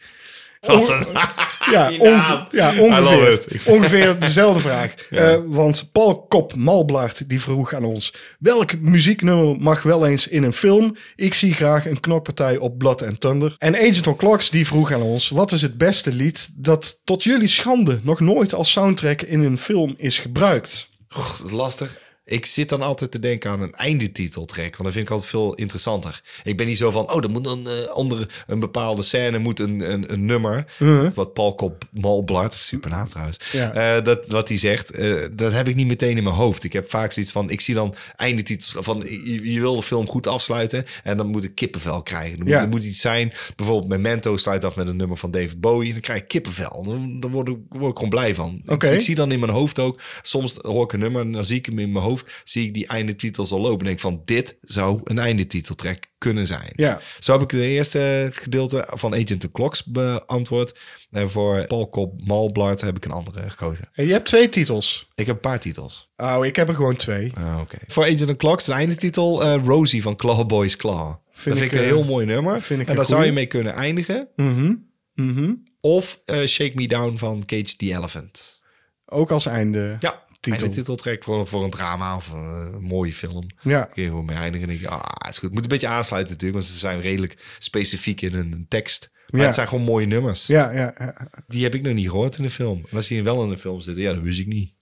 Speaker 1: Wat een-
Speaker 2: (laughs) Ja,
Speaker 1: Die
Speaker 2: onge-
Speaker 1: naam.
Speaker 2: ja
Speaker 1: I love
Speaker 2: ongeveer,
Speaker 1: it. Ik-
Speaker 2: ongeveer dezelfde
Speaker 1: (laughs)
Speaker 2: vraag. Eh, want Paul Kop Malblart die vroeg aan ons... welk muzieknummer mag wel eens in een film? Ik zie graag een knokpartij op Blood and Thunder. En Agent on Clocks die vroeg aan ons... wat is het beste lied dat tot jullie schande... nog nooit als soundtrack in een film is gebruikt?
Speaker 1: Goh, dat is lastig. Ik zit dan altijd te denken aan een eindetiteltrack. Want dat vind ik altijd veel interessanter. Ik ben niet zo van, oh, er moet een, eh, onder een bepaalde scène moet een, een, een nummer. Wat Paul Kop Malblad, supernaam trouwens.
Speaker 2: Uh-huh. Ja.
Speaker 1: eh, dat, wat hij zegt, eh, dat heb ik niet meteen in mijn hoofd. Ik heb vaak zoiets van, ik zie dan eindetitels van, je, je wil de film goed afsluiten. En dan moet ik kippenvel krijgen. Er moet,
Speaker 2: Ja.
Speaker 1: er moet iets zijn. Bijvoorbeeld Memento sluit af met een nummer van David Bowie. Dan krijg ik kippenvel. Dan, dan word, ik, word ik gewoon blij van. Ik-
Speaker 2: Oké.
Speaker 1: ik zie zie dan in mijn hoofd ook. Soms hoor ik een nummer en dan zie ik hem in mijn hoofd. Zie ik die eindetitels al lopen. En denk van, dit zou een eindetiteltrack kunnen zijn.
Speaker 2: Ja.
Speaker 1: Zo heb ik de eerste gedeelte van Agent the Clocks beantwoord. En voor Paul Kop Malblad heb ik een andere gekozen.
Speaker 2: En je hebt twee titels.
Speaker 1: Ik heb een paar titels.
Speaker 2: Oh, ik heb er gewoon twee.
Speaker 1: Ah, oké. Voor Agent the Clocks, de eindetitel, eh Rosie van Clawboys Claw. dat
Speaker 2: ik,
Speaker 1: vind ik een
Speaker 2: eh,
Speaker 1: heel mooi nummer.
Speaker 2: vind ik
Speaker 1: en
Speaker 2: een
Speaker 1: daar zou
Speaker 2: goeie.
Speaker 1: je mee kunnen eindigen.
Speaker 2: Mhm.
Speaker 1: Of eh, Shake Me Down van Cage the Elephant.
Speaker 2: Ook als einde.
Speaker 1: Ja,
Speaker 2: Titel.
Speaker 1: titel. titeltrack voor, voor een drama of een, eh, mooie film.
Speaker 2: Ja.
Speaker 1: Kun je gewoon mee eindigen en denk je, ah, is goed. Moet een beetje aansluiten natuurlijk, want ze zijn redelijk specifiek in hun tekst. Maar
Speaker 2: Ja.
Speaker 1: het zijn gewoon mooie nummers.
Speaker 2: Ja, ja, ja.
Speaker 1: Die heb ik nog niet gehoord in de film. En als die wel in de film zitten, ja, dat wist ik niet.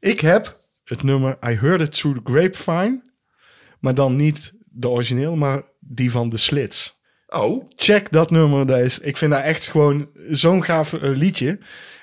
Speaker 2: Ik heb het nummer I Heard It Through the Grapevine. Maar dan niet de origineel, maar die van de Slits.
Speaker 1: Oh.
Speaker 2: Check dat nummer. Dat is, ik vind dat echt gewoon zo'n gaaf eh, liedje.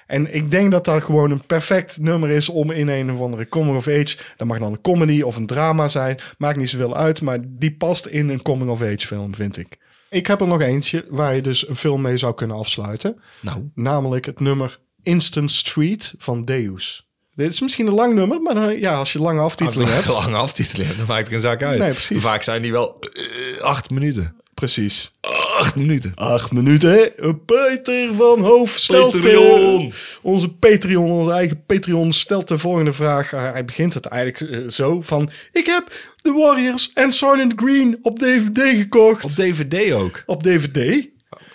Speaker 2: En ik denk dat dat gewoon een perfect nummer is om in een of andere coming of age. Dat mag dan een comedy of een drama zijn. Maakt niet zoveel uit, maar die past in een coming of age film, vind ik. Ik heb er nog eentje waar je dus een film mee zou kunnen afsluiten.
Speaker 1: Nou,
Speaker 2: Namelijk het nummer Instant Street van Deus. Dit is misschien een lang nummer, maar dan- ja, als je lange aftiteling hebt.
Speaker 1: lang aftiteling hebt, dan maakt er een zak uit.
Speaker 2: Nee, precies.
Speaker 1: Vaak zijn die wel eh, acht minuten.
Speaker 2: Precies.
Speaker 1: Acht minuten.
Speaker 2: Acht minuten. Peter van Hoofd stelt... eh,
Speaker 1: Patreon.
Speaker 2: onze Patreon, onze eigen Patreon, stelt de volgende vraag. Eh, hij begint het eigenlijk eh, zo van... Ik heb The Warriors en Silent Green op DVD gekocht.
Speaker 1: Op DVD ook.
Speaker 2: op DVD?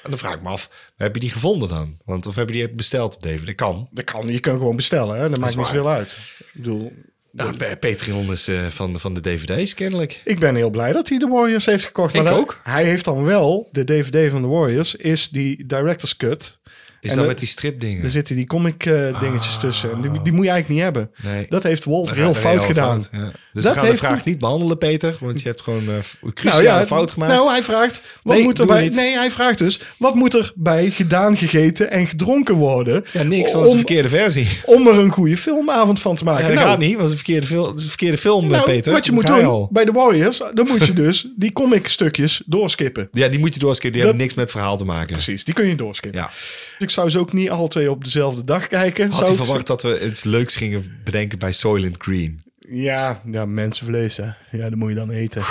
Speaker 1: En dan vraag ik me af, heb je die gevonden dan? Want of heb je die besteld op DVD? Dat kan.
Speaker 2: Dat kan, je kunt gewoon bestellen. Hè? Dat, maakt niet
Speaker 1: waar.
Speaker 2: zoveel uit. Ik bedoel,
Speaker 1: Nou, Pe- Patreon is eh, van, van de DVD's kennelijk.
Speaker 2: Ik ben heel blij dat hij de Warriors heeft gekocht.
Speaker 1: Ik
Speaker 2: maar dan-
Speaker 1: ook.
Speaker 2: Hij heeft dan wel, de DVD van de Warriors, is die director's cut.
Speaker 1: Is
Speaker 2: En
Speaker 1: dat
Speaker 2: de-
Speaker 1: met die stripdingen?
Speaker 2: Er zitten die comic eh, dingetjes tussen. En die, die moet je eigenlijk niet hebben.
Speaker 1: Nee.
Speaker 2: Dat heeft Walter
Speaker 1: Daar
Speaker 2: heel
Speaker 1: gaat er
Speaker 2: fout
Speaker 1: heel
Speaker 2: gedaan.
Speaker 1: fout, ja. Dus
Speaker 2: Dat
Speaker 1: we gaan de
Speaker 2: heeft
Speaker 1: vraag
Speaker 2: hem-
Speaker 1: niet behandelen, Peter. Want je hebt gewoon eh, f- een
Speaker 2: Nou
Speaker 1: cruciale
Speaker 2: ja,
Speaker 1: fout gemaakt.
Speaker 2: Nou, hij vraagt, wat
Speaker 1: Nee,
Speaker 2: moet er
Speaker 1: doe
Speaker 2: bij,
Speaker 1: niet.
Speaker 2: nee, hij vraagt dus, wat moet er bij gedaan, gegeten en gedronken worden?
Speaker 1: ja, niks, want het is de
Speaker 2: om,
Speaker 1: verkeerde versie.
Speaker 2: om er een goede filmavond van te maken.
Speaker 1: Ja, dat
Speaker 2: Nou,
Speaker 1: gaat niet, want het is een verkeerde, fil- het is een verkeerde film, eh,
Speaker 2: nou,
Speaker 1: Peter.
Speaker 2: wat je
Speaker 1: Daar
Speaker 2: moet
Speaker 1: ga
Speaker 2: doen
Speaker 1: al.
Speaker 2: bij de Warriors, dan
Speaker 1: (laughs)
Speaker 2: moet je dus die comic stukjes doorskippen.
Speaker 1: Ja, die moet je doorskippen. Die
Speaker 2: Dat-
Speaker 1: hebben niks met verhaal te maken.
Speaker 2: Precies, die kun je doorskippen.
Speaker 1: Ja.
Speaker 2: Ik zou ze ook niet alle twee op dezelfde dag kijken.
Speaker 1: Had
Speaker 2: zou
Speaker 1: hij
Speaker 2: ik
Speaker 1: verwacht dat we iets leuks gingen bedenken bij Soylent Green?
Speaker 2: zeggen. Ja, ja, mensenvlees, hè. Ja, dat moet je
Speaker 1: (laughs)
Speaker 2: dan eten.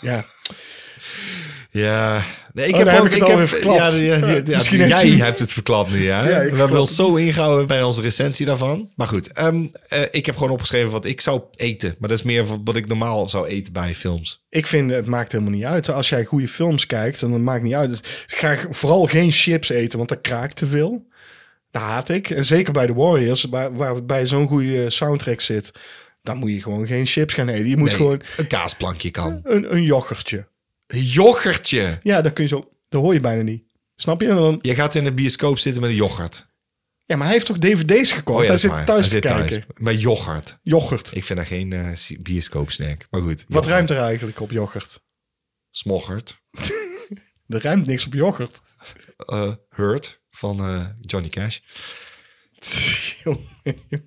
Speaker 2: ja.
Speaker 1: Ja, nee, ik
Speaker 2: Oh, daar heb
Speaker 1: ook-
Speaker 2: ik het alweer verklapt.
Speaker 1: Ja, ja, ja, ja,
Speaker 2: Misschien
Speaker 1: jij
Speaker 2: heeft hij-
Speaker 1: hebt het verklapt nu, ja.
Speaker 2: ik
Speaker 1: we hebben
Speaker 2: verklap-
Speaker 1: wel zo ingehouden bij onze recensie daarvan. Maar goed, ehm, eh, ik heb gewoon opgeschreven wat ik zou eten. Maar dat is meer van wat ik normaal zou eten bij films.
Speaker 2: Ik vind, het maakt helemaal niet uit. Als jij goede films kijkt, dan maakt het niet uit. Dus ga vooral geen chips eten, want dat kraakt te veel. Dat haat ik. En zeker bij de Warriors, waar, waar bij zo'n goede soundtrack zit, dan moet je gewoon geen chips gaan eten. Je moet
Speaker 1: Nee,
Speaker 2: gewoon
Speaker 1: een kaasplankje kan.
Speaker 2: een, een yoghurtje.
Speaker 1: Een yoghurtje.
Speaker 2: Ja, dat kun je zo. Dat hoor je bijna niet. Snap je? En dan,
Speaker 1: Je gaat in de bioscoop zitten met een yoghurt.
Speaker 2: ja, maar hij heeft toch DVD's gekocht?
Speaker 1: Oh ja,
Speaker 2: hij
Speaker 1: dat is
Speaker 2: zit
Speaker 1: waar.
Speaker 2: thuis
Speaker 1: Hij
Speaker 2: te
Speaker 1: zit
Speaker 2: kijken.
Speaker 1: Met yoghurt.
Speaker 2: Yoghurt.
Speaker 1: Ik vind daar geen eh bioscoopsnack. Maar goed.
Speaker 2: Wat
Speaker 1: yoghurt.
Speaker 2: ruimt er eigenlijk op yoghurt?
Speaker 1: Smoggert.
Speaker 2: Er ruimt niks op yoghurt. (laughs)
Speaker 1: Eh, Hurt van eh, Johnny Cash.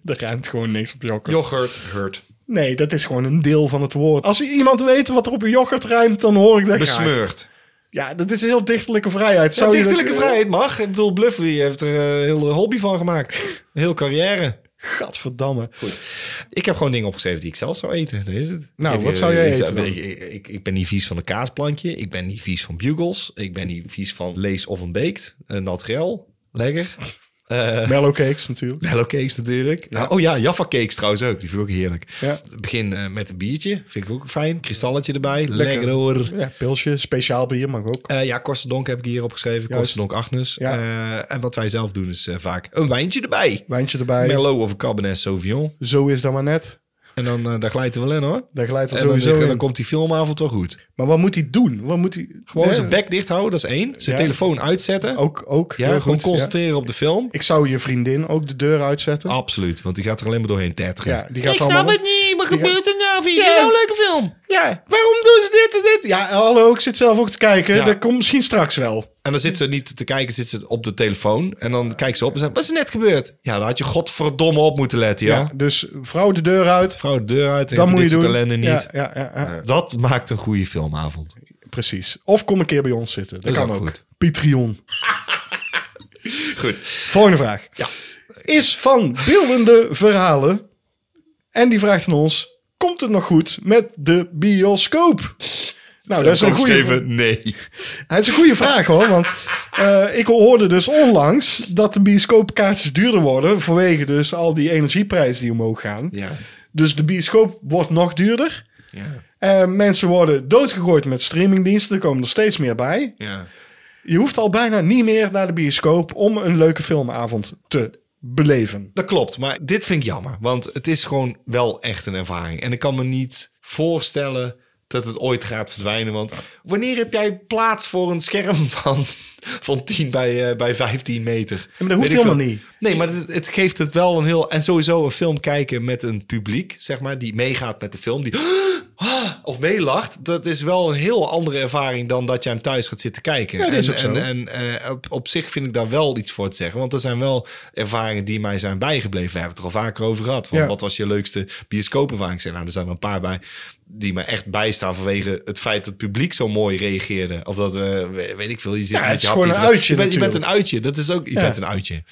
Speaker 2: er ruimt gewoon niks op yoghurt.
Speaker 1: Yoghurt, Hurt.
Speaker 2: Nee, dat is gewoon een deel van het woord. Als iemand weet wat er op een yoghurt ruimt, dan hoor ik dat graag.
Speaker 1: Besmeurd.
Speaker 2: Ja, dat is heel dichtelijke vrijheid.
Speaker 1: Ja,
Speaker 2: Zou je dat-
Speaker 1: dichterlijke vrijheid mag. Ik bedoel, Bluffy heeft er eh, een hele hobby van gemaakt. Een heel carrière.
Speaker 2: Gadverdamme.
Speaker 1: Ik heb gewoon dingen opgeschreven die ik zelf zou eten. Dat is het.
Speaker 2: Nou,
Speaker 1: Ik,
Speaker 2: wat
Speaker 1: eh,
Speaker 2: zou jij
Speaker 1: ik-
Speaker 2: eten dan?
Speaker 1: Ik, ik, ik ben niet vies van een kaasplankje. Ik ben niet vies van bugles. Ik ben niet vies van lees of een baked. Een nat grel. Lekker.
Speaker 2: Mellow cakes natuurlijk.
Speaker 1: Hello cakes natuurlijk. Nou, oh ja, Jaffa cakes trouwens ook. Die vind ik ook heerlijk.
Speaker 2: Ja.
Speaker 1: Begin eh, met een biertje. Vind ik ook fijn. Kristalletje erbij.
Speaker 2: Lekker.
Speaker 1: Lekker, hoor.
Speaker 2: Ja, pilsje, speciaal bier mag ook.
Speaker 1: Eh, ja, Korstendonk heb ik hier opgeschreven.
Speaker 2: Juist.
Speaker 1: Korstendonk Agnes.
Speaker 2: Ja.
Speaker 1: Eh, en wat wij zelf doen is eh, vaak een wijntje erbij.
Speaker 2: Wijntje erbij.
Speaker 1: Merlot of een Cabernet Sauvignon.
Speaker 2: Zo is dat maar net.
Speaker 1: En dan eh, daar glijdt hij wel in hoor.
Speaker 2: Daar glijdt er
Speaker 1: En dan,
Speaker 2: sowieso in.
Speaker 1: dan komt die filmavond wel goed.
Speaker 2: Maar wat moet hij doen? Wat moet hij...
Speaker 1: Gewoon
Speaker 2: Nee,
Speaker 1: zijn bek dicht houden, dat is één. Zijn
Speaker 2: Ja.
Speaker 1: telefoon uitzetten.
Speaker 2: Ook, ook.
Speaker 1: ja,
Speaker 2: heel
Speaker 1: gewoon
Speaker 2: goed. Ja.
Speaker 1: concentreren op de film.
Speaker 2: Ik zou je vriendin ook de deur uitzetten.
Speaker 1: Absoluut, want die gaat er alleen maar doorheen tetteren.
Speaker 2: Ja, die gaat allemaal...
Speaker 1: niet, wat
Speaker 2: gebeurt
Speaker 1: er nou? Vind
Speaker 2: je dit nou een
Speaker 1: leuke film?
Speaker 2: Ja, waarom doen ze dit en dit? Ja, hallo, ik zit zelf ook te kijken.
Speaker 1: Ja.
Speaker 2: Dat komt misschien straks wel.
Speaker 1: En dan zit ze niet te kijken, zit ze op de telefoon. En dan kijkt ze op en zegt, wat is er net gebeurd? Ja, daar had je godverdomme op moeten letten, ja.
Speaker 2: Ja, dus vrouw de deur uit.
Speaker 1: Vrouw de deur uit, en
Speaker 2: Dan moet je
Speaker 1: dit soort
Speaker 2: doen.
Speaker 1: ellende niet.
Speaker 2: Ja, ja, ja, ja,
Speaker 1: Dat maakt een goede filmavond.
Speaker 2: precies. Of kom een keer bij ons zitten. Dat,
Speaker 1: Dat is
Speaker 2: kan
Speaker 1: ook
Speaker 2: ook.
Speaker 1: goed.
Speaker 2: Patreon.
Speaker 1: Goed.
Speaker 2: Volgende vraag. Is van beeldende verhalen. En die vraagt aan ons: Komt het nog goed met de bioscoop? Nou, dat is een goede,
Speaker 1: Opgeschreven, nee.
Speaker 2: hij is een goede vraag hoor. Want eh, ik hoorde dus onlangs dat de bioscoopkaartjes duurder worden. Vanwege dus al die energieprijzen die omhoog gaan.
Speaker 1: Ja.
Speaker 2: Dus de bioscoop wordt nog duurder.
Speaker 1: Ja.
Speaker 2: Eh, mensen worden doodgegooid met streamingdiensten. Er komen er steeds meer bij.
Speaker 1: ja.
Speaker 2: Je hoeft al bijna niet meer naar de bioscoop om een leuke filmavond te beleven.
Speaker 1: Dat klopt, maar dit vind ik jammer. Want het is gewoon wel echt een ervaring. En ik kan me niet voorstellen dat het ooit gaat verdwijnen. Want wanneer heb jij plaats voor een scherm (laughs) van, van 10 bij, eh, bij 15 meter?
Speaker 2: maar dat hoeft
Speaker 1: Weet ik
Speaker 2: helemaal
Speaker 1: veel.
Speaker 2: niet.
Speaker 1: Nee, maar het, het geeft het wel een heel... En sowieso een film kijken met een publiek, zeg maar... die meegaat met de film, die... (gasps) ah, of meelacht, dat is wel een heel andere ervaring dan dat je hem thuis gaat zitten kijken.
Speaker 2: Ja, dat is
Speaker 1: en
Speaker 2: ook zo.
Speaker 1: en, en eh, op, op zich vind ik daar wel iets voor te zeggen. Want er zijn wel ervaringen die mij zijn bijgebleven. We hebben het er al vaker over gehad. Van
Speaker 2: Ja.
Speaker 1: Wat was je leukste bioscoopervaring? Ik zei, nou, er zijn er een paar bij die me echt bijstaan vanwege het feit dat het publiek zo mooi reageerde. Of dat, eh, we- weet ik veel, je zit
Speaker 2: Ja,
Speaker 1: met
Speaker 2: het is
Speaker 1: je
Speaker 2: gewoon
Speaker 1: hapje
Speaker 2: een
Speaker 1: erop.
Speaker 2: uitje
Speaker 1: Je bent, je bent een
Speaker 2: natuurlijk.
Speaker 1: uitje, dat is ook... Je
Speaker 2: Ja.
Speaker 1: bent een uitje.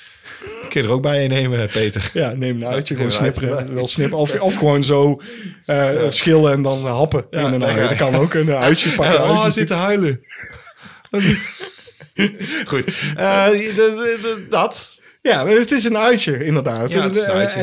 Speaker 1: Kun je er ook bij een nemen, Peter?
Speaker 2: Ja, neem nou uit. Je gewoon
Speaker 1: neem een
Speaker 2: snipperen.
Speaker 1: uitje.
Speaker 2: Wel snippen. Of, of gewoon zo eh, schillen en dan happen.
Speaker 1: Ja,
Speaker 2: in een
Speaker 1: daar
Speaker 2: ui.
Speaker 1: ga
Speaker 2: Dat
Speaker 1: je.
Speaker 2: kan ook. Een
Speaker 1: (laughs)
Speaker 2: uitje
Speaker 1: Ah,
Speaker 2: pakken.
Speaker 1: oh, hij zit te
Speaker 2: (laughs)
Speaker 1: huilen. Goed. Eh, d- d- d- dat.
Speaker 2: Ja, maar het is een uitje, inderdaad.
Speaker 1: Ja, het is een
Speaker 2: En, eh,
Speaker 1: uitje.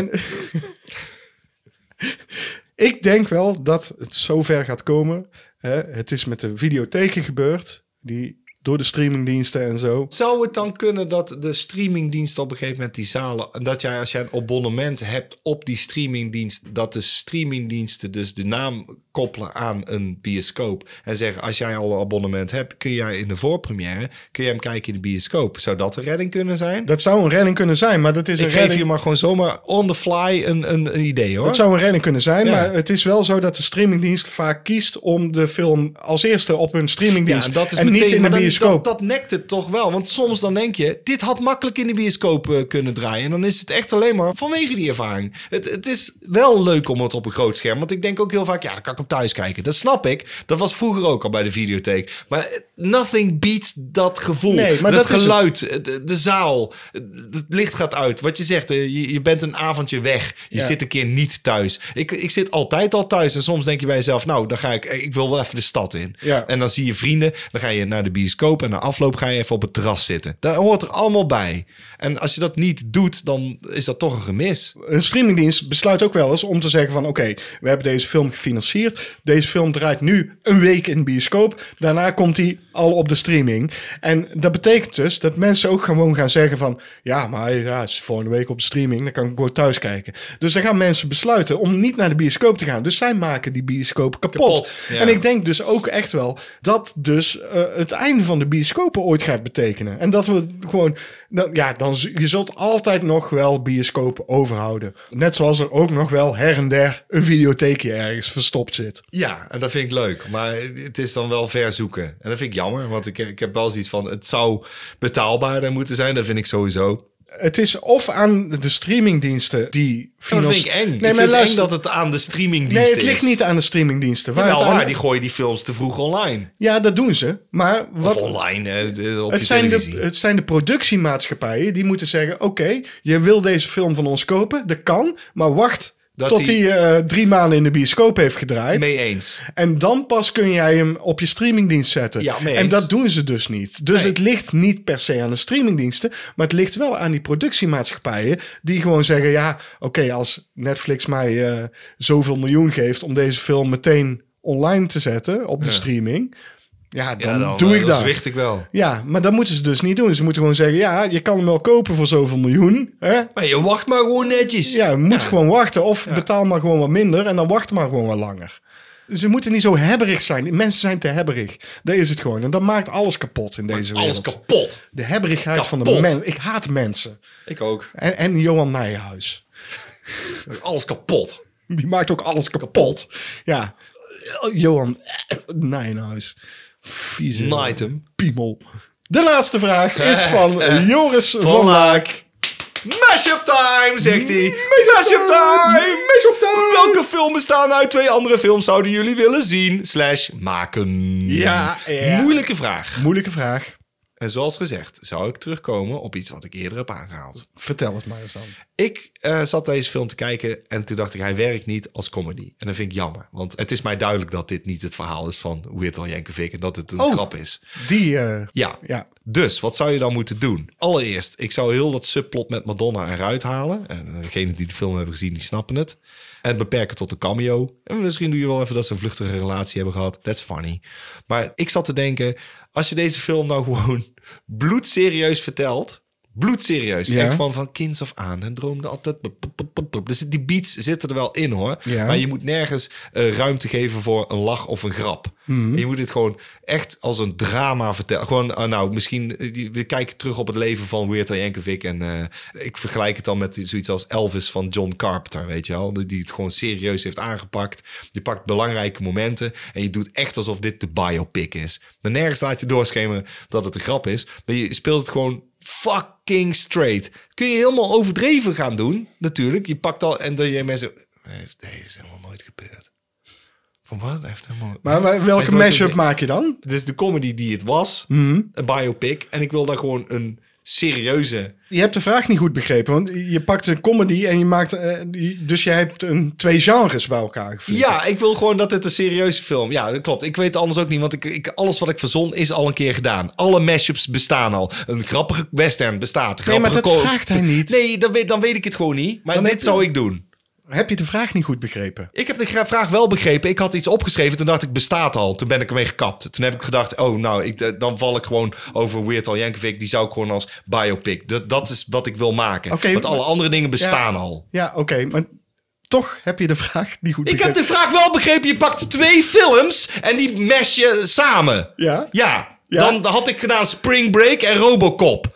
Speaker 2: en- (laughs) ik denk wel dat het zover gaat komen. Hè? Het is met de videotheken gebeurd. Die door de streamingdiensten en zo.
Speaker 1: Zou het dan kunnen dat de streamingdienst op een gegeven moment die zalen... en dat jij als jij een abonnement hebt op die streamingdienst... dat de streamingdiensten dus de naam koppelen aan een bioscoop... en zeggen als jij al een abonnement hebt... kun jij in de voorpremière kun jij hem kijken in de bioscoop. Zou dat een redding kunnen zijn?
Speaker 2: Dat zou een redding kunnen zijn, maar dat is een
Speaker 1: Ik
Speaker 2: redding.
Speaker 1: geef je maar gewoon zomaar on the fly een, een, een idee hoor.
Speaker 2: Dat zou een redding kunnen zijn,
Speaker 1: Ja.
Speaker 2: maar het is wel zo dat de streamingdienst vaak kiest om de film als eerste op hun
Speaker 1: Ja,
Speaker 2: streamingdienst
Speaker 1: en dat is
Speaker 2: en
Speaker 1: meteen,
Speaker 2: niet in de
Speaker 1: maar dan-
Speaker 2: bioscoop.
Speaker 1: Dat, dat nekt het toch wel. Want soms dan denk je, dit had makkelijk in de bioscoop eh, kunnen draaien. En dan is het echt alleen maar vanwege die ervaring. Het, het is wel leuk om het op een groot scherm. Want ik denk ook heel vaak, ja, dan kan ik hem thuis kijken. Dat snap ik. Dat was vroeger ook al bij de videotheek. Maar eh, nothing beats dat gevoel.
Speaker 2: Nee, maar
Speaker 1: dat
Speaker 2: dat is
Speaker 1: geluid, eh, de, de zaal, eh, het licht gaat uit. Wat je zegt, eh, je, je bent een avondje weg. Je
Speaker 2: Ja.
Speaker 1: zit een keer niet thuis. Ik, ik zit altijd al thuis. En soms denk je bij jezelf, nou, dan ga ik, eh, ik wil wel even de stad in.
Speaker 2: Ja.
Speaker 1: En dan zie je vrienden, dan ga je naar de bioscoop en na afloop ga je even op het terras zitten. Daar hoort er allemaal bij. En als je dat niet doet, dan is dat toch een gemis.
Speaker 2: Een streamingdienst besluit ook wel eens om te zeggen van... oké, we hebben deze film gefinancierd. Deze film draait nu een week in de bioscoop. Daarna komt die al op de streaming. En dat betekent dus dat mensen ook gewoon gaan zeggen van... ja, maar ja, het is volgende week op de streaming. Dan kan ik gewoon thuis kijken. Dus dan gaan mensen besluiten om niet naar de bioscoop te gaan. Dus zij maken die bioscoop kapot.
Speaker 1: Kapot, ja.
Speaker 2: En ik denk dus ook echt wel dat dus eh, het einde van de bioscopen ooit gaat betekenen. En dat we gewoon, dan, ja, dan, z- je zult altijd nog wel bioscopen overhouden. Net zoals er ook nog wel her en der een videotheekje ergens verstopt zit.
Speaker 1: Ja, en dat vind ik leuk. Maar het is dan wel ver zoeken. En dat vind ik jammer, want ik, ik heb wel zoiets van... het zou betaalbaarder moeten zijn, dat vind ik sowieso.
Speaker 2: Het is of aan de streamingdiensten die
Speaker 1: Dat vind ik
Speaker 2: financi-
Speaker 1: eng.
Speaker 2: Nee,
Speaker 1: ik
Speaker 2: maar
Speaker 1: vind het eng
Speaker 2: luister.
Speaker 1: dat het aan de
Speaker 2: Nee,
Speaker 1: streamingdiensten
Speaker 2: het ligt
Speaker 1: is.
Speaker 2: niet aan de streamingdiensten. Waar
Speaker 1: Wel
Speaker 2: het aan-
Speaker 1: waar, die gooien die films te vroeg online.
Speaker 2: Ja, dat doen ze. Maar wat,
Speaker 1: Of online, eh, de- op
Speaker 2: Het
Speaker 1: je
Speaker 2: zijn, de,
Speaker 1: televisie.
Speaker 2: het zijn de productiemaatschappijen die moeten zeggen: Oké, je wil deze film van ons kopen, dat kan, maar wacht
Speaker 1: Dat
Speaker 2: tot hij
Speaker 1: die-
Speaker 2: drie maanden in de bioscoop heeft gedraaid.
Speaker 1: Mee eens.
Speaker 2: En dan pas kun jij hem op je streamingdienst zetten.
Speaker 1: Ja, mee
Speaker 2: en
Speaker 1: eens.
Speaker 2: dat doen ze dus niet. Dus
Speaker 1: Nee.
Speaker 2: het ligt niet per se aan de streamingdiensten, maar het ligt wel aan die productiemaatschappijen die gewoon zeggen: Ja, oké, als Netflix mij eh, zoveel miljoen geeft om deze film meteen online te zetten op de streaming. Ja, dan,
Speaker 1: Ja, dan,
Speaker 2: doe
Speaker 1: eh,
Speaker 2: ik
Speaker 1: dan
Speaker 2: dat.
Speaker 1: zwicht ik wel.
Speaker 2: Ja, maar dat moeten ze dus niet doen. Ze moeten gewoon zeggen, ja, je kan hem wel kopen voor zoveel miljoen. Hè?
Speaker 1: Maar je wacht maar gewoon netjes.
Speaker 2: Ja, je moet gewoon wachten. Of betaal maar gewoon wat minder en dan wacht maar gewoon wat langer. Ze moeten niet zo hebberig zijn. Mensen zijn te hebberig. Dat is het gewoon. En dat maakt alles kapot in deze
Speaker 1: Alles
Speaker 2: wereld.
Speaker 1: kapot.
Speaker 2: De hebberigheid van de
Speaker 1: Kapot.
Speaker 2: mens. Ik haat mensen.
Speaker 1: Ik ook.
Speaker 2: En, en Johan Nijhuis.
Speaker 1: Alles kapot.
Speaker 2: Die maakt ook alles kapot. Ja. Johan Nijhuis. Vieze
Speaker 1: Night hem.
Speaker 2: piemel. De laatste vraag is van Joris van,
Speaker 1: Van
Speaker 2: Laak.
Speaker 1: Mashup time, zegt hij. Mashup
Speaker 2: Mashup
Speaker 1: time.
Speaker 2: Mashup time.
Speaker 1: Welke filmen staan uit twee andere films zouden jullie willen zien? Slash maken.
Speaker 2: Ja, ja.
Speaker 1: Moeilijke vraag.
Speaker 2: Moeilijke vraag.
Speaker 1: En zoals gezegd, zou ik terugkomen op iets wat ik eerder heb aangehaald.
Speaker 2: Vertel het maar eens dan.
Speaker 1: Ik eh, zat deze film te kijken en toen dacht ik, hij werkt niet als comedy. En dat vind ik jammer, want het is mij duidelijk dat dit niet het verhaal is van Weird Al Yankovic en dat het een
Speaker 2: Oh.
Speaker 1: grap is.
Speaker 2: Die, eh,
Speaker 1: Ja.
Speaker 2: Ja.
Speaker 1: Dus wat zou je dan moeten doen? Allereerst, ik zou heel dat subplot met Madonna eruit halen. En eh, degenen die de film hebben gezien, die snappen het. En beperken tot een cameo. En misschien doe je wel even dat ze een vluchtige relatie hebben gehad. That's funny. Maar ik zat te denken, als je deze film nou (laughs) gewoon bloedserieus vertelt. Bloedserieus.
Speaker 2: Ja.
Speaker 1: Echt van, van kinds af aan. En droomde altijd. pop, pop, pop, pop, pop. Dus die beats zitten er wel in hoor.
Speaker 2: Ja.
Speaker 1: Maar je moet nergens eh, ruimte geven voor een lach of een grap. En Je moet dit gewoon echt als een drama vertellen. Gewoon, ah, nou, misschien... eh, die- We kijken terug op het leven van Weird Al Yankovic. En eh, ik vergelijk het dan met zoiets als Elvis van John Carpenter, weet je wel. Die die het gewoon serieus heeft aangepakt. Je pakt belangrijke momenten. En je doet echt alsof dit de biopic is. Maar nergens laat je doorschemeren dat het een grap is. Maar je speelt het gewoon fucking straight. Kun je helemaal overdreven gaan doen, natuurlijk. Je pakt al... En dat je mensen... Nee, dat is helemaal nooit gebeurd. Van wat? Hij Heeft helemaal...
Speaker 2: maar wa-
Speaker 1: Hij heeft
Speaker 2: welke
Speaker 1: nooit
Speaker 2: mashup Mhm.
Speaker 1: een-
Speaker 2: maak je dan?
Speaker 1: Het is de comedy die het was. Een biopic. En ik wil daar gewoon een serieuze...
Speaker 2: Je hebt de vraag niet goed begrepen. Want je pakt een comedy en je maakt... eh, die- dus je hebt een, twee genres bij elkaar geflikkerd.
Speaker 1: Ja, ik wil gewoon dat dit een serieuze film... Ja, dat klopt. Ik weet het anders ook niet. Want ik, ik, alles wat ik verzon is al een keer gedaan. Alle mashups bestaan al. Een grappige western bestaat.
Speaker 2: Nee, maar
Speaker 1: Grappige
Speaker 2: dat
Speaker 1: co-
Speaker 2: vraagt hij niet.
Speaker 1: Nee, dan weet, dan weet ik het gewoon niet. Maar
Speaker 2: Dan
Speaker 1: dit
Speaker 2: heb je-
Speaker 1: zou ik doen.
Speaker 2: Heb je de vraag niet goed begrepen?
Speaker 1: Ik heb de gra- vraag wel begrepen. Ik had iets opgeschreven. Toen dacht ik, bestaat al. Toen ben ik ermee gekapt. Toen heb ik gedacht, oh, nou, ik, eh, dan val ik gewoon over Weird Al Yankovic. Die zou ik gewoon als biopic. Dat, dat is wat ik wil maken.
Speaker 2: Oké,
Speaker 1: Want
Speaker 2: maar-
Speaker 1: alle andere dingen bestaan al.
Speaker 2: Ja, oké, maar toch heb je de vraag niet goed
Speaker 1: Ik heb
Speaker 2: begrepen.
Speaker 1: de vraag wel begrepen. Je pakt twee films en die mash je samen.
Speaker 2: Ja?
Speaker 1: Ja.
Speaker 2: Ja.
Speaker 1: Dan had ik gedaan Spring Break en Robocop.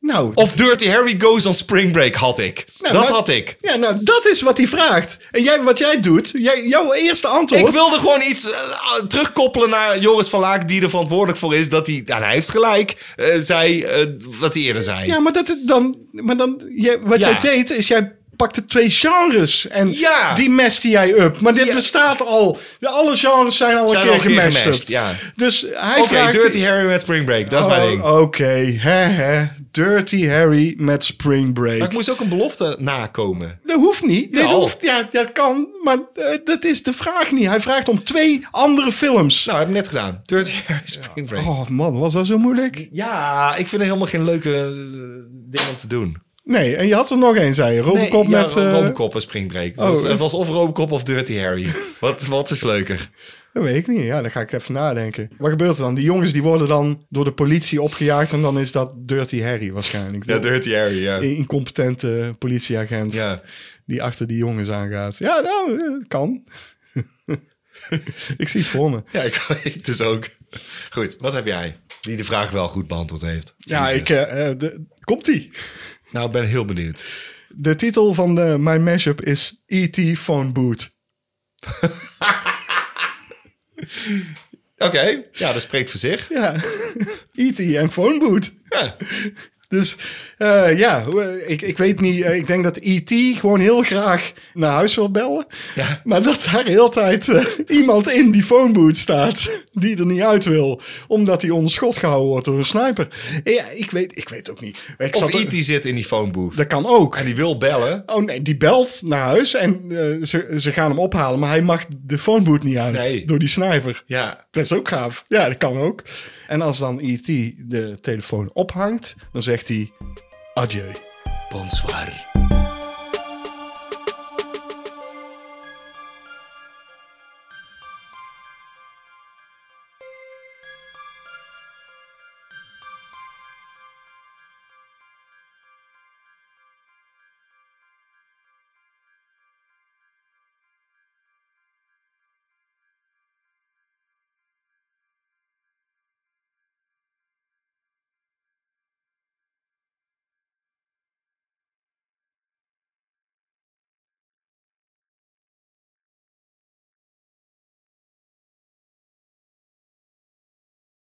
Speaker 2: Nou,
Speaker 1: Of Dirty Harry Goes on Spring Break had ik.
Speaker 2: nou,
Speaker 1: Oh, dat
Speaker 2: maar-
Speaker 1: had ik.
Speaker 2: Ja, nou, dat is wat hij vraagt. En jij, wat jij doet, jij, jouw eerste antwoord...
Speaker 1: Ik wilde gewoon iets eh, terugkoppelen naar Joris van Laak, die er verantwoordelijk voor is dat hij, nou, hij heeft gelijk, eh zei eh, wat hij eerder zei.
Speaker 2: Ja, maar, dat, het dan, maar dan, jij, wat
Speaker 1: Ja.
Speaker 2: jij deed, is jij pakte twee genres. En
Speaker 1: Ja.
Speaker 2: die meste jij up. Maar dit
Speaker 1: Ja.
Speaker 2: bestaat al. De- Alle genres zijn al
Speaker 1: Zijn
Speaker 2: een
Speaker 1: al
Speaker 2: keer
Speaker 1: een keer
Speaker 2: gemest.
Speaker 1: gemest,
Speaker 2: up.
Speaker 1: ja.
Speaker 2: Dus hij
Speaker 1: Oké,
Speaker 2: vraagt...
Speaker 1: Dirty Harry met Spring Break, dat is mijn ding.
Speaker 2: Oh, Oké, hè, hè. Dirty Harry met Spring Break.
Speaker 1: Maar ik moest ook een belofte nakomen.
Speaker 2: Dat hoeft niet. Dit
Speaker 1: Nou.
Speaker 2: hoeft, ja, dat kan. Maar eh, dat is de vraag niet. Hij vraagt om twee andere films.
Speaker 1: Nou, heb ik net gedaan. Dirty Harry, Spring Break.
Speaker 2: Oh man, was dat zo moeilijk?
Speaker 1: Ja, ik vind het helemaal geen leuke eh, ding om te doen.
Speaker 2: Nee, en je had er nog één, zei je. Robocop
Speaker 1: Nee, ja,
Speaker 2: met... eh,
Speaker 1: Robocop en Spring Break. Het, was,
Speaker 2: oh.
Speaker 1: het was of Robocop of Dirty
Speaker 2: (laughs)
Speaker 1: Harry. wat, wat is leuker?
Speaker 2: Dat weet ik niet. Ja, daar ga ik even nadenken. Wat gebeurt er dan? Die jongens die worden dan door de politie opgejaagd en dan is dat Dirty Harry waarschijnlijk.
Speaker 1: Ja, Dirty Harry, ja.
Speaker 2: Een incompetente politieagent
Speaker 1: Ja.
Speaker 2: die achter die jongens aangaat. Ja, nou, eh, kan. (laughs) ik zie het voor me.
Speaker 1: Ja, ik (laughs) weet het dus ook. Goed, wat heb jij? Die de vraag wel goed beantwoord heeft.
Speaker 2: Ja,
Speaker 1: Jezus.
Speaker 2: ik... eh, eh, de- Komt-ie.
Speaker 1: Nou, ik ben heel benieuwd.
Speaker 2: De titel van de, mijn mashup is E.T. Phone Boot.
Speaker 1: Oké, ja, dat spreekt voor zich.
Speaker 2: Ja, (laughs) E.T. en Phone Boot.
Speaker 1: Ja.
Speaker 2: Dus eh, ja, hoe- ik, ik weet niet. eh, ik denk dat E.T. gewoon heel graag naar huis wil bellen.
Speaker 1: Ja.
Speaker 2: Maar dat daar heel tijd eh, iemand in die phoneboot staat. Die er niet uit wil. Omdat hij onder schot gehouden wordt door een sniper. En ja, ik weet, ik weet ook niet. Ik
Speaker 1: Of
Speaker 2: zat-
Speaker 1: E.T. zit in die phonebooth.
Speaker 2: Dat kan ook.
Speaker 1: En die wil bellen.
Speaker 2: Oh nee, die belt naar huis en eh, ze, ze gaan hem ophalen. Maar hij mag de phoneboot niet uit
Speaker 1: Nee.
Speaker 2: door die sniper.
Speaker 1: Ja.
Speaker 2: Dat is ook gaaf. Ja, dat kan ook. En als dan E E.T. de telefoon ophangt, dan zegt hij... Adieu.
Speaker 1: Bonsoir.